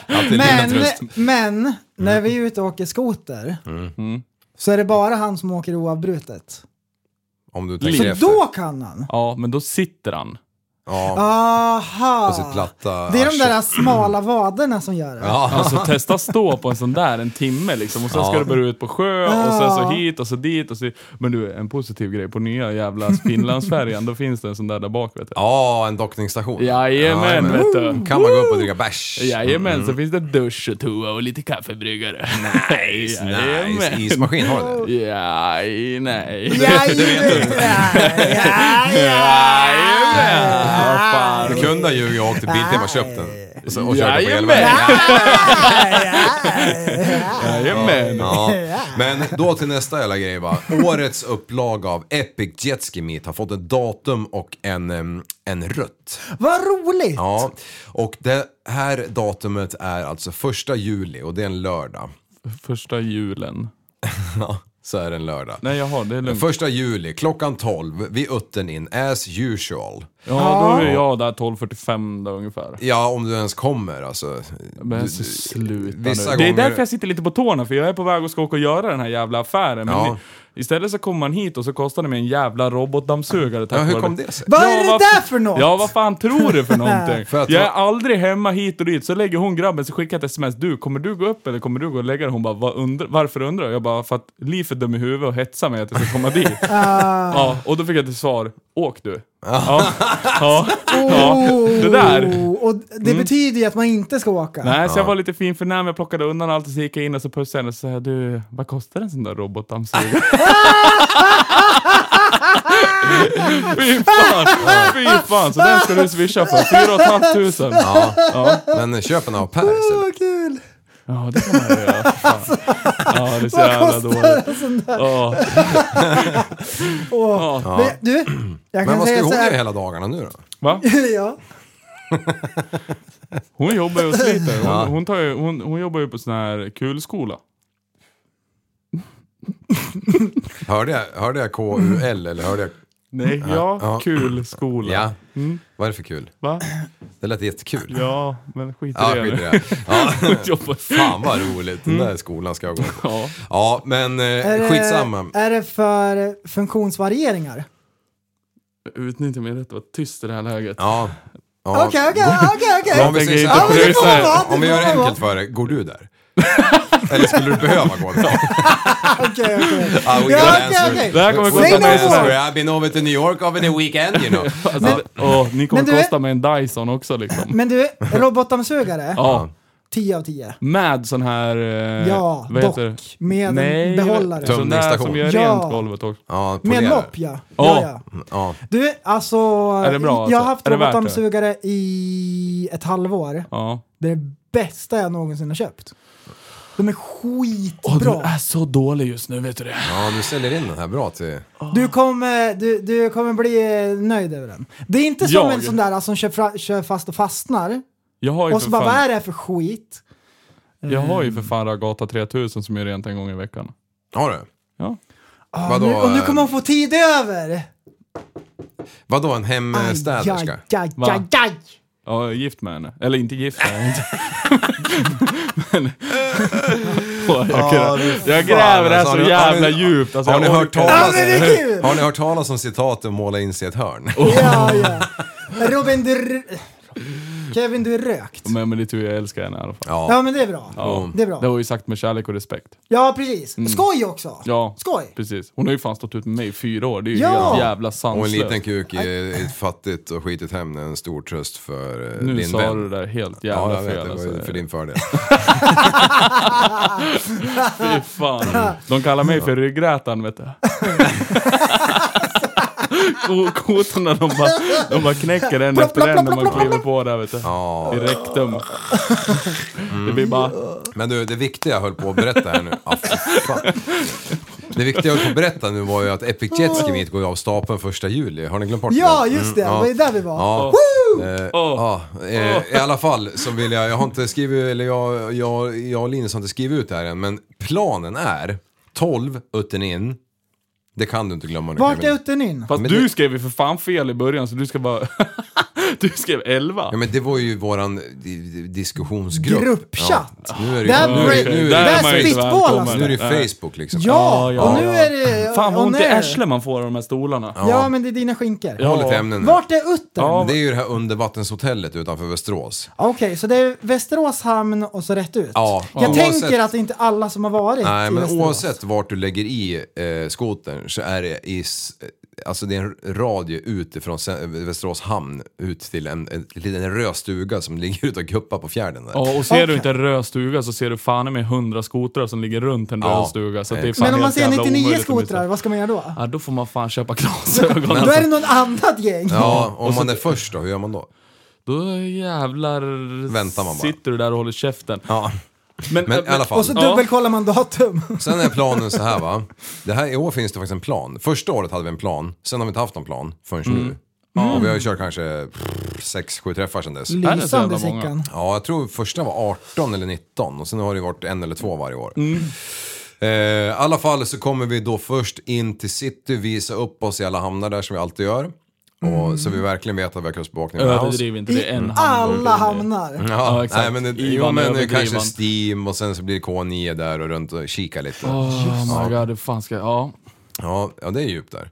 F: Alltid lilla
E: men,
F: tröst.
E: men, när vi är ute och åker skoter
F: Mm.
E: så är det bara han som åker oavbrutet.
F: Om du
G: Så
F: tänker efter.
E: Då kan han!
G: Ja, men då sitter han.
F: Ja,
E: Aha!
F: på sitt platta
E: Ah. Det är de
F: arsle.
E: där smala vaderna som gör det.
F: Ja,
G: Alltså testa stå på en sån där en timme liksom och sen ska
F: Ja.
G: du börja ut på sjö och sen så hit och så dit och så Men du, en positiv grej på nya jävla Finlandsfärjan, då finns det en sån där där bak vet du.
F: ja en dockningsstation.
G: Jajamän
F: men-
G: vet du.
F: Kan man gå upp och dricka bärs?
G: Jajamän, så finns det dusch och toa och lite kaffebryggare. Nice,
F: Nice, ismaskin har du det?
G: Ja, nej.
E: Ja, ja,
G: Jajamän! Vad fan.
F: Du kunde ha ljugit och åkt till Biltema och köpt den. Och, så, och kört den på
G: Jajamän.
F: elvägen.
G: Jajamän.
F: Ja. Men då till nästa jävla grej va. Årets upplaga av Epic Jetski Meet har fått ett datum och en, em, en rutt.
E: Vad roligt!
F: Ja, och det här datumet är alltså första juli och det är en lördag.
G: Första julen.
F: Ja, så är det en lördag.
G: Nej, jaha, det är lugnt.
F: Första juli, klockan 12, vid Utten in, as usual.
G: Ja, då är jag där 12.45 då ungefär.
F: Ja, om du ens kommer alltså.
G: Men så sluta
F: vissa
G: nu.
F: gånger-
G: Det är därför jag sitter lite på tårna, för jag är på väg att ska åka och göra den här jävla affären. Men
F: Ja.
G: ni- istället så kommer man hit och så kostar det mig en jävla robotdammsugare tack
F: Ja, hur
G: vare-
F: kom det sig?
E: Vad är det
G: vad-
E: där för något?
G: Ja, vad fan tror du för någonting?
F: För att
G: jag är
F: jag-
G: aldrig hemma hit och dit, så lägger hon grabben, så skickar jag ett sms. Du, kommer du gå upp eller kommer du gå och lägga dig? Hon bara, "Vad undrar- varför undrar jag? Jag bara, för att Li är för dum i huvudet och hetsar mig att jag ska komma dit.
E: Ah.
G: ja, och då fick jag till svar, åk du. ja, ja, ja, det där.
E: Oh, Och det
F: Mm.
E: betyder ju att man inte ska åka.
G: Nej, så jag var lite fin för när jag plockade undan allt och så gick jag in och så pussade jag henne och så sa jag, du, vad kostar en sån där robotdammsugare? Fy fan! Fy fan! Så den ska du swisha för. fyra och ett halvt tusen.
F: Ja. Men köp en av Per istället.
E: Vad kul!
G: Ja, det kan man göra. Fan. Ja, det är så
E: Vad
G: jävla
E: kostar
G: dåligt. Ja.
E: Men, du, jag
F: Men
E: kan
F: vad ska
E: säga
F: hon
E: så
F: göra
E: här.
F: hela dagarna nu då?
G: Va?
E: ja.
G: Hon jobbar ju och sliter. Hon, hon, tar ju, hon, hon jobbar ju på sån här kulskola.
F: Hörde jag, hörde jag KUL eller hörde jag...
G: Nej, ja,
F: ja.
G: kulskola.
F: Ja.
E: Mm.
F: Vad är det för kul?
G: Va?
F: Det lät jättekul.
G: Ja, men skit i
F: Ja,
G: det
F: skit i
G: nu.
F: det. Ja,
G: Jobbar.
F: fan vad roligt. Den där skolan ska jag gå på.
G: Ja.
F: Ja, men eh,
E: Mm. Är det-
F: skitsamma.
E: Är det för funktionsvarieringar?
G: Utnyttja min rätt att vara tyst i det här läget.
F: Ja. Ja.
E: Okej, okej, okej, okej.
F: Om vi, säger så
G: Jag tänker inte
F: här,
G: prisa er.
F: om vi gör det enkelt för dig, går du där? Eller skulle du behöva gå där?
E: Okej, okej.
F: Ah,
E: Ja,
F: we got
E: okej,
F: answered.
E: okej.
G: Det här kommer
F: We
G: kosta
F: got
E: mig-
F: answered. I've been over to New York over the weekend you know.
G: Alltså, åh, ni kommer
E: Men du- Mm.
G: kosta mig en Dyson också liksom.
E: Men du, robotdammsugare,
G: ja.
E: 10 av 10.
G: Med sån här... eh,
E: Ja,
G: vad heter
E: dock. Med
G: Nej,
E: en behållare.
F: Töm-
G: Sån där som gör
E: Ja.
G: rent golvet också.
F: Ja,
E: Med en
F: ponera.
E: mopp ja. ja,
G: Ja.
E: ja.
F: Ja.
E: Du, alltså,
G: det bra, alltså?
E: jag har haft
G: Är det värt det?
E: robotdammsugare i ett halvår.
G: Ja.
E: Det är det bästa jag någonsin har köpt. De är
G: Åh,
E: skitbra.
G: du är så dålig just nu, vet du det?
F: ja, du säljer in den här bra till...
E: Du kommer, du, du kommer bli eh, nöjd över den. Det är inte som
G: Jag?
E: en sån där alltså, som kör, fra, kör fast och fastnar.
G: Jag har ju
E: Och så
G: för
E: bara, vad
G: fan,
E: är det här för skit?
G: jag har ju för fan Ragata 3000 som gör rent en gång i veckan.
F: Har du?
G: Ja.
E: Ah,
F: Vadå,
E: nu, och nu
F: eh,
E: kommer hon få tid över!
F: Vadå, en
E: Aj,
F: hemstäderska?
E: aj, aj,
G: Va?
E: aj, aj.
G: Ja, jag är gift med henne. Eller inte gift med henne. Men, Åh, jag, grä, jag gräver det här så
F: alltså, Har ni-
G: jävla
F: har ni-
G: djupt. Alltså,
F: Har ni,
G: jag
F: hört
G: orkar-
E: Ja,
F: talas,
E: men det är kul!
F: har ni hört talas om citatet om måla in sig i ett hörn?
E: Ja, ja. Robin, du... r- Kevin, du är rökt.
G: Men med lite tur, jag älskar henne i alla fall.
E: Ja, men det är bra.
G: Ja.
E: Det är bra.
G: Det var ju sagt med kärlek och respekt.
E: Ja, precis. Skoj också!
G: Ja,
E: Skoj!
G: precis. Hon har ju fan stått ut med mig i fyra år. Det är ju
E: Ja.
G: helt jävla
F: Och en
G: sanslöst.
F: liten kuk i i ett fattigt och skitigt hem är en stor tröst för eh,
G: nu
F: din
G: sa
F: vän.
G: du det där helt
F: Ja,
G: jävla
F: jag vet.
G: fel.
F: Det var ju
G: Alltså.
F: för din fördel.
G: Fy fan. De kallar mig för ryggrätaren vet du. Ko- Kotorna de bara, de bara knäcker en efter en när man kliver på där vet du.
F: Ja. Mm.
G: I rektum. Det blir bara...
E: Mm.
F: Men du, det viktiga jag höll på att berätta här nu. Ah, fy fan. Det viktiga jag höll på att berätta nu var ju att Epic Jet Ski Meet går ju av stapeln första juli. Har ni glömt bort
E: Ja,
F: det?
E: just det.
F: Mm, ja.
E: Det var ju där vi var.
F: Ja.
E: Woo!
F: Eh, ja, eh, I alla fall så vill jag, jag har inte skrivit, eller jag, jag, jag och Linus har inte skrivit ut det här än, men planen är 12 utten in. Det kan du inte glömma nu.
E: Vart
F: Kevin.
E: är utten in?
G: Fast
F: Men
G: du
F: det-
G: skrev ju för fan fel i början så du ska bara... du skrev 11.
F: Ja men det var ju våran di- di- diskussionsgrupp.
E: Gruppchatt.
F: Ja. Nu är det
E: Där
F: ju, nu är, det-
E: bre-
F: nu är,
E: där
F: det-
G: man ju inte
E: spitballas
G: välkommen.
E: det.
F: nu är det ju
G: Nej.
F: Facebook liksom.
E: Ja,
G: ja,
E: och nu
G: ja.
E: är det...
G: Fan vad
E: och
G: ont i
E: nu är det-
G: arslet man får av de här stolarna.
E: Ja, men det är dina skinkor.
F: Håll lite ämnen nu.
E: Vart är utten?
G: Ja.
F: Det är ju det här undervattenshotellet utanför Västerås.
E: Okej, så det är Västerås hamn och så rätt ut.
F: Ja.
E: Jag
F: Oavsett-
E: tänker att det är inte alla som har varit
F: Nej
E: i
F: men
E: Västerås.
F: oavsett vart du lägger i eh, skotern så är det i, s- eh, alltså det är en radie utifrån sen- Västerås hamn ut till en, en liten röd stuga som ligger ute och guppar på fjärden där.
G: Ja, och ser du
E: Okej.
G: inte en röd stuga så ser du fan med hundra skotrar som ligger runt en
F: Ja.
G: röd stuga. Så att det är fan
E: Men om man
G: helt
E: ser
G: jävla
E: 99
G: omöjligt att missa.
E: skotrar, vad ska man göra då?
G: Ja, då får man fan köpa glasögon.
E: Då är
G: alltså.
E: det någon annat gäng.
F: Ja, om man är först då, hur gör man då?
G: Då jävlar
F: Väntar man bara.
G: sitter du där och håller käften.
F: Ja. Men i alla fall.
E: Och så
G: Ja.
E: dubbelkollar man datum.
F: Sen är planen så här va. Det här, I år finns det faktiskt en plan. Första året hade vi en plan, sen har vi inte haft någon plan förrän nu. Och vi har ju kört kanske 6-7 träffar sedan dess.
G: jävla
E: Lysande
G: många?
E: Sickan.
F: Ja, jag tror första var 18 eller 19 och sen har det varit en eller två varje år. Eh, I alla fall så kommer vi då först in till city, visa upp oss i alla hamnar där som vi alltid gör. Och, så vi verkligen vet att vi har kustbevakningen med oss.
G: Överdriv inte, det Mm. är en hand.
E: Alla hamnar.
F: Ja,
G: Ja, exakt.
F: Nej, men, det- jo,
G: Ivan
F: men det är
G: överdrivan.
F: kanske Steam och sen så blir det K9 där och runt och kika lite.
G: Oh my god, hur fan ska jag... Ja.
F: Ja, ja, det är djupt där.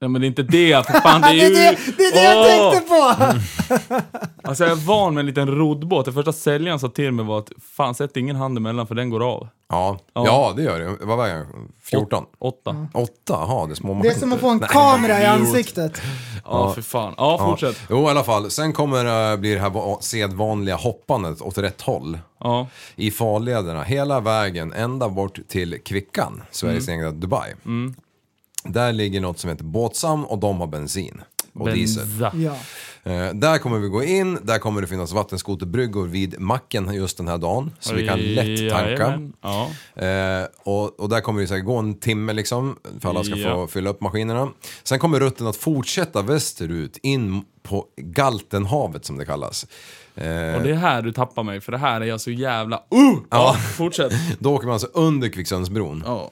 G: Nej men det är inte det, för fan det är
E: Det
G: ju...
E: är det, det, är det jag
G: Åh! Mm.
E: tänkte på!
G: Alltså jag är van med en liten roddbåt. Det första säljaren sa till mig var att fan sätt ingen hand emellan för den går av.
F: Ja, ja. det gör det. Vad väger den? 14?
G: Åtta.
E: Mm.
G: Ja,
F: Åtta? Jaha, det är små
E: Det
F: maskiner.
E: är som att få en kamera i ansiktet.
G: för fan. Ja, fortsätt.
F: Jo, i alla fall. Sen kommer uh, blir det här va- sedvanliga hoppandet åt rätt håll.
G: Ja.
F: I farlederna, hela vägen ända bort till Kvickan, Sveriges
G: Mm.
F: egna Dubai. Där ligger något som heter Båtsam och de har bensin och diesel.
G: Benza.
E: Ja.
F: Eh, där kommer vi gå in, där kommer det finnas vattenskoterbryggor vid macken just den här dagen. Så vi kan lätt tanka.
G: Jajamän. Ja.
F: Eh, och, och där kommer det så här, gå en timme liksom, för alla ska få
G: Ja.
F: fylla upp maskinerna. Sen kommer rutten att fortsätta västerut in på Galtenhavet som det kallas. Eh,
G: Och det är här du tappar mig, för det här är jag så jävla... Uh! Ja, fortsätt.
F: då åker man alltså under Kvicksundsbron.
G: Ja.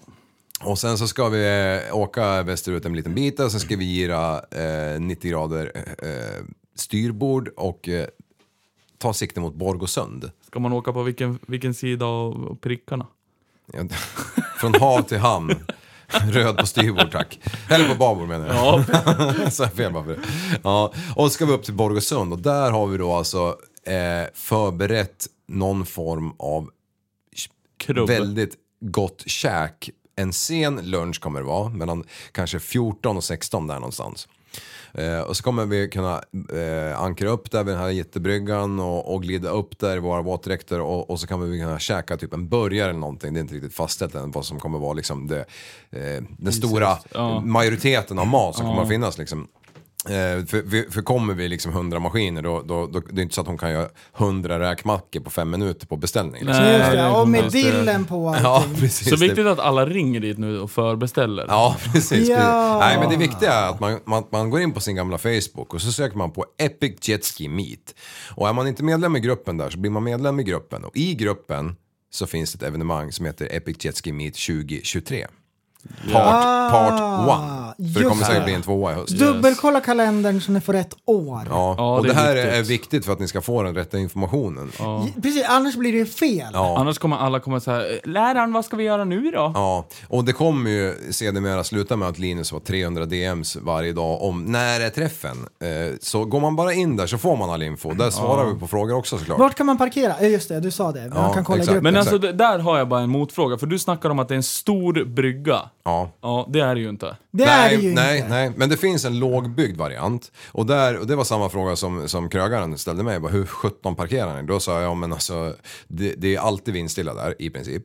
F: Och sen så ska vi eh, åka västerut en liten bit och sen ska vi gira eh, 90 grader eh, styrbord och eh, ta sikte mot Borgosund.
G: Ska man åka på vilken, vilken sida av prickarna?
F: Från hav till hamn. Röd på styrbord tack. Eller på babord menar jag. Så jag fel papper. Ja. Och ska vi upp till Borgosund och där har vi då alltså eh, förberett någon form av
G: Krubb.
F: väldigt gott käk. En sen lunch kommer det vara, mellan kanske 14 och 16 där någonstans. Eh, och så kommer vi kunna eh, ankra upp där vid den här jättebryggan och, och glida upp där i våra våtdräkter och, och så kommer vi kunna käka typ en burgare eller någonting. Det är inte riktigt fastställt än vad som kommer vara liksom det, eh, den stora
G: ja.
F: majoriteten av mat som kommer att finnas liksom. Eh, för, för, för kommer vi liksom 100 maskiner då, då, då det är inte så att hon kan göra 100 räkmackor på fem minuter på beställning. Liksom.
G: Nej,
E: Just
G: det
E: det,
G: är
E: och med
G: just det.
E: dillen på allting.
F: Ja, precis.
G: Så
F: Det-
G: viktigt att alla ringer dit nu och förbeställer.
F: Ja, precis.
E: Ja.
F: precis. Nej, men det viktiga är att man, man, man går in på sin gamla Facebook och så söker man på Epic Jetski Meet. Och är man inte medlem i gruppen där så blir man medlem i gruppen. Och i gruppen så finns ett evenemang som heter Epic Jetski Meet 2023. Part, part
E: Ah,
F: one. För det kommer
E: just
F: säkert
E: det.
F: bli en tvåa i höst.
E: Dubbelkolla kalendern så ni får rätt år.
F: Ja.
G: Ja,
F: och
G: det
F: det,
G: är
F: här är-
G: viktigt.
F: är viktigt för att ni ska få den rätta informationen. Ja.
E: J- Precis, annars blir det ju fel.
G: Annars kommer alla komma så här, läraren vad ska vi göra nu då?
F: Ja, och det kommer ju sedermera sluta med att Linus var 300 DMs varje dag om när är träffen. Eh, Så går man bara in där så får man all info. Där svarar vi på frågor också såklart.
E: Vart kan man parkera? Ja, just det, du sa det. Man
F: Ja,
E: kan kolla i
F: exakt.
E: gruppen.
G: Men
F: Exakt.
G: alltså d- där har jag bara en motfråga, för du snackar om att det är en stor brygga.
F: Ja.
G: Ja, det är det ju inte.
E: det är
F: nej,
E: det ju
F: nej,
E: inte.
F: nej, men det finns en lågbyggd variant. Och, där, och det var samma fråga som, som krögaren ställde mig. Bara, hur 17 parkerar ni? Då sa jag, ja, men alltså, det, det är alltid vindstilla där i princip.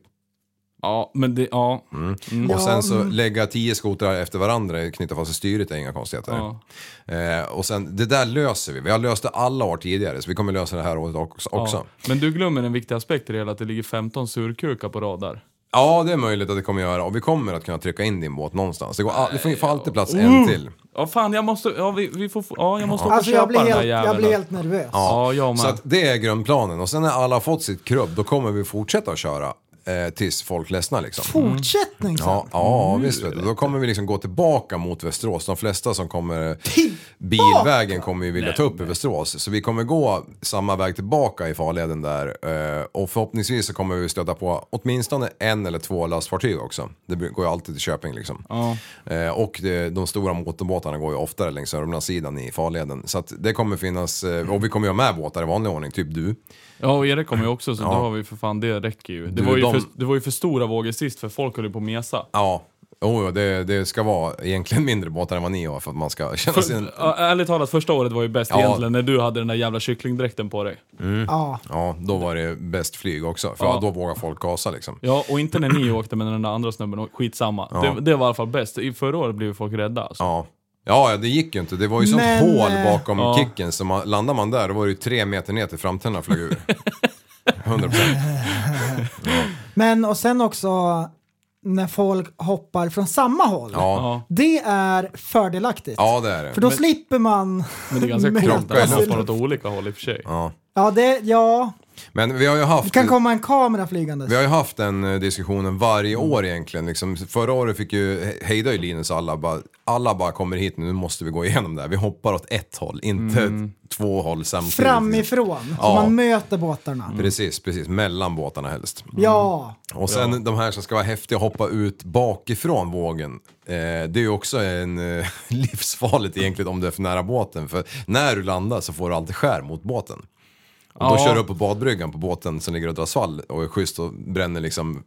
G: Ja, men det, ja.
F: Mm, Och sen så lägga 10 skotrar efter varandra, knyta fast i styret är inga konstigheter.
G: ja.
F: Eh, och sen, det där löser vi. Vi har löst det alla år tidigare, så vi kommer lösa det här året också.
G: ja.
F: också.
G: Men du glömmer en viktig aspekt i det hela, att det ligger 15 surkukar på rad där.
F: Ja, det är möjligt att det kommer göra och vi kommer att kunna trycka in din båt någonstans. Det, går all, det får- får alltid plats en
G: Mm.
F: till.
G: Ja, fan jag måste, ja vi, vi får, ja jag måste åka och
E: Alltså
G: köpa
E: jag blir
G: den där
E: helt,
G: jäveln.
E: jag blir helt nervös.
G: Ja, jag med.
F: Så att det är grundplanen och sen när alla har fått sitt krubb, då kommer vi fortsätta att köra eh, tills folk ledsnar liksom.
E: Fortsättning sen.
F: Ja, mm. ja visst vet du. Då kommer vi liksom gå tillbaka mot Västerås. De flesta som kommer bilvägen kommer ju vilja ta upp i Västerås. Så vi kommer gå samma väg tillbaka i farleden där. eh, Och förhoppningsvis så kommer vi stöta på åtminstone en eller två lastfartyg också. Det bru- går ju alltid till Köping liksom. Eh, Och det- de stora motorbåtarna går ju oftare längs Sörmlandssidan i farleden. Så att det kommer finnas, eh, och vi kommer ju ha med båtar i vanlig ordning, typ du.
G: Ja, och Erik kommer ju också, så då har vi för fan, det räcker ju. Det,
F: Du,
G: var ju,
F: de-
G: för, det var ju för stora vågor sist, för folk höll ju på att mesa.
F: Ja. Jo, jo, det, det ska vara egentligen mindre båtar än vad ni har för att man ska känna sig... en-
G: Ja, ärligt talat, första året var ju bäst
F: Ja.
G: egentligen, när du hade den där jävla kycklingdräkten på dig.
E: Ja.
F: Ja, då var det bäst flyg också. För då vågar folk gasa liksom.
G: Ja, och inte när ni åkte med den där andra snubben, och skitsamma. Det, det var i alla fall bäst. I förra året blev folk rädda alltså.
F: Ja. Ja, ja, det gick ju inte. Det var ju sånt
E: Men, eh,
F: hål bakom kicken så man, landar man där då var det ju tre meter ner till framtänderna flög ur. 100%.
E: Men och sen också när folk hoppar från samma håll.
F: Ja.
E: Det är fördelaktigt.
F: ja, det är det.
E: För då slipper man...
G: Men det är ganska
E: möta
G: coolt att man
E: sin-
G: hoppar åt olika håll i och för sig.
E: Ja, det, ja,
F: Men vi har ju haft...
E: det kan komma en kamera flygandes.
F: Vi har ju haft den eh, diskussionen varje år egentligen. Liksom, förra året fick ju, he- hejdade ju Linus alla bara, alla bara kommer hit nu, nu måste vi gå igenom det här. Vi hoppar åt ett håll, inte två håll samtidigt.
E: Framifrån, så
F: Ja. Mm.
E: man möter båtarna.
F: Precis, precis. Mellan båtarna helst.
E: Ja,
F: Och sen de här som ska vara häftiga och hoppa ut bakifrån vågen. Eh, det är ju också en eh, livsfarligt egentligen om du är för nära båten. För när du landar så får du alltid skär mot båten. Och då
G: Ja.
F: kör du upp på badbryggan på båten som ligger och drar svall och är schysst och bränner liksom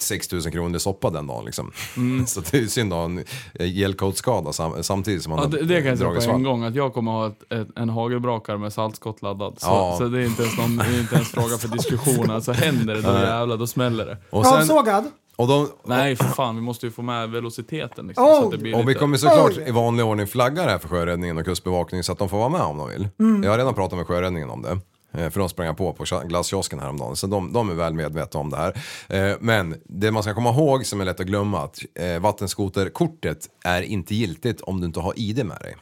F: 6000 kronor i soppa den dagen liksom.
G: Mm.
F: så det är ju synd att ha en eh, gällkotskada sam- samtidigt som man
G: Ja, det, det kan jag säga
F: dragit
G: på en
F: svall.
G: gång, att jag kommer ha ett, ett, en hagelbrakare med saltskott laddad. Så,
F: Ja.
G: så det är inte ens, någon, det är inte ens fråga för diskussion. Alltså händer det, då jävlar, då smäller det.
F: Och, sen,
E: avsågad.
F: och, de,
G: Nej, för fan, vi måste ju få med velociteten liksom, så
E: Oh.
G: att det blir
F: Och
G: lite...
F: vi kommer såklart
E: Oj.
F: i vanlig ordning flagga det här för sjöräddningen och kustbevakningen så att de får vara med om de vill. Jag har redan pratat med sjöräddningen om det. eh, För de sprang jag på på cha- glasskiosken häromdagen, så de, de är väl medvetna om det här. Eh, Men det man ska komma ihåg som är lätt att glömma att eh, vattenskoterkortet är inte giltigt om du inte har ID med dig.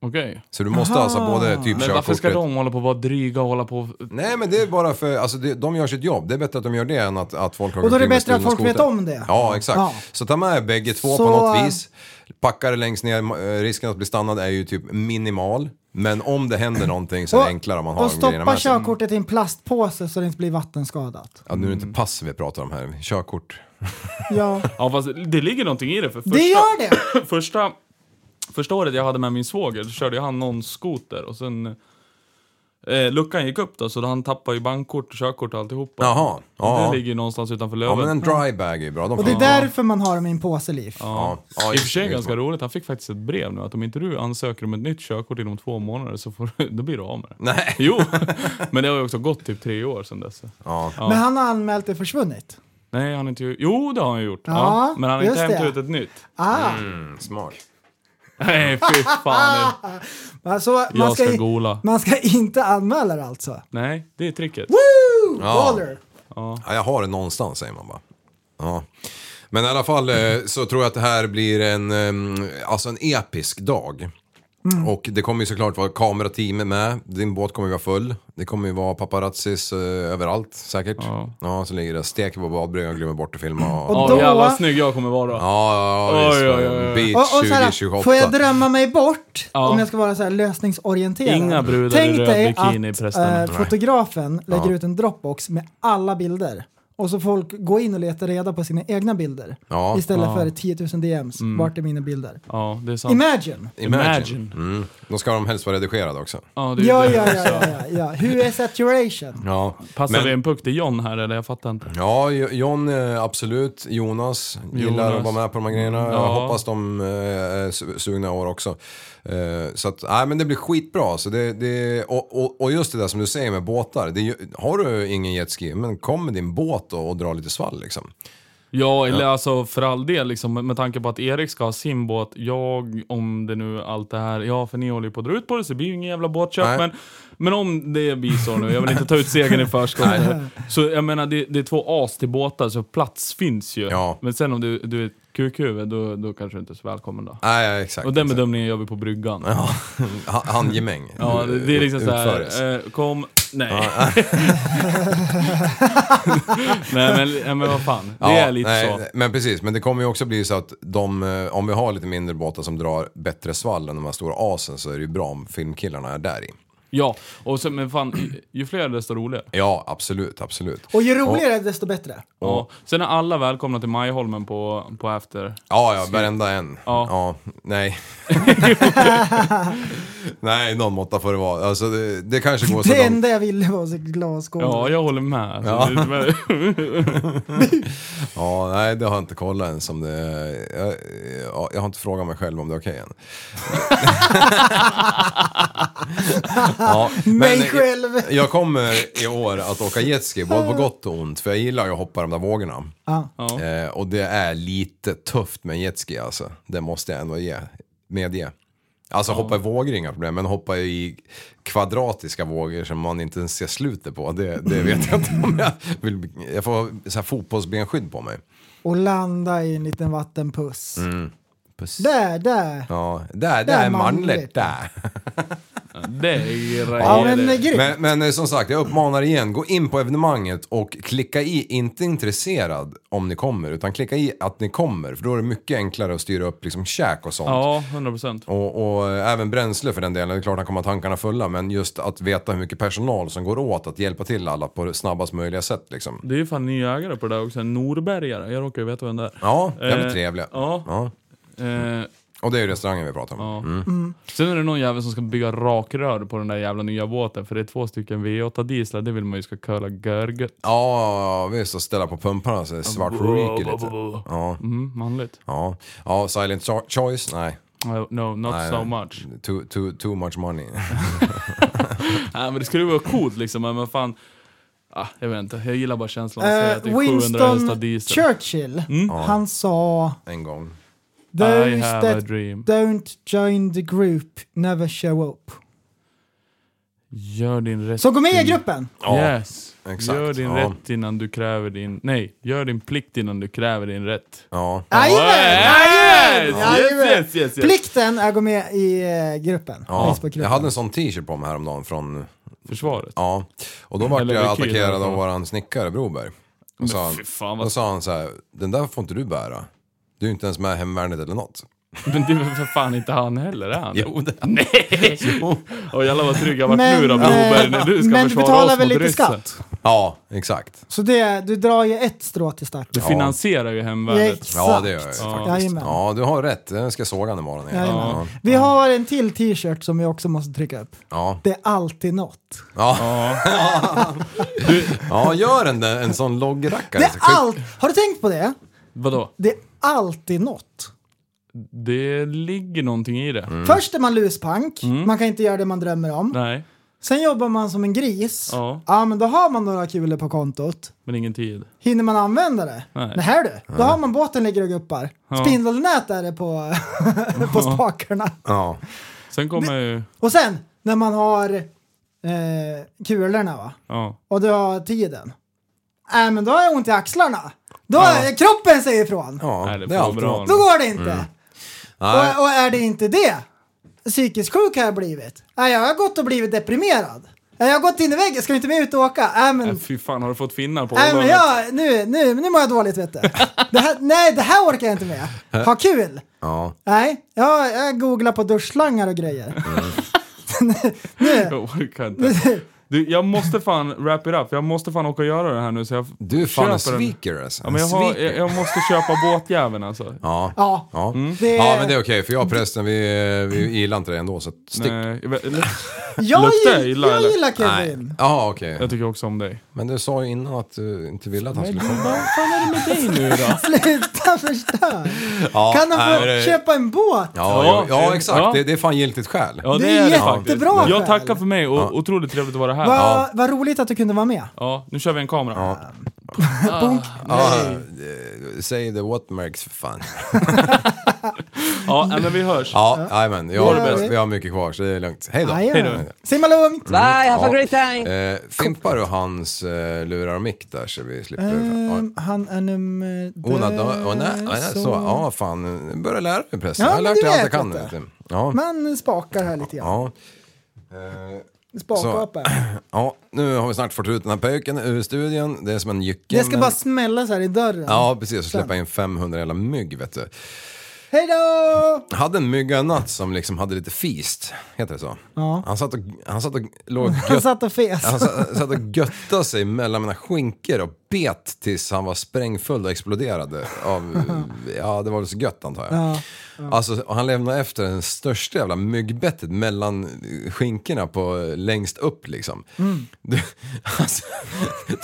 G: Okej.
F: Så du måste alltså både typ
G: Men varför ska
F: körkortet...
G: de hålla på och vara dryga och hålla på och-
F: Nej men det är bara för, alltså det, de gör sitt jobb. Det är bättre att de gör det än att, att folk har
E: Och då är
F: gått
E: det
F: in med
E: bättre att
F: stulna
E: folk vet
F: skotrar.
E: om det.
F: Ja exakt.
E: Ja.
F: Så ta med bägge två
E: Så,
F: på något
E: eh,
F: vis. Packa det längst ner, eh, risken att bli stannad är ju typ minimal. Men om det händer någonting så är det enklare om man
E: och
F: har grejerna
E: stoppa
F: med sig.
E: körkortet i en plastpåse så det inte blir vattenskadat.
F: Ja, nu är det inte pass vi pratar om här, körkort.
E: Ja,
G: Ja fast det ligger någonting i det för första,
E: det gör det!
G: första, första året jag hade med min svåger så körde ju han någon skoter och sen eh, luckan gick upp då så han tappade ju bankkort och körkort och alltihopa.
F: Jaha, ja.
G: Det ligger ju någonstans utanför
F: Ja
G: Löven.
F: men en dry bag är ju bra. De
E: Och det är
F: får-
E: därför man har dem i en påse, Liv.
F: Ja, ja,
G: I och för sig
F: just-
G: ganska roligt, han fick faktiskt ett brev nu att om inte du ansöker om ett nytt körkort inom två månader så får, du- då blir du av med det.
F: Nej.
G: Jo, men det har ju också gått typ tre år sedan dess.
F: Ja.
E: Men han har anmält det försvunnit.
G: Nej, han har inte gjort... Jo, det har han gjort. Ja,
E: Ja,
G: men han har inte
E: just
G: hämtat
E: det.
G: ut ett nytt.
E: Ah,
G: Mm.
F: Smart.
G: Nej, fy fan.
E: alltså, man
G: Jag
E: ska,
G: ska
E: i-
G: gola.
E: man ska inte anmäla det alltså.
G: Nej, det är tricket.
E: Woo!
F: Ja.
E: Baller!
F: Ja, jag har det någonstans säger man bara. Ja. Men i alla fall eh, så tror jag att det här blir en, eh, alltså en episk dag. Och det kommer ju såklart vara kamerateam med. Din båt kommer ju vara full. Det kommer ju vara paparazzis eh, överallt säkert. Ja. så ligger det stek på badbryggan och glömmer bort att filma. Och,
E: Och-
F: ja,
G: Åh,
E: Då-
G: jävlar vad snygg jag kommer vara.
F: ja, ja,
G: Oj,
F: visst.
G: oj, oj, oj.
E: Och,
F: Beach
E: och så här,
F: 2028.
E: får jag drömma mig bort
G: Ja.
E: om jag ska vara så här lösningsorienterad?
G: Inga brudar i
E: Tänk
G: röd
E: dig
G: bikini,
E: att
G: förresten.
E: eh,
G: Nej.
E: fotografen lägger ut en dropbox med alla bilder. Och så folk går in och letar reda på sina egna bilder.
F: Ja.
E: Istället för 10 000 DMs.
G: Mm.
E: Vart är mina bilder?
G: Ja, det är sant.
E: Imagine!
F: Imagine.
G: Imagine.
F: Mm. Då ska de helst vara redigerade också.
G: Ja, det är ju
E: Ja,
G: det.
E: ja, ja, ja, ja, ja. Hur är saturation?
F: Ja.
G: Passar
F: Men-
G: vi en puck till John här eller? Jag fattar inte.
F: Ja, Jo- John eh, absolut. Jonas gillar
G: Jonas.
F: att vara med på de här grejerna. Jag
G: Ja.
F: hoppas de eh, är su- sugna i år också. Eh, Så att, nej men det blir skitbra. Så det, det, och, och, och just det där som du säger med båtar. Det, är ju- har du ingen jetski, men kom med din båt och, och dra lite svall liksom.
G: Ja, eller alltså för all del liksom, med- med tanke på att Erik ska ha sin båt. Jag, om det nu allt det här, ja för ni håller ju på att dra ut på det så det blir ju ingen jävla båtköp.
F: Nej.
G: Men, men om det blir så nu, jag vill inte ta ut segern i förskott. så jag menar, det, det är två as till båtar så plats finns ju.
F: Ja.
G: Men sen om du, du är ett kukhuvud, då, då kanske du inte är så välkommen då.
F: Nej, ja, exakt.
G: Och den
F: exakt.
G: bedömningen gör vi på bryggan.
F: Ha- Handgemäng.
G: Ja, det, det är liksom
F: Utföres.
G: såhär, eh, kom, nej. nej men, nej, men vad fan, det är lite
F: nej,
G: så.
F: Men precis, men det kommer ju också bli så att de, eh, om vi har lite mindre båtar som drar bättre svall än de här stora asen så är det ju bra om filmkillarna är där i.
G: Ja, och så, men fan, ju- ju fler desto roligare.
F: Ja, absolut, absolut.
E: Och ju roligare desto bättre.
G: Ja. Sen är alla välkomna till Majholmen på, på After.
F: Ja, ja, varenda en.
G: Ja.
F: Ja. nej. nej, någon måtta får det vara. Alltså, det, det kanske går så
E: Det
F: långt.
E: enda jag ville var så glasskål.
G: Ja, jag håller med. Alltså, det,
F: Ja, nej, det har jag inte kollat än. Som det, jag, jag, jag har inte frågat mig själv om det är okej än. ja, men
E: Mig
F: jag-
E: själv.
F: Jag kommer i år att åka jetski, både på gott och ont. För jag gillar ju att hoppa de där vågorna.
G: Ja.
F: Eh, och det är lite tufft med en jetski alltså. Det måste jag ändå ge, medge. Alltså hoppa i vågor är inga problem, men hoppa i kvadratiska vågor som man inte ens ser slutet på. Det, det vet jag inte om jag vill. Jag får så här fotbollsbenskydd på mig.
E: Och landa i en liten vattenpuss. Där, där.
F: Mm. Ja, där,
E: Det
F: där
E: är
F: är
E: manligt.
F: manligt där.
G: det är grejer.
E: Ja, men det är grymt.
F: Men, men eh, som sagt, jag uppmanar igen, gå in på evenemanget och klicka i, inte intresserad om ni kommer, utan klicka i att ni kommer. För då är det mycket enklare att styra upp liksom käk och sånt.
G: Ja, 100 procent.
F: Och, och även bränsle för den delen. Det är klart han kommer ha tankarna fulla. Men just att veta hur mycket personal som går åt att hjälpa till alla på det snabbast möjliga sätt liksom.
G: Det är ju fan nya ägare på det där också. en Norbergare. Jag råkar ju veta vem det är.
F: Ja, jävligt
G: Eh,
F: trevliga.
G: ja. Eh,
F: Och det är ju restaurangen vi pratar om.
G: ja. Sen är det någon jävel som ska bygga rakrör på den där jävla nya båten. För det är två stycken V8 dieslar. Det vill man ju ska curla görgött.
F: Ja, visst. Och ställa på pumparna så det svartryker lite. Ja,
G: Mm, manligt.
F: ja. Ja, silent cho- choice? Nej.
G: No, no not
F: Nej,
G: so
F: nej.
G: much.
F: Too, too, too much money.
G: Nej, men det skulle ju vara coolt liksom. Men vad fan. Ah, jag vet inte. Jag gillar bara känslan att säga att det
E: Eh,
G: är 700 hästar
E: Winston
G: diesel. Mm.
E: Churchill, han sa
F: en gång.
G: I
E: Those
G: have a
E: that
G: dream.
E: don't join the group never show up.
G: Gör din rätt.
E: Så gå
F: Mm.
E: med i gruppen!
G: yes.
F: exakt.
G: Gör din
F: Ja.
G: rätt innan du kräver din... Nej, gör din plikt innan du kräver din rätt.
F: Ja.
E: Jajamän!
G: Yes!
E: Jajamän! Jajamän!
G: Yes, yes, yes, yes.
E: Plikten är att gå med i eh, gruppen.
F: Ja,
E: Facebookgruppen.
F: jag hade en sån t-shirt på mig häromdagen från,
G: Försvaret.
F: ja. Och då vart
G: Eller
F: jag
G: rekyl,
F: attackerad
G: eller
F: av
G: vad?
F: våran snickare Broberg. Och sa,
G: fy fan,
F: han,
G: vad-
F: då sa han så här, den där får inte du bära. Du är inte ens med i hemvärnet eller något.
G: Men det är väl för fan inte han heller, är han?
F: Jo, det-
G: Nej! Och jävlar vad trygg jag vart
E: Men,
G: nu då med
E: eh,
G: Broberg när du ska
E: men du
G: försvara
E: betalar
G: oss
E: väl
G: mot
E: lite
G: ryssen.
E: skatt?
F: Ja, exakt.
E: Så det, du drar ju ett strå till stack.
G: Du finansierar ju hemvärnet.
F: Ja, det gör jag ju faktiskt.
E: Jajamän.
F: Ja, du har rätt. Den ska jag såga den imorgon igen.
E: Jajamän.
F: Ja.
E: Vi har en till t-shirt som vi också måste trycka upp.
F: Ja.
E: Det är alltid något.
F: Ja. ja, gör en, en sån loggrackare.
E: Det är allt. Har du tänkt på det?
G: Vadå?
E: Det är alltid något.
G: Det ligger någonting i det.
E: Först är man luspank, man kan inte göra det man drömmer om.
G: Mm. Nej,
E: Sen jobbar man som en gris.
G: Ja.
E: men då har man några kulor på kontot.
G: men ingen tid.
E: Hinner man använda det?
G: Nej.
E: här du, då har man båten ligger och guppar. Spindelnät är det på, på spakarna.
F: Ja.
G: Sen kommer ju...
E: Och sen när man har eh, kulorna va?
G: Ja.
E: och du har tiden. Äh, men då har jag ont i axlarna. Då Kroppen säger ifrån.
F: Ja,
G: Nej, det
F: det är
G: får
F: allt
G: bra.
F: bra.
E: Då går det inte.
F: Nej,
E: Och, och är det inte det, psykiskt sjuk har jag blivit. Äh, jag har gått och blivit deprimerad. Äh, jag har gått in i väggen, ska vi inte med ut och åka? Äh, men,
G: Äh, fy fan, har du fått finnar på
E: äh, men
G: ollonet?
E: jag, nu, nu, nu mår jag dåligt vet du. Det här, nej, det här orkar jag inte med. Ha kul!
F: ja.
E: Nej, jag, jag googlar på duschslangar och grejer.
G: Jag orkar inte. Du, jag måste fan wrap it up. Jag måste fan åka och göra det här nu så jag
F: Du är fan en
G: köper en-
F: sviker alltså.
G: Ja, men jag,
F: En
G: har,
F: sviker.
G: jag, jag måste köpa båtjäveln alltså.
F: Ja.
E: Ja,
F: Ja.
E: det-
F: ja, men det är okej för jag och prästen vi, vi gillar inte det ändå så att stick.
G: Nej, jag, vet- eller-
E: jag,
G: Luktar jag
E: gill-
G: illa,
E: jag
G: eller?
E: gillar Kevin.
F: Nej. Ja, okej.
G: jag tycker också om dig.
F: Men du sa ju innan att du inte ville att han skulle komma.
G: Vad fan är det med dig nu då?
E: Sluta förstör!
F: Ja,
E: Kan han
F: nej,
E: få
F: men det-
E: köpa en båt?
G: Ja,
F: Ja, ja, ja exakt.
G: ja.
F: Det, det är fan giltigt skäl.
G: Ja,
E: Det
G: det,
E: är
G: är det
E: jättebra
G: faktiskt.
E: skäl.
G: Jag tackar för mig och otroligt trevligt att vara här.
E: Vad
G: Ja.
E: vad roligt att du kunde vara med.
G: nu kör vi en kamera.
F: Ja, eh, säg det what marks för fan.
G: Ja, nej, men vi hörs.
F: Ja, jajamän. Jag,
E: det bäst.
F: vi har mycket kvar så det är lugnt. Hej då.
E: Jajamän.
G: Hej då.
E: Simma lugnt!
F: Bye, have a great time. Eh, fimpar du hans eh, lurar och mick där så vi slipper... ja.
E: Ehm, han är nummer...
F: Oh, nej, oh, nej, nej, så. Ja, fan. Jag börjar lära mig pressen.
E: Ja,
F: jag har
E: men
F: lärt
E: du
F: mig allt jag
E: vet
F: kan.
E: detta.
F: Vet du. Ja,
E: Man spakar här lite grann.
F: ja.
E: Spakapa.
F: ja, nu har vi snart fått ut den här pöken ur studion. Det är som en jycke.
E: Det ska
F: men-
E: bara smälla så här i dörren.
F: Ja, precis. Och släppa in 500 jävla mygg, vet du.
E: Hej då!
F: Jag hade en mygga en natt som liksom hade lite fist. Heter det så?
E: Ja.
F: Han satt och, han satt och låg och
E: Han
F: gött,
E: satt och fes.
F: han satt, satt och göttade sig mellan mina skinkor och bet tills han var sprängfull och exploderade. Av, ja, det var väl så gött antar jag. Alltså, och han lämnade efter den största jävla myggbettet mellan eh, skinkorna på eh, längst upp liksom. Du, alltså,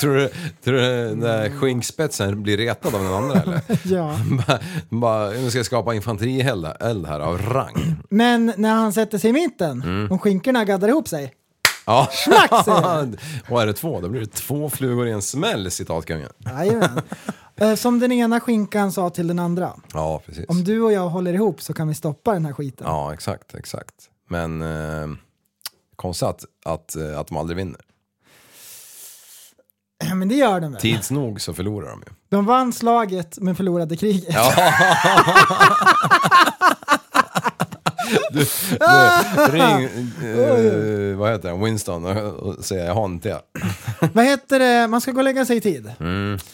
F: tror du, tror du den där skinkspetsen blir retad av den andra eller?
E: Ja.
F: Bara- bara, nu ska jag skapa infanterield eld här av rang.
E: Men när han sätter sig i mitten,
F: Mm.
E: om skinkorna gaddar ihop sig.
F: Ja.
E: Schmack, säger jag.
F: Och är det två, då blir det två flugor i en smäll, citatkungen.
E: Jajamän. Eh, Som den ena skinkan sa till den andra.
F: Ja, precis.
E: Om du och jag håller ihop så kan vi stoppa den här skiten.
F: Ja, exakt, exakt. Men eh, konstigt att, att, eh, att de aldrig vinner.
E: Ja, Men det gör den väl?
F: Tids nog så förlorar de ju.
E: De vann slaget men förlorade kriget.
F: Ring, eh, vad heter han, Winston och, och säga jag har inte det.
E: Vad heter det, man ska gå och lägga sig i tid.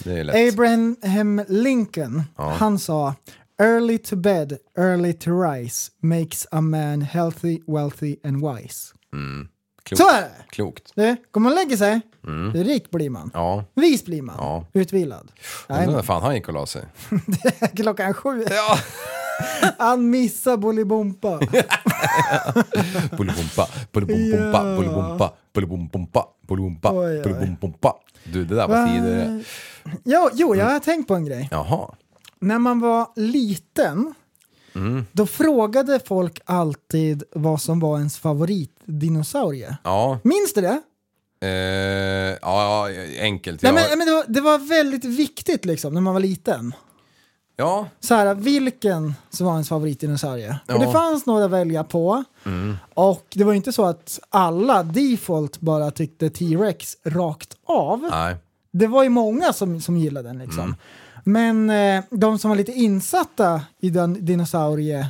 F: Det är lätt.
E: Abraham Lincoln, han sa Early to bed, early to rise makes a man healthy, wealthy and wise.
F: Klokt.
E: Så är det!
F: Klokt.
E: Du, går man och lägger sig, rik blir man.
F: Ja.
E: Vis blir man.
F: Mm. Ja.
E: Utvilad. Nej,
F: Undrar när fan han gick och la sig.
E: klockan sju. Han missar Bolibompa.
F: Bolibompa, bolibompa,
E: Ja.
F: bolibompa, bolibompa, bolibompa,
E: Oj, oj.
F: bolibompa. Du, det där var tidigare.
E: Jo, jo, jag har tänkt på en grej.
F: Jaha.
E: När man var liten, då frågade folk alltid vad som var ens favoritdinosaurie.
F: Ja,
E: Minns du det?
F: eh, ja, ja, enkelt.
E: Nej,
F: Jag,
E: men, men det, var, det var väldigt viktigt liksom när man var liten.
F: Ja,
E: så här, vilken som var ens favoritdinosaurie. Och det
F: Ja.
E: fanns några att välja på. Och det var ju inte så att alla default bara tyckte T-Rex rakt av.
F: nej.
E: Det var ju många som, som gillade den liksom. Men eh, de som var lite insatta i den dinosaurie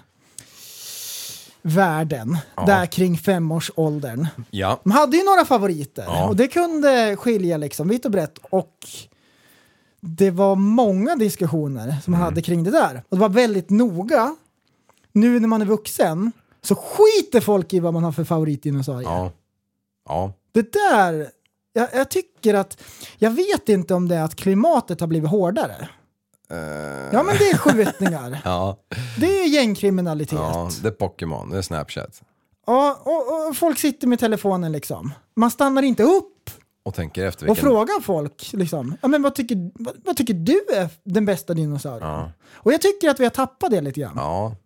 E: världen, där kring femårsåldern.
F: Ja.
E: De hade ju några favoriter
F: Ja.
E: och det kunde skilja liksom vitt och brett och det var många diskussioner som man hade kring det där. Och det var väldigt noga. Nu när man är vuxen så skiter folk i vad man har för favoritdinosaurier.
F: Ja. Ja.
E: Det där, jag, jag tycker att, jag vet inte om det är att klimatet har blivit hårdare.
F: Eh.
E: Ja men det är skjutningar,
F: Ja.
E: det är gängkriminalitet.
F: ja. Det är Pokémon, det är Snapchat.
E: Ja, och, och folk sitter med telefonen liksom. Man stannar inte upp
F: Och tänker efter
E: och
F: vilken...
E: frågar folk liksom. Ja, men vad, tycker, vad, vad tycker du är den bästa dinosaurien? Och jag tycker att vi har tappat det lite grann.
F: Ja.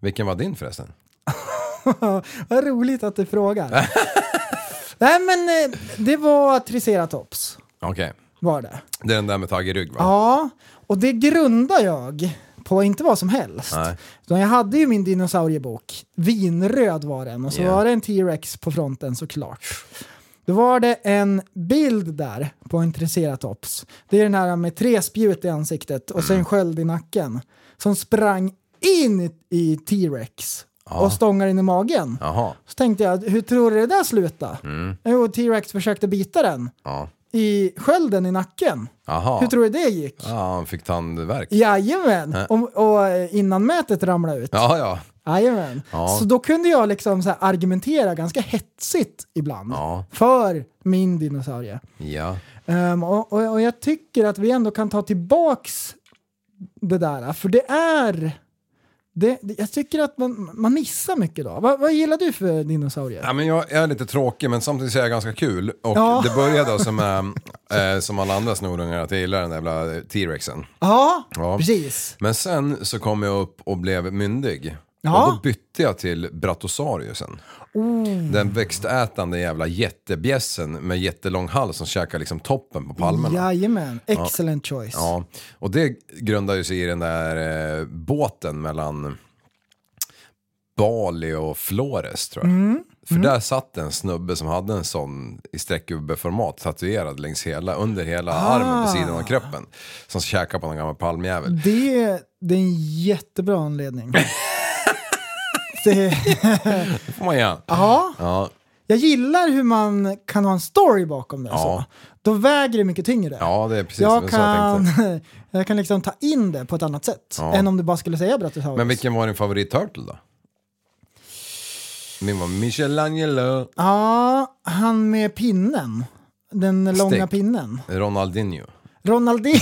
F: Vilken var din förresten?
E: Vad roligt att du frågar. Nej men eh, det var triceratops.
F: Okej.
E: Var det.
F: Det är den där med tag i rygg va?
E: Ja, och det grundar jag på inte vad som helst.
F: Nej.
E: Utan jag hade ju min dinosauriebok. Vinröd var den och så
F: Ja.
E: var det en T-Rex på fronten såklart. Då var det en bild där på en triceratops. Det är den här med tre spjut i ansiktet och
F: Mm.
E: sen sköld i nacken. Som sprang in i- i T-Rex och stångade in i magen.
F: Jaha.
E: Så tänkte jag, hur tror du det där slutade?
F: Mm.
E: Jo, T-Rex försökte bita den
F: Ja.
E: i skölden i nacken.
F: Jaha.
E: Hur tror du det gick?
F: Ja, han fick tandvärk.
E: Jajamän, och, och eh, innan mätet ramlade ut.
F: Ja, ja.
E: Jajamän.
F: Ja.
E: Så då kunde jag liksom så här argumentera ganska hetsigt ibland
F: Ja.
E: för min dinosaurie.
F: Ja.
E: Ehm, och, och, och jag tycker att vi ändå kan ta tillbaks det där, för det är... Det, det- jag tycker att man, man missar mycket då. Vad- vad gillar du för dinosaurier?
F: Ja, men jag är lite tråkig men samtidigt så är jag ganska kul. Och
E: Ja.
F: det började då som, eh, eh, som alla andra snorungar att jag gillar den där jävla T-rexen.
E: Ja,
F: Ja.
E: precis.
F: Men sen så kom jag upp och blev myndig.
E: Ja.
F: Och då bytte jag till Brattosaurusen. Den växtätande jävla jättebjässen med jättelång hals som käkar liksom toppen på palmerna.
E: Jajamän, excellent choice.
F: Ja, och det grundar ju sig i den där eh, båten mellan Bali och Flores tror jag.
E: Mm,
F: För där satt en snubbe som hade en sån i sträckgubbeformat tatuerad längs hela, under
E: Ah.
F: hela armen på sidan av kroppen. Som käkade på någon gammal
E: Mm.
F: palmjävel.
E: Det, det är en jättebra anledning. det,
F: Det får man göra.
E: ja,
F: Ja,
E: jag gillar hur man kan ha en story bakom det. Så.
F: Ja.
E: Då väger det mycket tyngre.
F: ja, det är precis
E: jag,
F: så jag
E: kan,
F: tänkte.
E: jag kan liksom ta in det på ett annat sätt
F: Ja.
E: än om du bara skulle säga Bratisaurus.
F: Men vilken var din favorit Turtle då? Min var Michelangelo
E: Ja, han med pinnen. Den långa
F: Stek.
E: pinnen.
F: Ronaldinho.
E: Ronaldinho.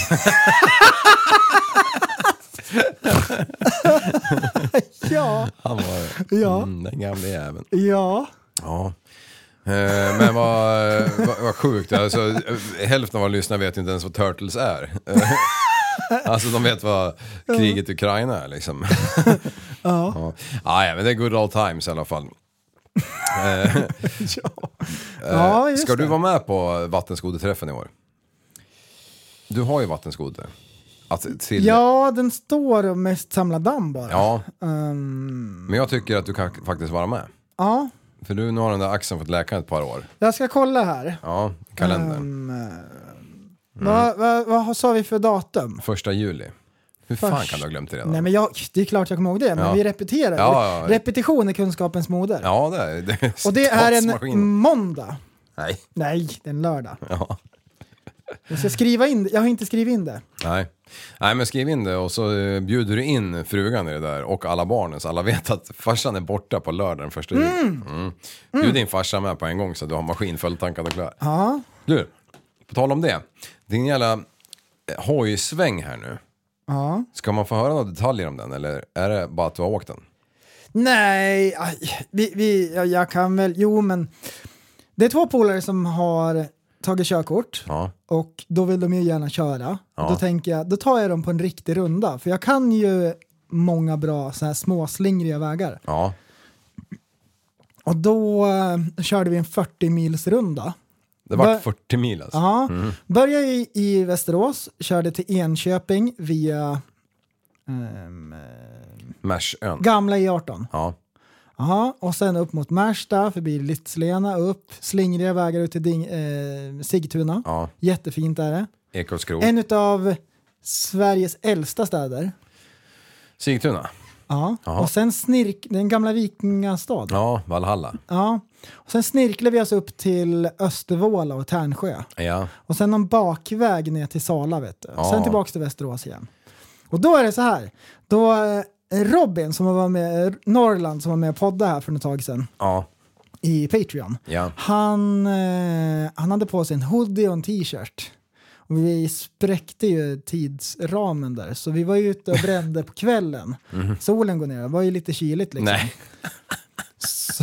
E: ja,
F: Han var
E: Ja.
F: mm, den gamla jäveln.
E: ja.
F: Ja. Eh, Men vad, eh, vad, vad sjukt, alltså, eh, hälften av våra lyssnare vet inte ens vad Turtles är. Eh, Alltså de vet vad kriget i Ukraina är liksom. Ja. Ah, ja, men det är good old times i alla fall. Eh,
E: ja just
F: Ska
E: det.
F: du vara med på vattenskoterträffen i år? Du har ju vattenskoter. Att, till,
E: Ja, den står och mest samlar damm bara.
F: ja.
E: Ehm,
F: Men jag tycker att du kan faktiskt vara med.
E: ja,
F: För du, nu har den där axeln fått läka ett par år.
E: jag ska kolla här.
F: Ja, kalendern.
E: Ehm.
F: Mm.
E: Vad, vad, vad sa vi för datum?
F: Första juli. Hur fan
E: Först-
F: kan du ha glömt det redan?
E: Nej, men jag, det är klart jag kommer ihåg det, men
F: Ja.
E: vi repeterar.
F: Ja, ja, ja.
E: Repetition är kunskapens moder.
F: Ja, det är det.
E: Och det är en
F: Statsmaskin.
E: måndag.
F: Nej.
E: Nej, det är en lördag.
F: Ja.
E: Jag ska skriva in det. Jag har inte skrivit in det.
F: Nej. Nej, men skriv in det och så eh, bjuder du in frugan i det där och alla barnen så alla vet att farsan är borta på lördag den första juli. Mm. Bjud in farsan med på en gång så du har maskin fulltankad och klar.
E: Ja,
F: Du, på tal om det. Din jävla eh, hojsväng här nu.
E: ja.
F: Ska man få höra några detaljer om den eller är det bara att du har åkt den?
E: Nej, aj, vi, vi, jag, jag kan väl... Jo, men det är två polare som har tagit körkort.
F: Ja.
E: Och då vill de ju gärna köra.
F: Ja.
E: Då tänker jag, då tar jag dem på en riktig runda. För jag kan ju många bra så här småslingriga vägar.
F: Ja.
E: Och då eh, körde vi en 40 mils runda.
F: Det var
E: Vad-
F: 40 mil alltså.
E: Ja, började i, i Västerås, körde till Enköping via Ehm, eh,
F: Märsön.
E: gamla E18.
F: Ja.
E: Jaha, och sen upp mot Märsta, förbi Lytslena, upp, slingriga vägar ut till Ding, eh, Sigtuna.
F: Ja. Oh.
E: Jättefint är det.
F: Ekolskro.
E: En av Sveriges äldsta städer.
F: Sigtuna.
E: Ja.
F: Jaha.
E: Och sen snirk, den gamla vikingastad.
F: Ja, Valhalla.
E: Ja. Och sen snirklar vi oss upp till Östervåla och Tärnsjö.
F: Ja.
E: Och sen någon bakväg ner till Sala vet du.
F: Ja.
E: Sen tillbaks till Västerås igen. Och då är det så här. Då eh, Robin som var med, eh, Norrland som var med och poddade här för ett tag sedan
F: Ja.
E: i Patreon.
F: Ja.
E: Han, eh, han hade på sig en hoodie och en t-shirt. Och vi spräckte ju tidsramen där, så vi var ju ute och brände på kvällen.
F: Mhm.
E: Solen går ner, det var ju lite kyligt liksom.
F: Nej.
E: Så,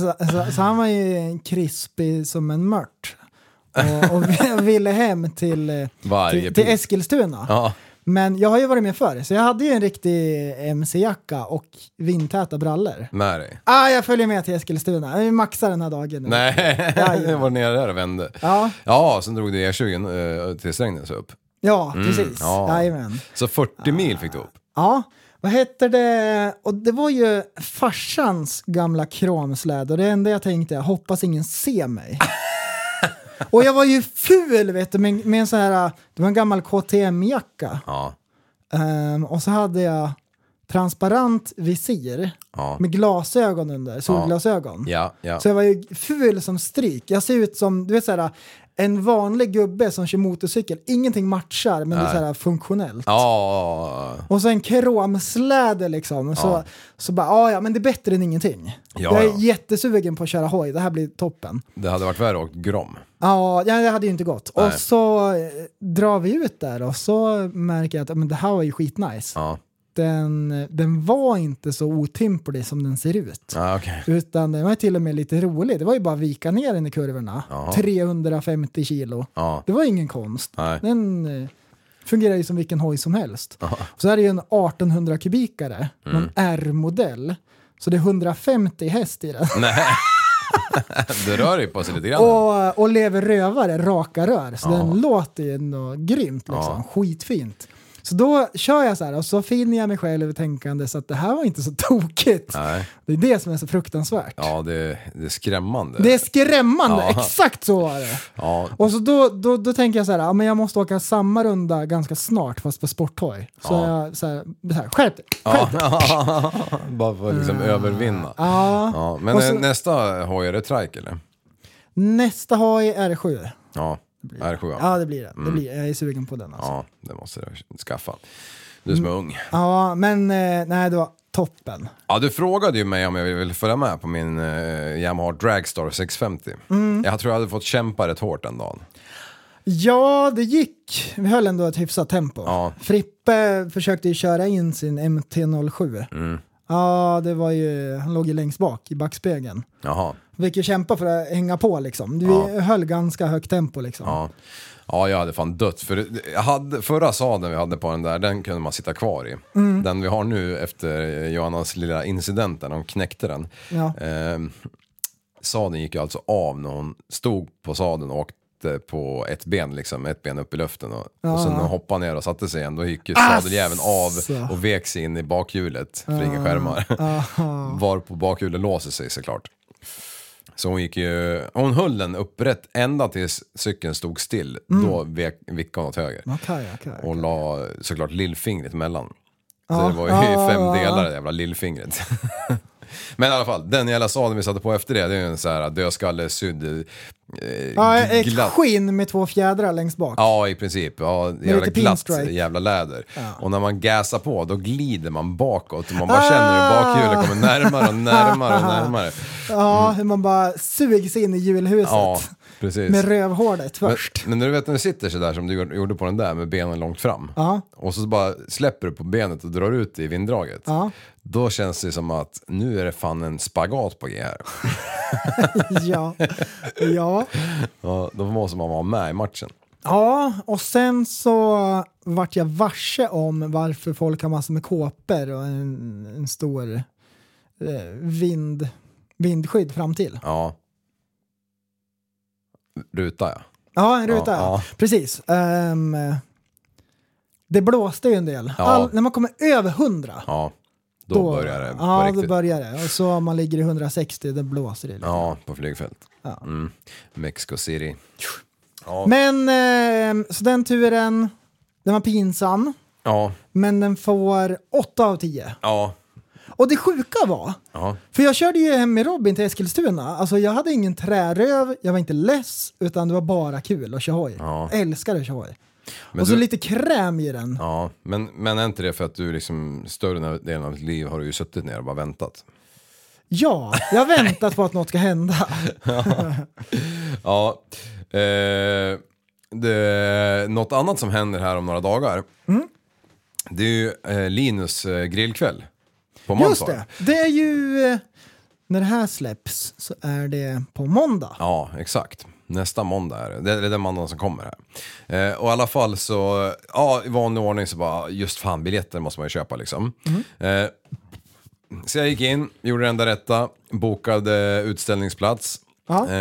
E: så, så, så han var ju krispig som en mört. Och, och vi- ville hem till, eh,
F: Varje
E: till, till
F: pris.
E: Eskilstuna.
F: Ja.
E: Men jag har ju varit med förr, så jag hade ju en riktig MC-jacka och vindtäta brallor.
F: Med dig.
E: Ah, jag följer med till Eskilstuna, vi maxar den här dagen nu.
F: Nej,
E: Jajamän.
F: jag var nere där och vände.
E: Ja.
F: Ja, sen drog du E20 eh, till Strängnäs upp.
E: Ja, precis.
F: Mm. ja.
E: Jajamän.
F: Så 40 mil fick du upp.
E: Ja, vad heter det? Och det var ju farsans gamla kramsläde och det enda jag tänkte jag hoppas ingen ser mig. och jag var ju ful vet du med, med en sån här, det var en gammal KTM-jacka.
F: Ja.
E: Ehm, och så hade jag transparent visir
F: Ja.
E: med glasögon under, solglasögon.
F: Ja, ja.
E: Så jag var ju ful som stryk. Jag ser ut som, du vet såhär, en vanlig gubbe som kör motorcykel. Ingenting matchar, men det är såhär funktionellt.
F: Ja,
E: Och så en kromsläde liksom. Så, så bara, "Ah, ja men det är bättre än ingenting.
F: Ja,
E: jag är
F: ja.
E: jättesugen på att köra hoj, det här blir toppen.
F: det hade varit värre att åka Grom.
E: Ja, ja, det hade ju inte gått.
F: Nej.
E: Och så eh, drar vi ut där och så märker jag att men, det här var ju skitnice.
F: Ja,
E: Den, den var inte så otymplig som den ser ut.
F: ja okej.
E: Utan den var till och med lite rolig. Det var ju bara att vika ner den i kurvorna.
F: Jaha.
E: 350 kilo.
F: Ja.
E: Det var ingen konst.
F: Nej.
E: Den eh, fungerar ju som vilken hoj som helst. Och så är det ju en 1800 kubikare,
F: Mm.
E: någon R-modell. Så det är 150 häst i den.
F: Du rör dig på sig lite grann.
E: Och, och lever rövare, raka rör. Så den låter ju ändå grymt liksom. Skitfint. Så då kör jag så här och så finner jag mig själv tänkande så att det här var inte så tokigt.
F: Nej.
E: Det är det som är så fruktansvärt.
F: Ja, det, det är skrämmande.
E: Det är skrämmande,
F: Ja.
E: exakt så var det.
F: Ja,
E: Och så då, då, då tänker jag så här, ja, men jag måste åka samma runda ganska snart fast på sporthoj. Så
F: Ja.
E: jag så här, så här, skärp dig,
F: ja.
E: skärp dig.
F: bara för att liksom övervinna.
E: Mm. Ja.
F: Ja, men
E: Och så-
F: eh, nästa hoj, är det trike eller?
E: Nästa hoj R7.
F: Ja, R7.
E: Ja det blir det, det blir, jag är sugen på den alltså. Ja,
F: Mm. Ja, det måste du skaffa. Du som är
E: Mm.
F: ung.
E: men eh, nej det var toppen.
F: Ja, du frågade ju mig om jag ville följa med på min eh, Yamaha Dragstar 650. Jag tror jag hade fått kämpa rätt hårt den dagen.
E: Ja det gick, vi höll ändå ett hyfsat tempo.
F: Ja.
E: Frippe försökte ju köra in sin MT-07.
F: Mm.
E: Ja det var ju, han låg ju längst bak i backspegeln.
F: Jaha.
E: Vi fick ju kämpa för att hänga på liksom. Vi höll ganska högt tempo liksom.
F: Ja. ja, jag hade fan dött. För det- jag hade, förra sadeln vi hade på den där, den kunde man sitta kvar i. Den vi har nu efter eh, Johannas lilla incident där hon knäckte den.
E: Ja.
F: Eh, sadeln gick ju alltså av när hon stod på sadeln och åkte på ett ben, liksom, ett ben upp i luften. Och, och sen när hon hoppade ner och satte sig igen, då gick ju sadeljäveln av
E: Asså.
F: och vek sig in i bakhjulet, för inga skärmar. Var på bakhjulet låser sig såklart. Så hon gick ju, hon höll den upprätt ända tills cykeln stod still.
E: Mm.
F: Då vek, vickade hon åt höger.
E: Okej, okej.
F: Och la såklart lillfingret emellan. Så
E: Ja,
F: det var ju
E: ja,
F: fem
E: ja, ja.
F: delar det jävla lillfingret. Men i alla fall, den jävla sadeln vi satte på efter det, det är ju en så här dödskalle sydd... Eh,
E: Ja, ett
F: glatt-
E: skinn med två fjädrar längst bak.
F: Ja, i princip. Ja, jävla
E: lite
F: glatt
E: pinstripe.
F: jävla läder. Och när man gasar på, då glider man bakåt. Och man bara känner hur bakhjulet
E: Ah.
F: kommer närmare och närmare och närmare.
E: Ja, hur man bara sugs in i julhuset.
F: Mm. Ja, precis.
E: Med rövhålet
F: Men,
E: först.
F: men när du vet när du sitter sådär som du gjorde på den där med benen långt fram.
E: Ja.
F: Och så bara släpper du på benet och drar ut det i vinddraget.
E: Ja.
F: Då känns det som att nu är det fan en spagat på G här.
E: Ja. ja.
F: Ja, då måste man vara med i matchen.
E: ja, och sen så vart jag varse om varför folk har massor med kåpor och en, en stor eh, vind, vindskydd fram till.
F: Ja. Ruta ja.
E: Ja, en ruta.
F: Ja, ja.
E: Precis. Ehm, Det blåste ju en del.
F: Ja.
E: All, när man kommer över 100,
F: Ja, då, börjar det på
E: Ja, då
F: riktigt.
E: börjar det. Och så om man ligger i 160, det blåser det. lite.
F: Ja, på flygfält. Mm. Mexico City.
E: Men, eh, så den turen, den var pinsam,
F: Ja,
E: men den får 8 av 10.
F: ja,
E: Och det sjuka var,
F: ja.
E: för jag körde ju hem med Robin till Eskilstuna, alltså jag hade ingen träröv, jag var inte less, utan det var bara kul att köra hoj.
F: Ja.
E: Älskar att köra hoj.
F: Men
E: Och så
F: du-
E: lite kräm i den.
F: Ja, men, men är inte det för att du liksom större delen av ditt liv har du ju suttit ner och bara väntat?
E: Ja, jag har väntat på att något ska hända.
F: Ja, eh, det, något annat som händer här om några dagar.
E: Mm.
F: Det är ju eh, Linus eh, grillkväll på måndag.
E: Just det, det är ju... eh, När det här släpps så är det på måndag.
F: Ja, exakt. Nästa måndag är det. Det är den måndagen som kommer här. Eh, och i alla fall så, ja i vanlig ordning så bara, just fan biljetter måste man ju köpa liksom. Eh, så jag gick in, gjorde det enda rätta, bokade utställningsplats.
E: Ja.
F: Eh,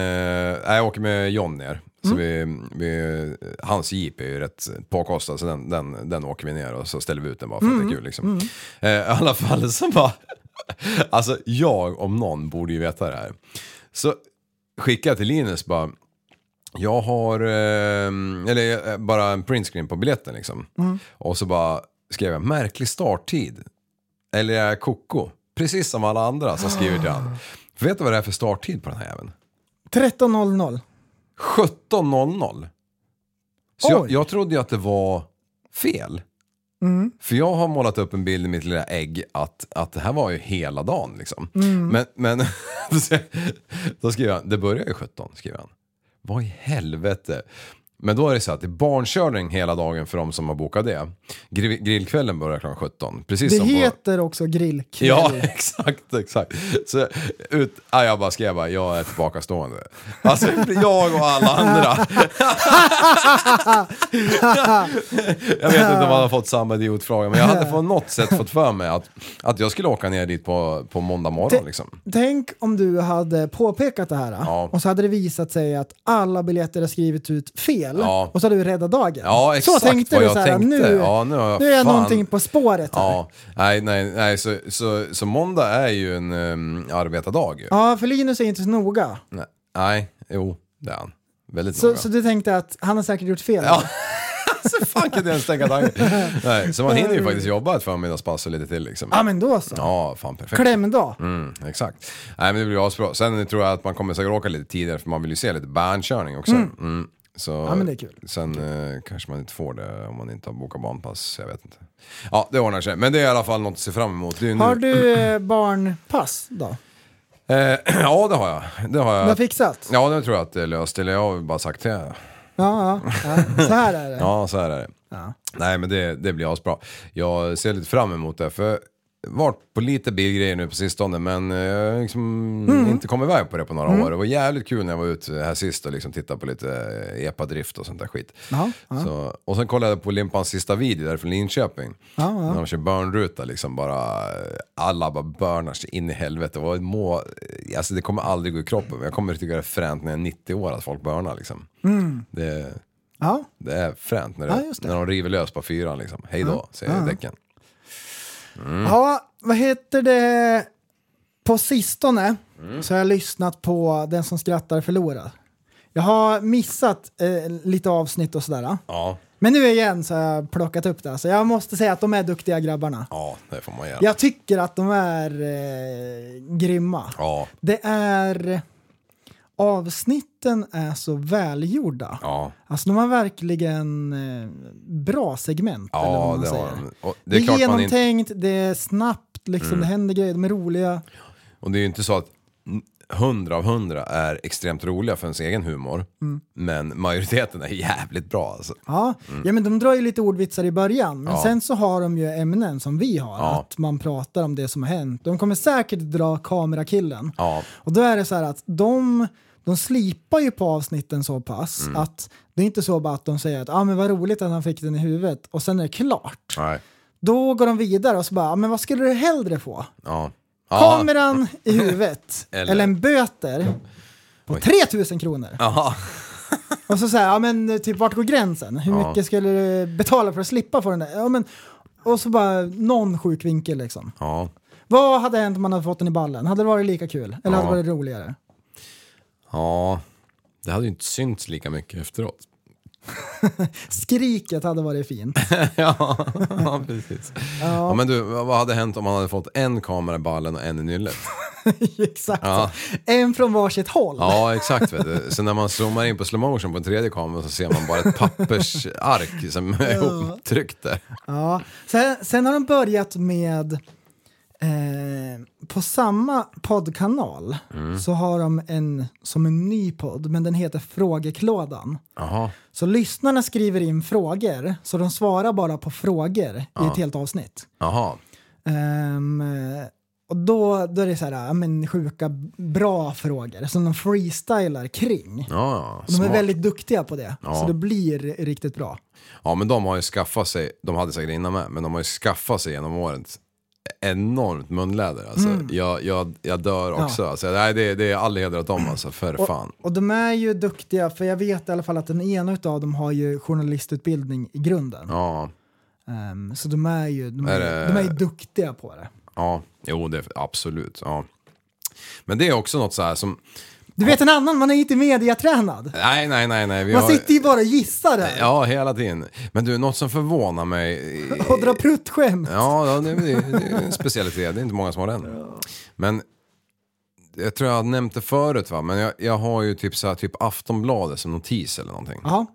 F: jag åker med John ner. Så vi, vi, hans jeep är ju rätt påkostad så den, den, den åker vi ner och så ställer vi ut den bara för att det är kul liksom. Eh, I alla fall så bara, alltså jag om någon borde ju veta det här. Så skickade jag till Linus bara, jag har, eh, eller eh, bara en printscreen på biljetten liksom. Och så bara skrev jag märklig starttid. Eller är jag koko? Precis som alla andra som skriver till han. För vet du vad det är för starttid på den här jäveln?
E: 13.00.
F: 17.00. Så jag,
E: Oj. Mm.
F: jag trodde ju att det var fel. För jag har målat upp en bild i mitt lilla ägg att, att det här var ju hela dagen liksom.
E: Mm.
F: Men, men då skriver han, det börjar ju 17, skriver han. Vad i helvete. Men då är det så att det är barnkörning hela dagen för de som har bokat det. Grill, grillkvällen börjar klockan 17. Precis
E: Det
F: som på,
E: heter också grillkväll.
F: Ja, exakt, exakt. Så ut, ja, jag bara skrev bara, jag är tillbakastående. Alltså jag och alla andra. jag vet inte om man har fått samma idiotfråga, men jag hade på något sätt fått för mig att, att jag skulle åka ner dit på, på måndag morgon liksom.
E: Tänk om du hade påpekat det här
F: Ja.
E: och så hade det visat sig att alla biljetter har skrivit ut fel
F: Ja.
E: och så hade du räddat dagen.
F: Ja, exakt
E: så tänkte
F: vad
E: du
F: jag
E: så här,
F: tänkte.
E: nu,
F: Ja, nu har jag
E: nu är jag
F: fan-
E: någonting på spåret här. Ja.
F: Ja, nej, nej, nej, så, så, så måndag är ju en um, arbetardag ju.
E: för Linus är inte så noga.
F: Nej, Nej, jo, det är han. Väldigt
E: Så,
F: noga.
E: så du tänkte att han har säkert gjort fel?
F: Ja. så fan kunde jag ens tänka tanken. Nej, så man hinner ju faktiskt jobba ett förmiddagspass och lite till liksom.
E: Ja, men då så.
F: Ja, fan perfekt.
E: Klämdag.
F: Mm, exakt. Nej men det blir asbra. Sen tror jag att man kommer säkert åka lite tidigare för man vill ju se lite bandkörning också. Mm. Så ja,
E: men det är kul.
F: Sen eh, kanske man inte får det om man inte har bokat banpass, jag vet inte. Ja, det ordnar sig. Men det är i alla fall något att se fram emot. Det är ju nu-
E: Har du
F: Mm.
E: eh, barnpass då?
F: Eh, ja, det har jag. Det har
E: Du har
F: jag.
E: fixat?
F: Ja, det tror jag att det är löst. Eller jag har bara sagt det.
E: Ja, ja, ja. Så här är det.
F: Ja, så här är det. Nej, men det, det blir asbra. Jag ser lite fram emot det, för jag har varit på lite bilgrejer nu på sistone, men eh, jag har liksom
E: Mm.
F: inte kommit iväg på det på några år. Det var jävligt kul när jag var ute här sist och liksom tittade på lite eh, epadrift och sånt där skit.
E: Ja, ja.
F: Så, och sen kollade jag på Limpans sista video där från Linköping. När de kör burnruta liksom bara, alla bara burnar sig in i helvete. Och må, alltså det kommer aldrig gå i kroppen, men jag kommer tycka det är fränt när jag är 90 år att folk burnar liksom.
E: Mm.
F: Det,
E: Ja.
F: det är fränt när, det,
E: Ja, just det.
F: när de river lös på fyran liksom. Hej då, säger däcken.
E: Ja, vad heter det? På sistone så har jag lyssnat på Den som skrattar förlorar. Jag har missat eh, lite avsnitt och sådär.
F: Ja,
E: Men nu igen så har jag plockat upp det. Så jag måste säga att de är duktiga grabbarna.
F: ja, det får man göra.
E: Jag tycker att de är eh, grymma.
F: Ja,
E: Det är... Avsnitten är så välgjorda.
F: ja,
E: Alltså de har verkligen eh, bra segment. eller vad
F: ja,
E: man
F: det har
E: säger.
F: de. Och
E: Det
F: det
E: är,
F: är klart man inte, Mm.
E: genomtänkt, det är snabbt, liksom, det händer grejer, de är roliga.
F: och det är ju inte så att hundra av hundra är extremt roliga för ens egen humor. Men majoriteten är jävligt bra alltså.
E: Ja. ja, men de drar ju lite ordvitsar i början, men sen så har de ju ämnen som vi har,
F: Ja.
E: att man pratar om det som har hänt. De kommer säkert dra kamerakillen.
F: Ja,
E: Och då är det så här att de, de slipar ju på avsnitten så pass
F: Mm.
E: att det är inte så bara att de säger att ah, men vad roligt att han fick den i huvudet och sen är det klart.
F: nej,
E: Då går de vidare och så bara, ah, men vad skulle du hellre få?
F: ja.
E: Kameran i huvudet
F: Eller-
E: eller, en böter på 3000 kronor.
F: Aha.
E: Och så säger ja men typ vart går gränsen? Hur
F: Ja.
E: mycket skulle du betala för att slippa få den där? Ja, men, och så bara någon sjuk vinkel liksom.
F: Ja.
E: Vad hade hänt om man hade fått den i ballen? Hade det varit lika kul? Eller hade
F: Ja.
E: det varit roligare?
F: Ja. Det hade ju inte synts lika mycket efteråt.
E: Skriket hade varit fint.
F: ja, ja, precis. Ja. men du, vad vad hade hänt om man hade fått en kamera i ballen och en i nyllet?
E: Exakt.
F: Ja.
E: En från varsitt håll.
F: Ja, exakt. Vet du. Så när man zoomar in på slowmotion på en tredje kameran så ser man bara ett pappersark som är ihoptryckt där.
E: Ja. Sen, sen har de börjat med, eh, på samma poddkanal
F: Mm.
E: så har de en som en ny podd, men den heter Frågeklådan.
F: Jaha.
E: Så lyssnarna skriver in frågor, så de svarar bara på frågor i ett helt avsnitt.
F: Jaha.
E: Ehm, och då, då är det så här, ja, men sjuka bra frågor som de freestylar kring.
F: Ja,
E: De är
F: smart.
E: väldigt duktiga på det,
F: Ja.
E: så det blir riktigt bra.
F: Ja, men de har ju skaffat sig, de hade säkert innan med, men de har ju skaffat sig genom åren ett enormt munläder. Alltså,
E: Mm.
F: jag, jag, jag dör också. Alltså, nej, det, det är all heder åt dem alltså, för fan.
E: Och de är ju duktiga, för jag vet i alla fall att den ena av dem har ju journalistutbildning i grunden.
F: Ja,
E: Ehm, så de är ju de
F: Är
E: är,
F: det-
E: de är ju duktiga på det.
F: ja, jo, det, absolut. Ja. Men det är också något så här som,
E: Du vet en annan, man är inte mediatränad.
F: nej, nej, nej, nej. Vi
E: Man
F: har,
E: sitter ju bara och gissar där
F: Ja, hela tiden. Men du, något som förvånar mig.
E: och drar pruttskämt.
F: Ja, ja, det, det, det är en specialitet. Det är inte många som har den. Men jag tror jag har nämnt det förut va, men jag, jag har ju typ så här, typ Aftonbladet som notis eller någonting.
E: Ja.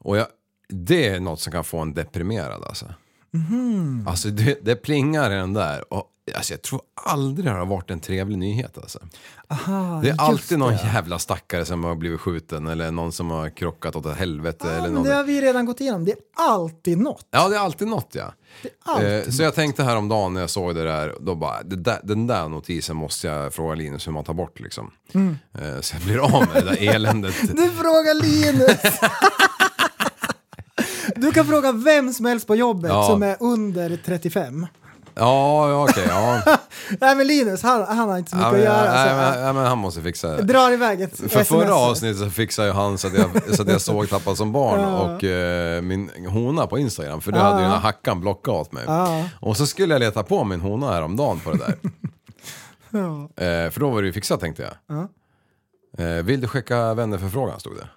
F: Och jag, det är något som kan få en deprimerad alltså.
E: Mm-hmm.
F: Alltså det, det plingar i den där och alltså, jag tror aldrig det har varit en trevlig nyhet alltså. det är
E: just
F: alltid någon jävla stackare som har blivit skjuten eller någon som har krockat åt ett helvete
E: Ja,
F: eller
E: men
F: någon.
E: det har vi ju redan gått igenom. Det är alltid något.
F: Ja, det är alltid något ja.
E: alltid
F: Eh, så jag tänkte häromdagen när jag såg det där, då bara, det där, den där notisen måste jag fråga Linus hur man tar bort liksom. Eh, så jag blir av med det där eländet.
E: Mm. Du frågar Linus! Du kan fråga vem som helst på jobbet
F: Ja.
E: som är under 35.
F: Ja, ja okej, ja.
E: Nej men Linus, han, han har inte så mycket
F: ja, men,
E: att göra. alltså.
F: ja,
E: så,
F: men, ja, men han måste fixa det.
E: Drar iväg ett
F: För
E: sms.
F: förra avsnittet så fixade ju han så att jag, så att jag såg Tappad som barn och eh, min hona på Instagram. För det hade ju den här hackan blockat åt mig. Och så skulle jag leta på min hona häromdagen på det där. eh, för då var det ju fixat tänkte jag. Eh, vill du skicka vänner för frågan stod det.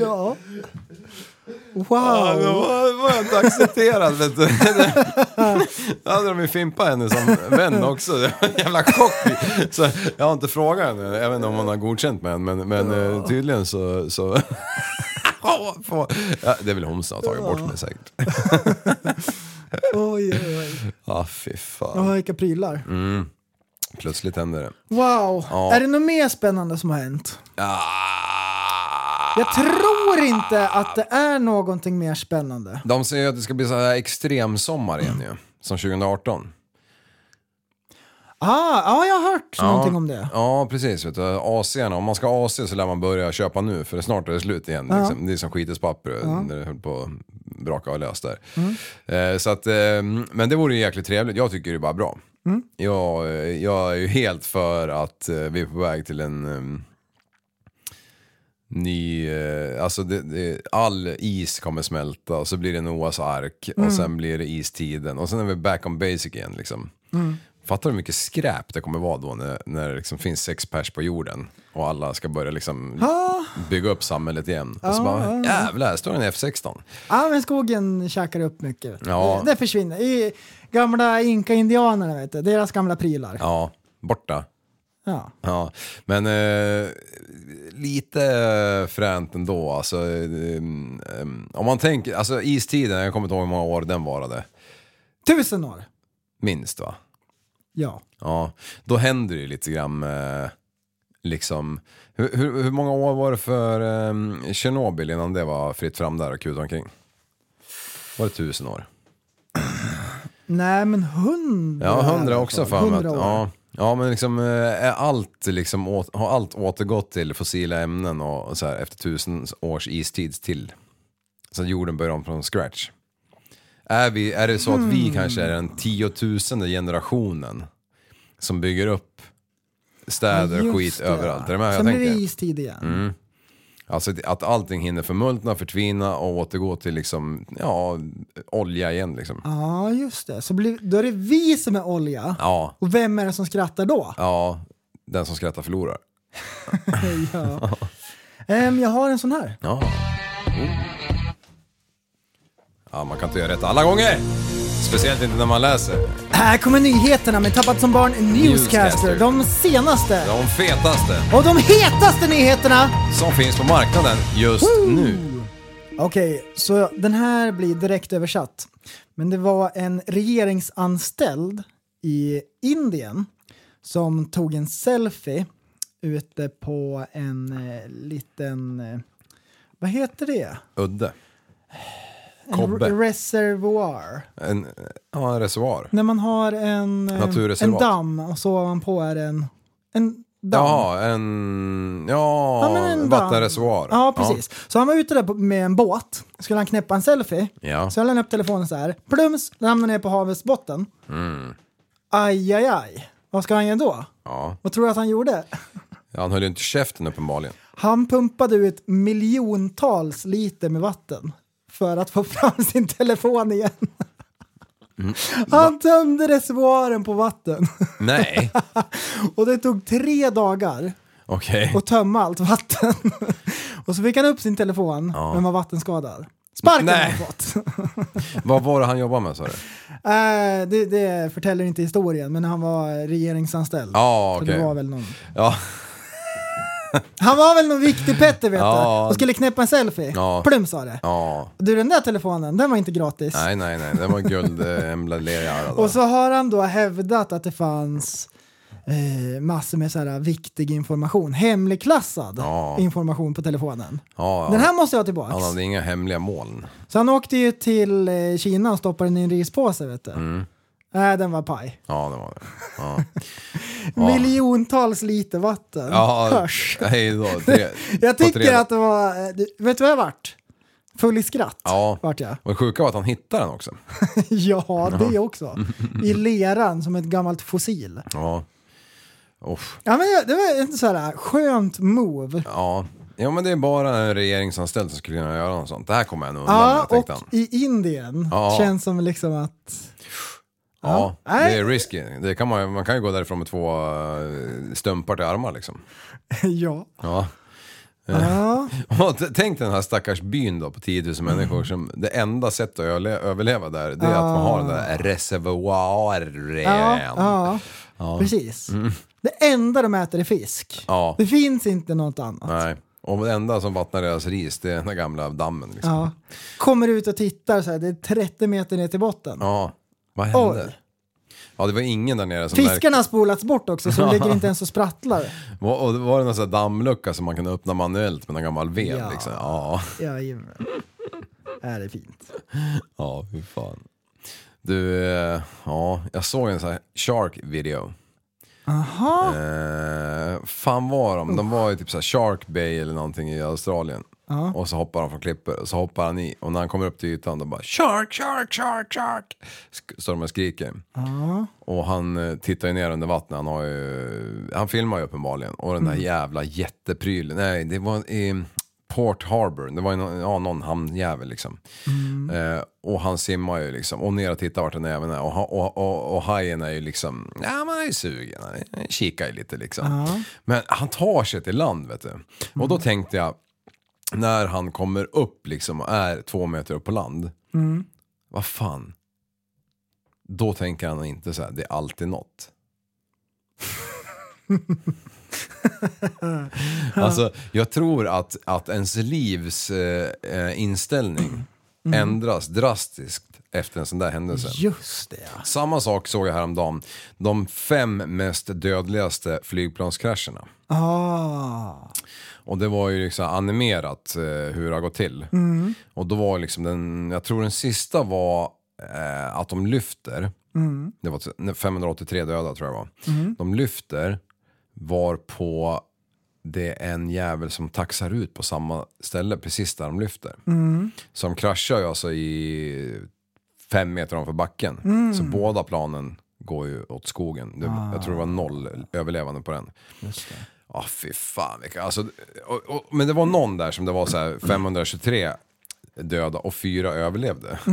E: Ja. Wow.
F: Då var, var jag inte accepterad vet du. Då hade de ju fimpat henne som vän också. Det var en jävla chock. Så jag har inte frågat henne, jag vet inte om hon har godkänt mig än, men, men eh, tydligen så... så... Ja, fan. Ja, det är väl hon som har tagit bort mig säkert.
E: Oj, oj, oj.
F: Ja, fy
E: Åh,
F: fan.
E: vilka prylar.
F: Plötsligt händer det.
E: Wow.
F: Mm. Ja.
E: Är det något mer spännande som har hänt?
F: Ah.
E: Jag tror inte att det är någonting mer spännande.
F: De säger ju att det ska bli så här extremsommar igen ju. Som 2018.
E: Ah, ja, jag har hört någonting om det.
F: Ja, precis. Vet du. AC, om man ska ha AC så lär man börja köpa nu för snart är det slut igen. Liksom. Det är som skitens papper när det höll på att braka och lös där.
E: Mm.
F: Eh, så att, eh, men det vore ju jäkligt trevligt. Jag tycker det är bara bra.
E: Mm.
F: Jag, eh, jag är ju helt för att eh, vi är på väg till en eh, ny, eh, alltså det, det, all is kommer smälta och så blir det Noahs ark och sen blir det istiden och sen är vi back on basic igen liksom. Fattar du hur mycket skräp det kommer vara då när, när det liksom finns sex pers på jorden och alla ska börja liksom bygga upp samhället igen. Och så bara, jävlar, här står en F16.
E: Ja, men skogen käkar upp mycket.
F: Ja.
E: Det, det försvinner. I gamla inka-indianerna, vet du, deras gamla prylar. Ja.
F: Ja, borta. Ja, men eh, lite fränt ändå. Alltså, eh, em, om man tänker, alltså istiden, jag kommer inte ihåg hur många år den varade.
E: Tusen år.
F: Minst va?
E: Ja.
F: Ja, då händer det ju lite grann eh, liksom. Hur, hur, hur många år var det för eh, Tjernobyl innan det var fritt fram där och kuta omkring? Var det tusen år?
E: Nej, men hundra.
F: Ja, hundra också för mig. att-
E: Hundra år.
F: Ja. ja, men liksom eh, är allt liksom åt, har allt återgått till fossila ämnen och så här efter tusen års istid till. Så att jorden börjar om från scratch. Är, vi,
E: Hmm.
F: är det så att vi kanske är den tiotusende generationen som bygger upp
E: Ja,
F: städer
E: just
F: och skit
E: det.
F: överallt. Är du med vad jag
E: Sen blir det
F: tänker? Mm.
E: istid igen.
F: Alltså att- att allting hinner förmultna, förtvina och återgå till liksom, ja, olja igen liksom.
E: Ja, just det. Så blir, då är det vi som är olja.
F: Ja,
E: Och vem är det som skrattar då?
F: ja, den som skrattar förlorar.
E: ja. Ehm, jag har en sån här.
F: Ja. Mm. Ja, man kan inte göra rätt alla gånger! Speciellt inte när man läser.
E: Här kommer nyheterna med Tappat som barn Newscaster. De senaste
F: De fetaste
E: och de hetaste nyheterna.
F: som finns på marknaden just nu.
E: Okej, så den här blir direkt översatt. Men det var en regeringsanställd i Indien som tog en selfie ute på en eh, liten, eh, vad heter det?
F: Udde.
E: En
F: Kobbe.
E: reservoar.
F: En, ja, en reservoar.
E: När man har en, eh, en
F: Naturreservat.
E: damm och så ovanpå är det en, en damm.
F: Ja, en... Ja,
E: Ja, men en damm.
F: vattenreservoar.
E: Ja, precis. Så han var ute där på- med en båt, skulle han knäppa en selfie.
F: Ja.
E: Så höll han upp telefonen så här, plums, ramlade ner på havets botten.
F: Mm.
E: Aj, aj, aj. Vad ska han göra då?
F: Ja.
E: Vad tror du att han gjorde?
F: Ja, Han höll ju inte käften uppenbarligen.
E: Han pumpade ut miljontals liter med vatten för att få fram sin telefon igen.
F: Mm.
E: Han tömde reservoaren på vatten
F: Nej,
E: och det tog tre dagar
F: okej.
E: att tömma allt vatten. Och så fick han upp sin telefon, men var vattenskadad. Sparken har
F: Nej.
E: han fått.
F: Vad var det han jobbade med sa du?
E: Eh, det, det förtäller inte historien, men han var regeringsanställd.
F: Ja,
E: Så
F: okej.
E: det var väl någon...
F: Ja,
E: Han var väl någon viktig Petter vet
F: Ja.
E: du, och skulle knäppa en selfie.
F: Ja.
E: Plum sa det.
F: ja.
E: Du den där telefonen, den var inte gratis.
F: Nej, nej, nej. Det var eh, guldemblad
E: Och
F: lerjära.
E: så har han då hävdat att det fanns eh, massor med så här viktig information, hemligklassad
F: Ja.
E: information på telefonen.
F: Ja,
E: Den
F: ja.
E: här måste jag ha tillbaks.
F: Han hade inga hemliga moln.
E: Så han åkte ju till eh, Kina och stoppade den i en rispåse vet du.
F: Mm.
E: Nej, den var paj.
F: Ja, det var det. Ja.
E: Miljontals liter vatten.
F: Ja,
E: Hörs.
F: hej då. Tre,
E: Jag
F: på
E: tycker
F: tre-
E: att det var, eh, du- vet du vad jag vart? Full i skratt
F: Ja.
E: vart jag.
F: Och det sjuka var att han hittade den också.
E: Ja, det också. I leran som ett gammalt fossil.
F: Ja. Uff.
E: Ja, men jag- det var ett så här eh, skönt move.
F: Ja. ja, men det är bara en regeringsanställd som skulle kunna göra något sånt. Det här kommer jag nog undan
E: Ja,
F: med,
E: och
F: tänkte han.
E: i Indien
F: Ja.
E: känns som liksom att...
F: Ja, det
E: Nej.
F: är risky. Det kan man, man kan ju gå därifrån med två eh, stumpar till armar liksom.
E: ja.
F: Ja.
E: ja.
F: Och t- tänk den här stackars byn då på 10 000
E: Mm.
F: människor som det enda sättet att öle- överleva där det är att man har den där reservoaren.
E: Ah. Ja,
F: Ja, Mm.
E: ja, precis. Det enda de äter är fisk.
F: Ja.
E: Det finns inte något annat.
F: Nej. Och det enda som vattnar deras ris det är den där gamla dammen liksom.
E: Ja. Kommer ut och tittar så här, det är 30 meter ner till botten.
F: Ja, vad hände?
E: Oj.
F: Ja, det var ingen där nere som
E: Fiskarna har spolats bort också så de ligger inte ens och sprattlar.
F: märkte- Var, och det var det någon sån här dammlucka som man kunde öppna manuellt med en gammal ved
E: Ja.
F: liksom? Ja,
E: Jajamän. Här är fint.
F: ja, hur fan. Du, eh, ja, jag såg en sån här shark video.
E: Aha.
F: Eh, fan var de? De var ju typ så här Shark Bay eller någonting i Australien. Och så hoppar han från klippor och så hoppar han i. Och när han kommer upp till ytan då bara Shark, shark, shark, shark. Sk- Står de och skriker. Och han eh, tittar ju ner under vattnet. Han, har ju, han filmar ju uppenbarligen. Och den där jävla jätteprylen. Nej, det var i Port Harbour. Det var ju någon, ja, någon hamnjävel liksom. Eh, och han simmar ju liksom. Och ner och tittar vart den även är. Och, ha- och, och, och hajen är ju liksom, ja man är ju sugen. Han kikar ju lite liksom. Men han tar sig till land vet du. Och då tänkte jag, när han kommer upp liksom och är två meter upp på land. Vad fan. Då tänker han inte så här, det är alltid något. alltså, jag tror att, att ens livs eh, eh, inställning ändras drastiskt efter en sån där händelse.
E: Just det. ja.
F: Samma sak såg jag häromdagen. De fem mest dödligaste flygplanskrascherna.
E: Ah.
F: Och det var ju liksom animerat eh, hur det har gått till. Och då var liksom den, jag tror den sista var eh, att de lyfter. Det var t- nej, 583 döda tror jag var. De lyfter var på det är en jävel som taxar ut på samma ställe precis där de lyfter. Som kraschar ju alltså i fem meter ovanför backen. Så båda planen går ju åt skogen. Det, Jag tror det var noll överlevande på den. Ja, fy fan vilka, alltså, och, och, Men det var någon där som det var så här 523 döda och fyra överlevde.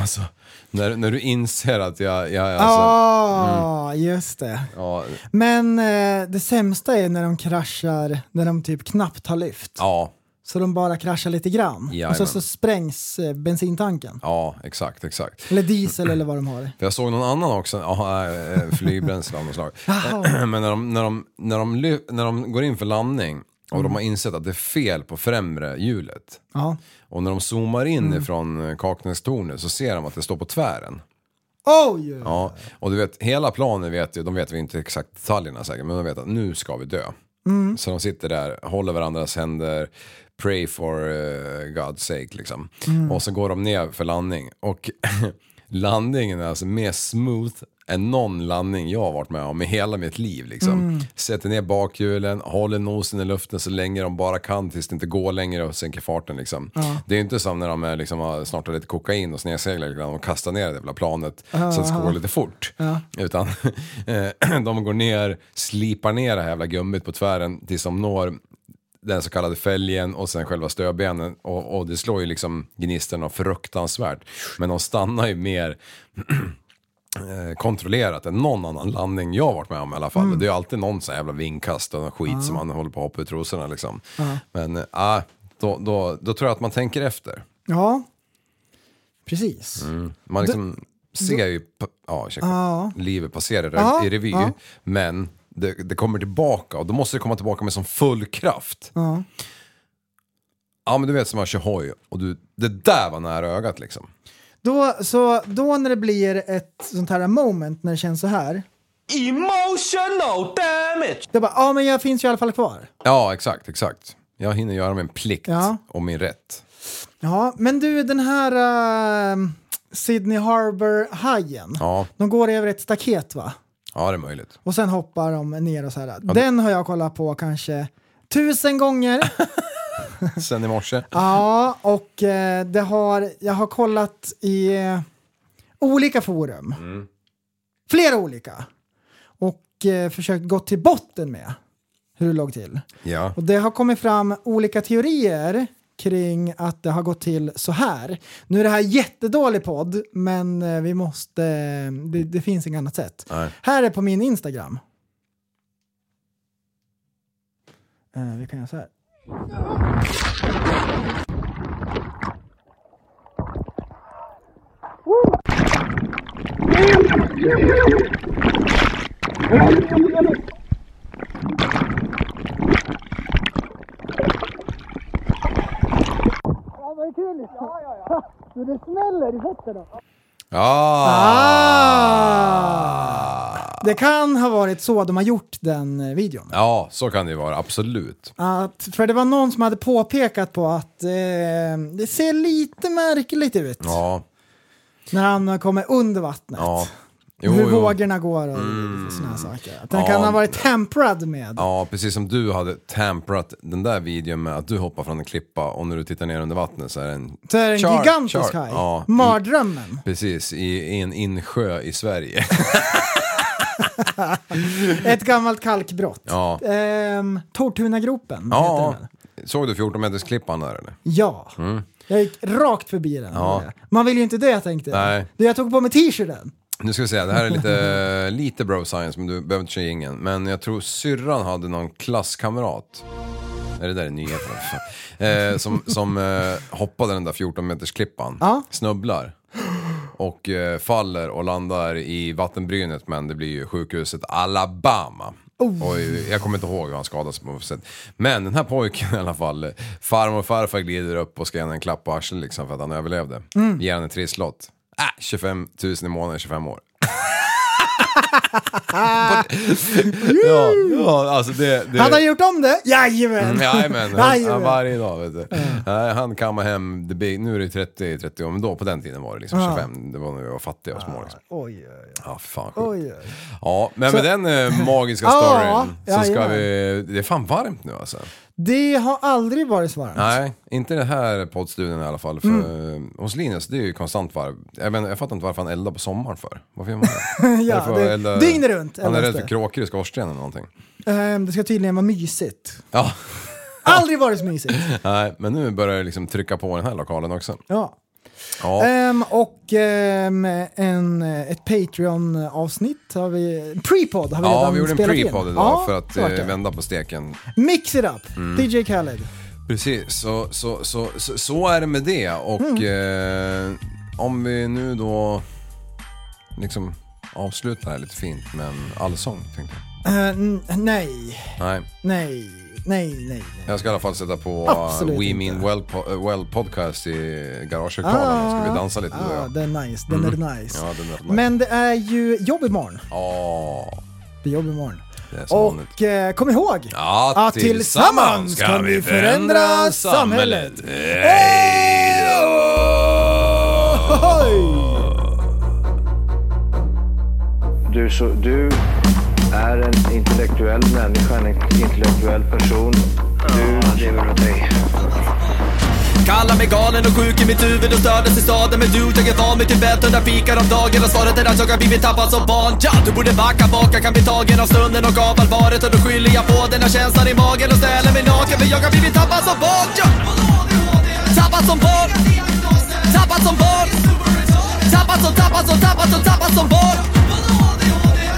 F: Alltså, när, när du inser att jag, jag alltså, mm.
E: Ah, just det.
F: ja,
E: Men eh, det sämsta är när de kraschar, när de typ knappt har lyft.
F: ja,
E: Så de bara kraschar lite grann.
F: Jajamän.
E: och så, så sprängs eh, bensintanken.
F: ja, exakt, exakt.
E: Eller diesel eller vad de har.
F: För jag såg någon annan också, ja, eh, flygbränsle av något slag. Men när de, när, de, när, de, ly- när de går in för landning och de har insett att det är fel på främre hjulet.
E: Ja.
F: Och när de zoomar in ifrån eh, Kaknästornet så ser de att det står på tvären.
E: Oj! Oh,
F: Ja, och du vet, hela planen vet ju, de vet vi inte exakt detaljerna säkert, men de vet att nu ska vi dö. Så de sitter där, håller varandras händer, pray for eh, God's sake liksom. Och så går de ner för landning. Och landningen är alltså mer smooth än någon landning jag har varit med om i hela mitt liv. Liksom. Sätter ner bakhjulen, håller nosen i luften så länge de bara kan tills det inte går längre och sänker farten. Liksom. Det är inte som när de är, liksom, har- snart har lite kokain och snedseglar lite grann och kastar ner det jävla planet så att det ska gå lite fort. Utan eh, de går ner, slipar ner det här jävla gummit på tvären tills de når den så kallade fälgen och sen själva stödbenen och, och det slår ju liksom gnistorna fruktansvärt. Men de stannar ju mer eh, kontrollerat än någon annan landning jag har varit med om i alla fall.
E: Mm.
F: Det är ju alltid någon sån här jävla vindkast och någon skit som man håller på att hoppa ur trosorna liksom. Men äh, då, då, då tror jag att man tänker efter.
E: Ja, precis.
F: Man liksom ser ju p- ja, ursäkta. livet passera i re-
E: Ja,
F: i revy,
E: ja.
F: men det, det kommer tillbaka och då måste det komma tillbaka med som full kraft.
E: Ja.
F: Ja men du vet som man kör hoj och du, det där var nära ögat liksom.
E: Då, så, då när det blir ett sånt här moment när det känns så här.
H: Emotional damage.
E: Det är bara, ja men jag finns ju i alla fall kvar.
F: Ja exakt, exakt. Jag hinner göra min plikt
E: Ja.
F: och min rätt.
E: Ja, men du den här eh, Sydney Harbour-hajen.
F: Ja,
E: De går över ett staket va?
F: ja det är möjligt.
E: Och sen hoppar de ner och så här. Den har jag kollat på kanske tusen gånger.
F: Sen i morse.
E: ja, och eh, det har, jag har kollat i eh, olika forum. Flera olika. Och eh, försökt gå till botten med hur det låg till.
F: Ja.
E: Och det har kommit fram olika teorier kring att det har gått till så här. Nu är det här jättedålig podd, men eh, vi måste... Det, det finns inget annat sätt.
F: Nej.
E: Här är på min Instagram. Eh, vi kan göra så här.
F: Ja. Ah.
E: Ah. Det kan ha varit så de har gjort den eh, videon.
F: ja, så kan det ju vara, absolut.
E: Att, för det var någon som hade påpekat på att eh, det ser lite märkligt ut
F: Ja,
E: när han kommer under vattnet.
F: ja. Jo,
E: hur
F: jo.
E: vågorna går och sådana här saker. Att den
F: Ja.
E: kan ha varit temperad med.
F: Ja, precis som du hade tamperat den där videon med att du hoppar från en klippa och när du tittar ner under vattnet så är det en...
E: Så är det en
F: Shark,
E: gigantisk
F: shark.
E: haj.
F: Ja.
E: Mardrömmen.
F: Precis, i, i en insjö i Sverige.
E: Ett gammalt kalkbrott.
F: Ja.
E: Ehm, Tortunagropen heter
F: Ja,
E: den väl?
F: såg du 14 meters klippan där eller?
E: Ja. Jag gick rakt förbi den.
F: Mm. Ja.
E: Man vill ju inte dö tänkte jag.
F: Nej.
E: Du, jag tog på mig t-shirten.
F: Nu ska vi se, det här är lite, lite bro science men du behöver inte köra ingen. Men jag tror syrran hade någon klasskamrat. Nej, det där är nyheter. vad fan. eh, som som eh, hoppade den där 14 meters klippan.
E: Ja.
F: Snubblar. Och eh, faller och landar i vattenbrynet men det blir ju sjukhuset Alabama.
E: Oh.
F: Och eh, jag kommer inte ihåg hur han skadades på något sätt. Men den här pojken i alla fall, eh, farmor och farfar glider upp och ska ge henne en klapp på arslet liksom för att han överlevde.
E: Mm.
F: Ger henne en trisslott. Äh, 25 000 i månaden i 25 år. ja, ja, alltså det... det...
E: Hade han gjort om det? Jajamän!
F: Mm, Jajamän, han,
E: Jajamän.
F: han varje dag vet du. Nej, Han kammar hem, the big, nu är det 30, 30 år, men då på den tiden var det liksom 25, det var när vi var fattiga och små. Liksom.
E: Oj, oj,
F: Ja, för fan
E: Ah. oj.
F: sjukt.
E: oj.
F: Ja, men med den eh, magiska
E: Ja,
F: storyn så ska
E: jajamän.
F: vi, det är fan varmt nu alltså.
E: Det har aldrig varit svaret.
F: Nej, inte den här poddstudion i alla fall. För
E: Mm.
F: eh, Hos Linus, det är ju konstant varv. Jag, menar, jag fattar inte varför han eldar på sommaren för. Varför gör man det?
E: Ja,
F: Är för att
E: det-
F: elda-
E: dygnet runt
F: Han är
E: eldas
F: rädd
E: det.
F: för kråkor i skorstenen eller någonting.
E: Ehm, Det ska tydligen vara mysigt.
F: Ja,
E: Aldrig varit så mysigt.
F: nej, men nu börjar det liksom trycka på den här lokalen också.
E: Ja.
F: Ja,
E: Ehm, och ehm, en, ett Patreon-avsnitt har vi... Prepod har vi
F: ja
E: redan
F: vi gjorde en
E: spelat in.
F: pre-podd idag
E: Ja,
F: för att
E: så vart
F: eh, Mm.
E: det.
F: vända på steken.
E: Mix it up, DJ Khaled.
F: Precis, så, så, så, så, så är det med det. Och
E: Mm.
F: eh, om vi nu då liksom avslutar det här lite fint med en allsång tänkte jag.
E: Eh, n- nej,
F: Nej,
E: nej, nej, nej.
F: jag ska i alla fall sätta på
E: Absolut
F: uh, We
E: inte.
F: Mean well, po- uh, well Podcast i garagehögtalaren. ska vi dansa lite
E: ah,
F: då? Ja,
E: Den är nice, den är nice.
F: Mm. ja den är nice.
E: Men det är ju jobb imorgon.
F: Ja,
E: Det är jobb imorgon.
F: det är som vanligt.
E: Och eh, kom ihåg
F: Ja,
E: att tillsammans kan vi förändra samhället.
F: Hej då!
E: Hej!
A: Du, så, du är en intellektuell människa, en intellektuell person. Du lever åt dig.
B: Kallar mig galen och sjuk i mitt huvud och stördes i staden Men du, jag är van vid Tibet och där fikar om dagen Och svaret är att jag har blivit tappad som barn ja, Du borde backa bak, jag kan bli tagen av stunden och av allvaret Och då skyller jag på den här känslan i magen och ställer mig naken För jag har blivit tappad som barn ja. Tappad som barn Tappad som barn Tappad som, tappad som, tappad som, tappad som barn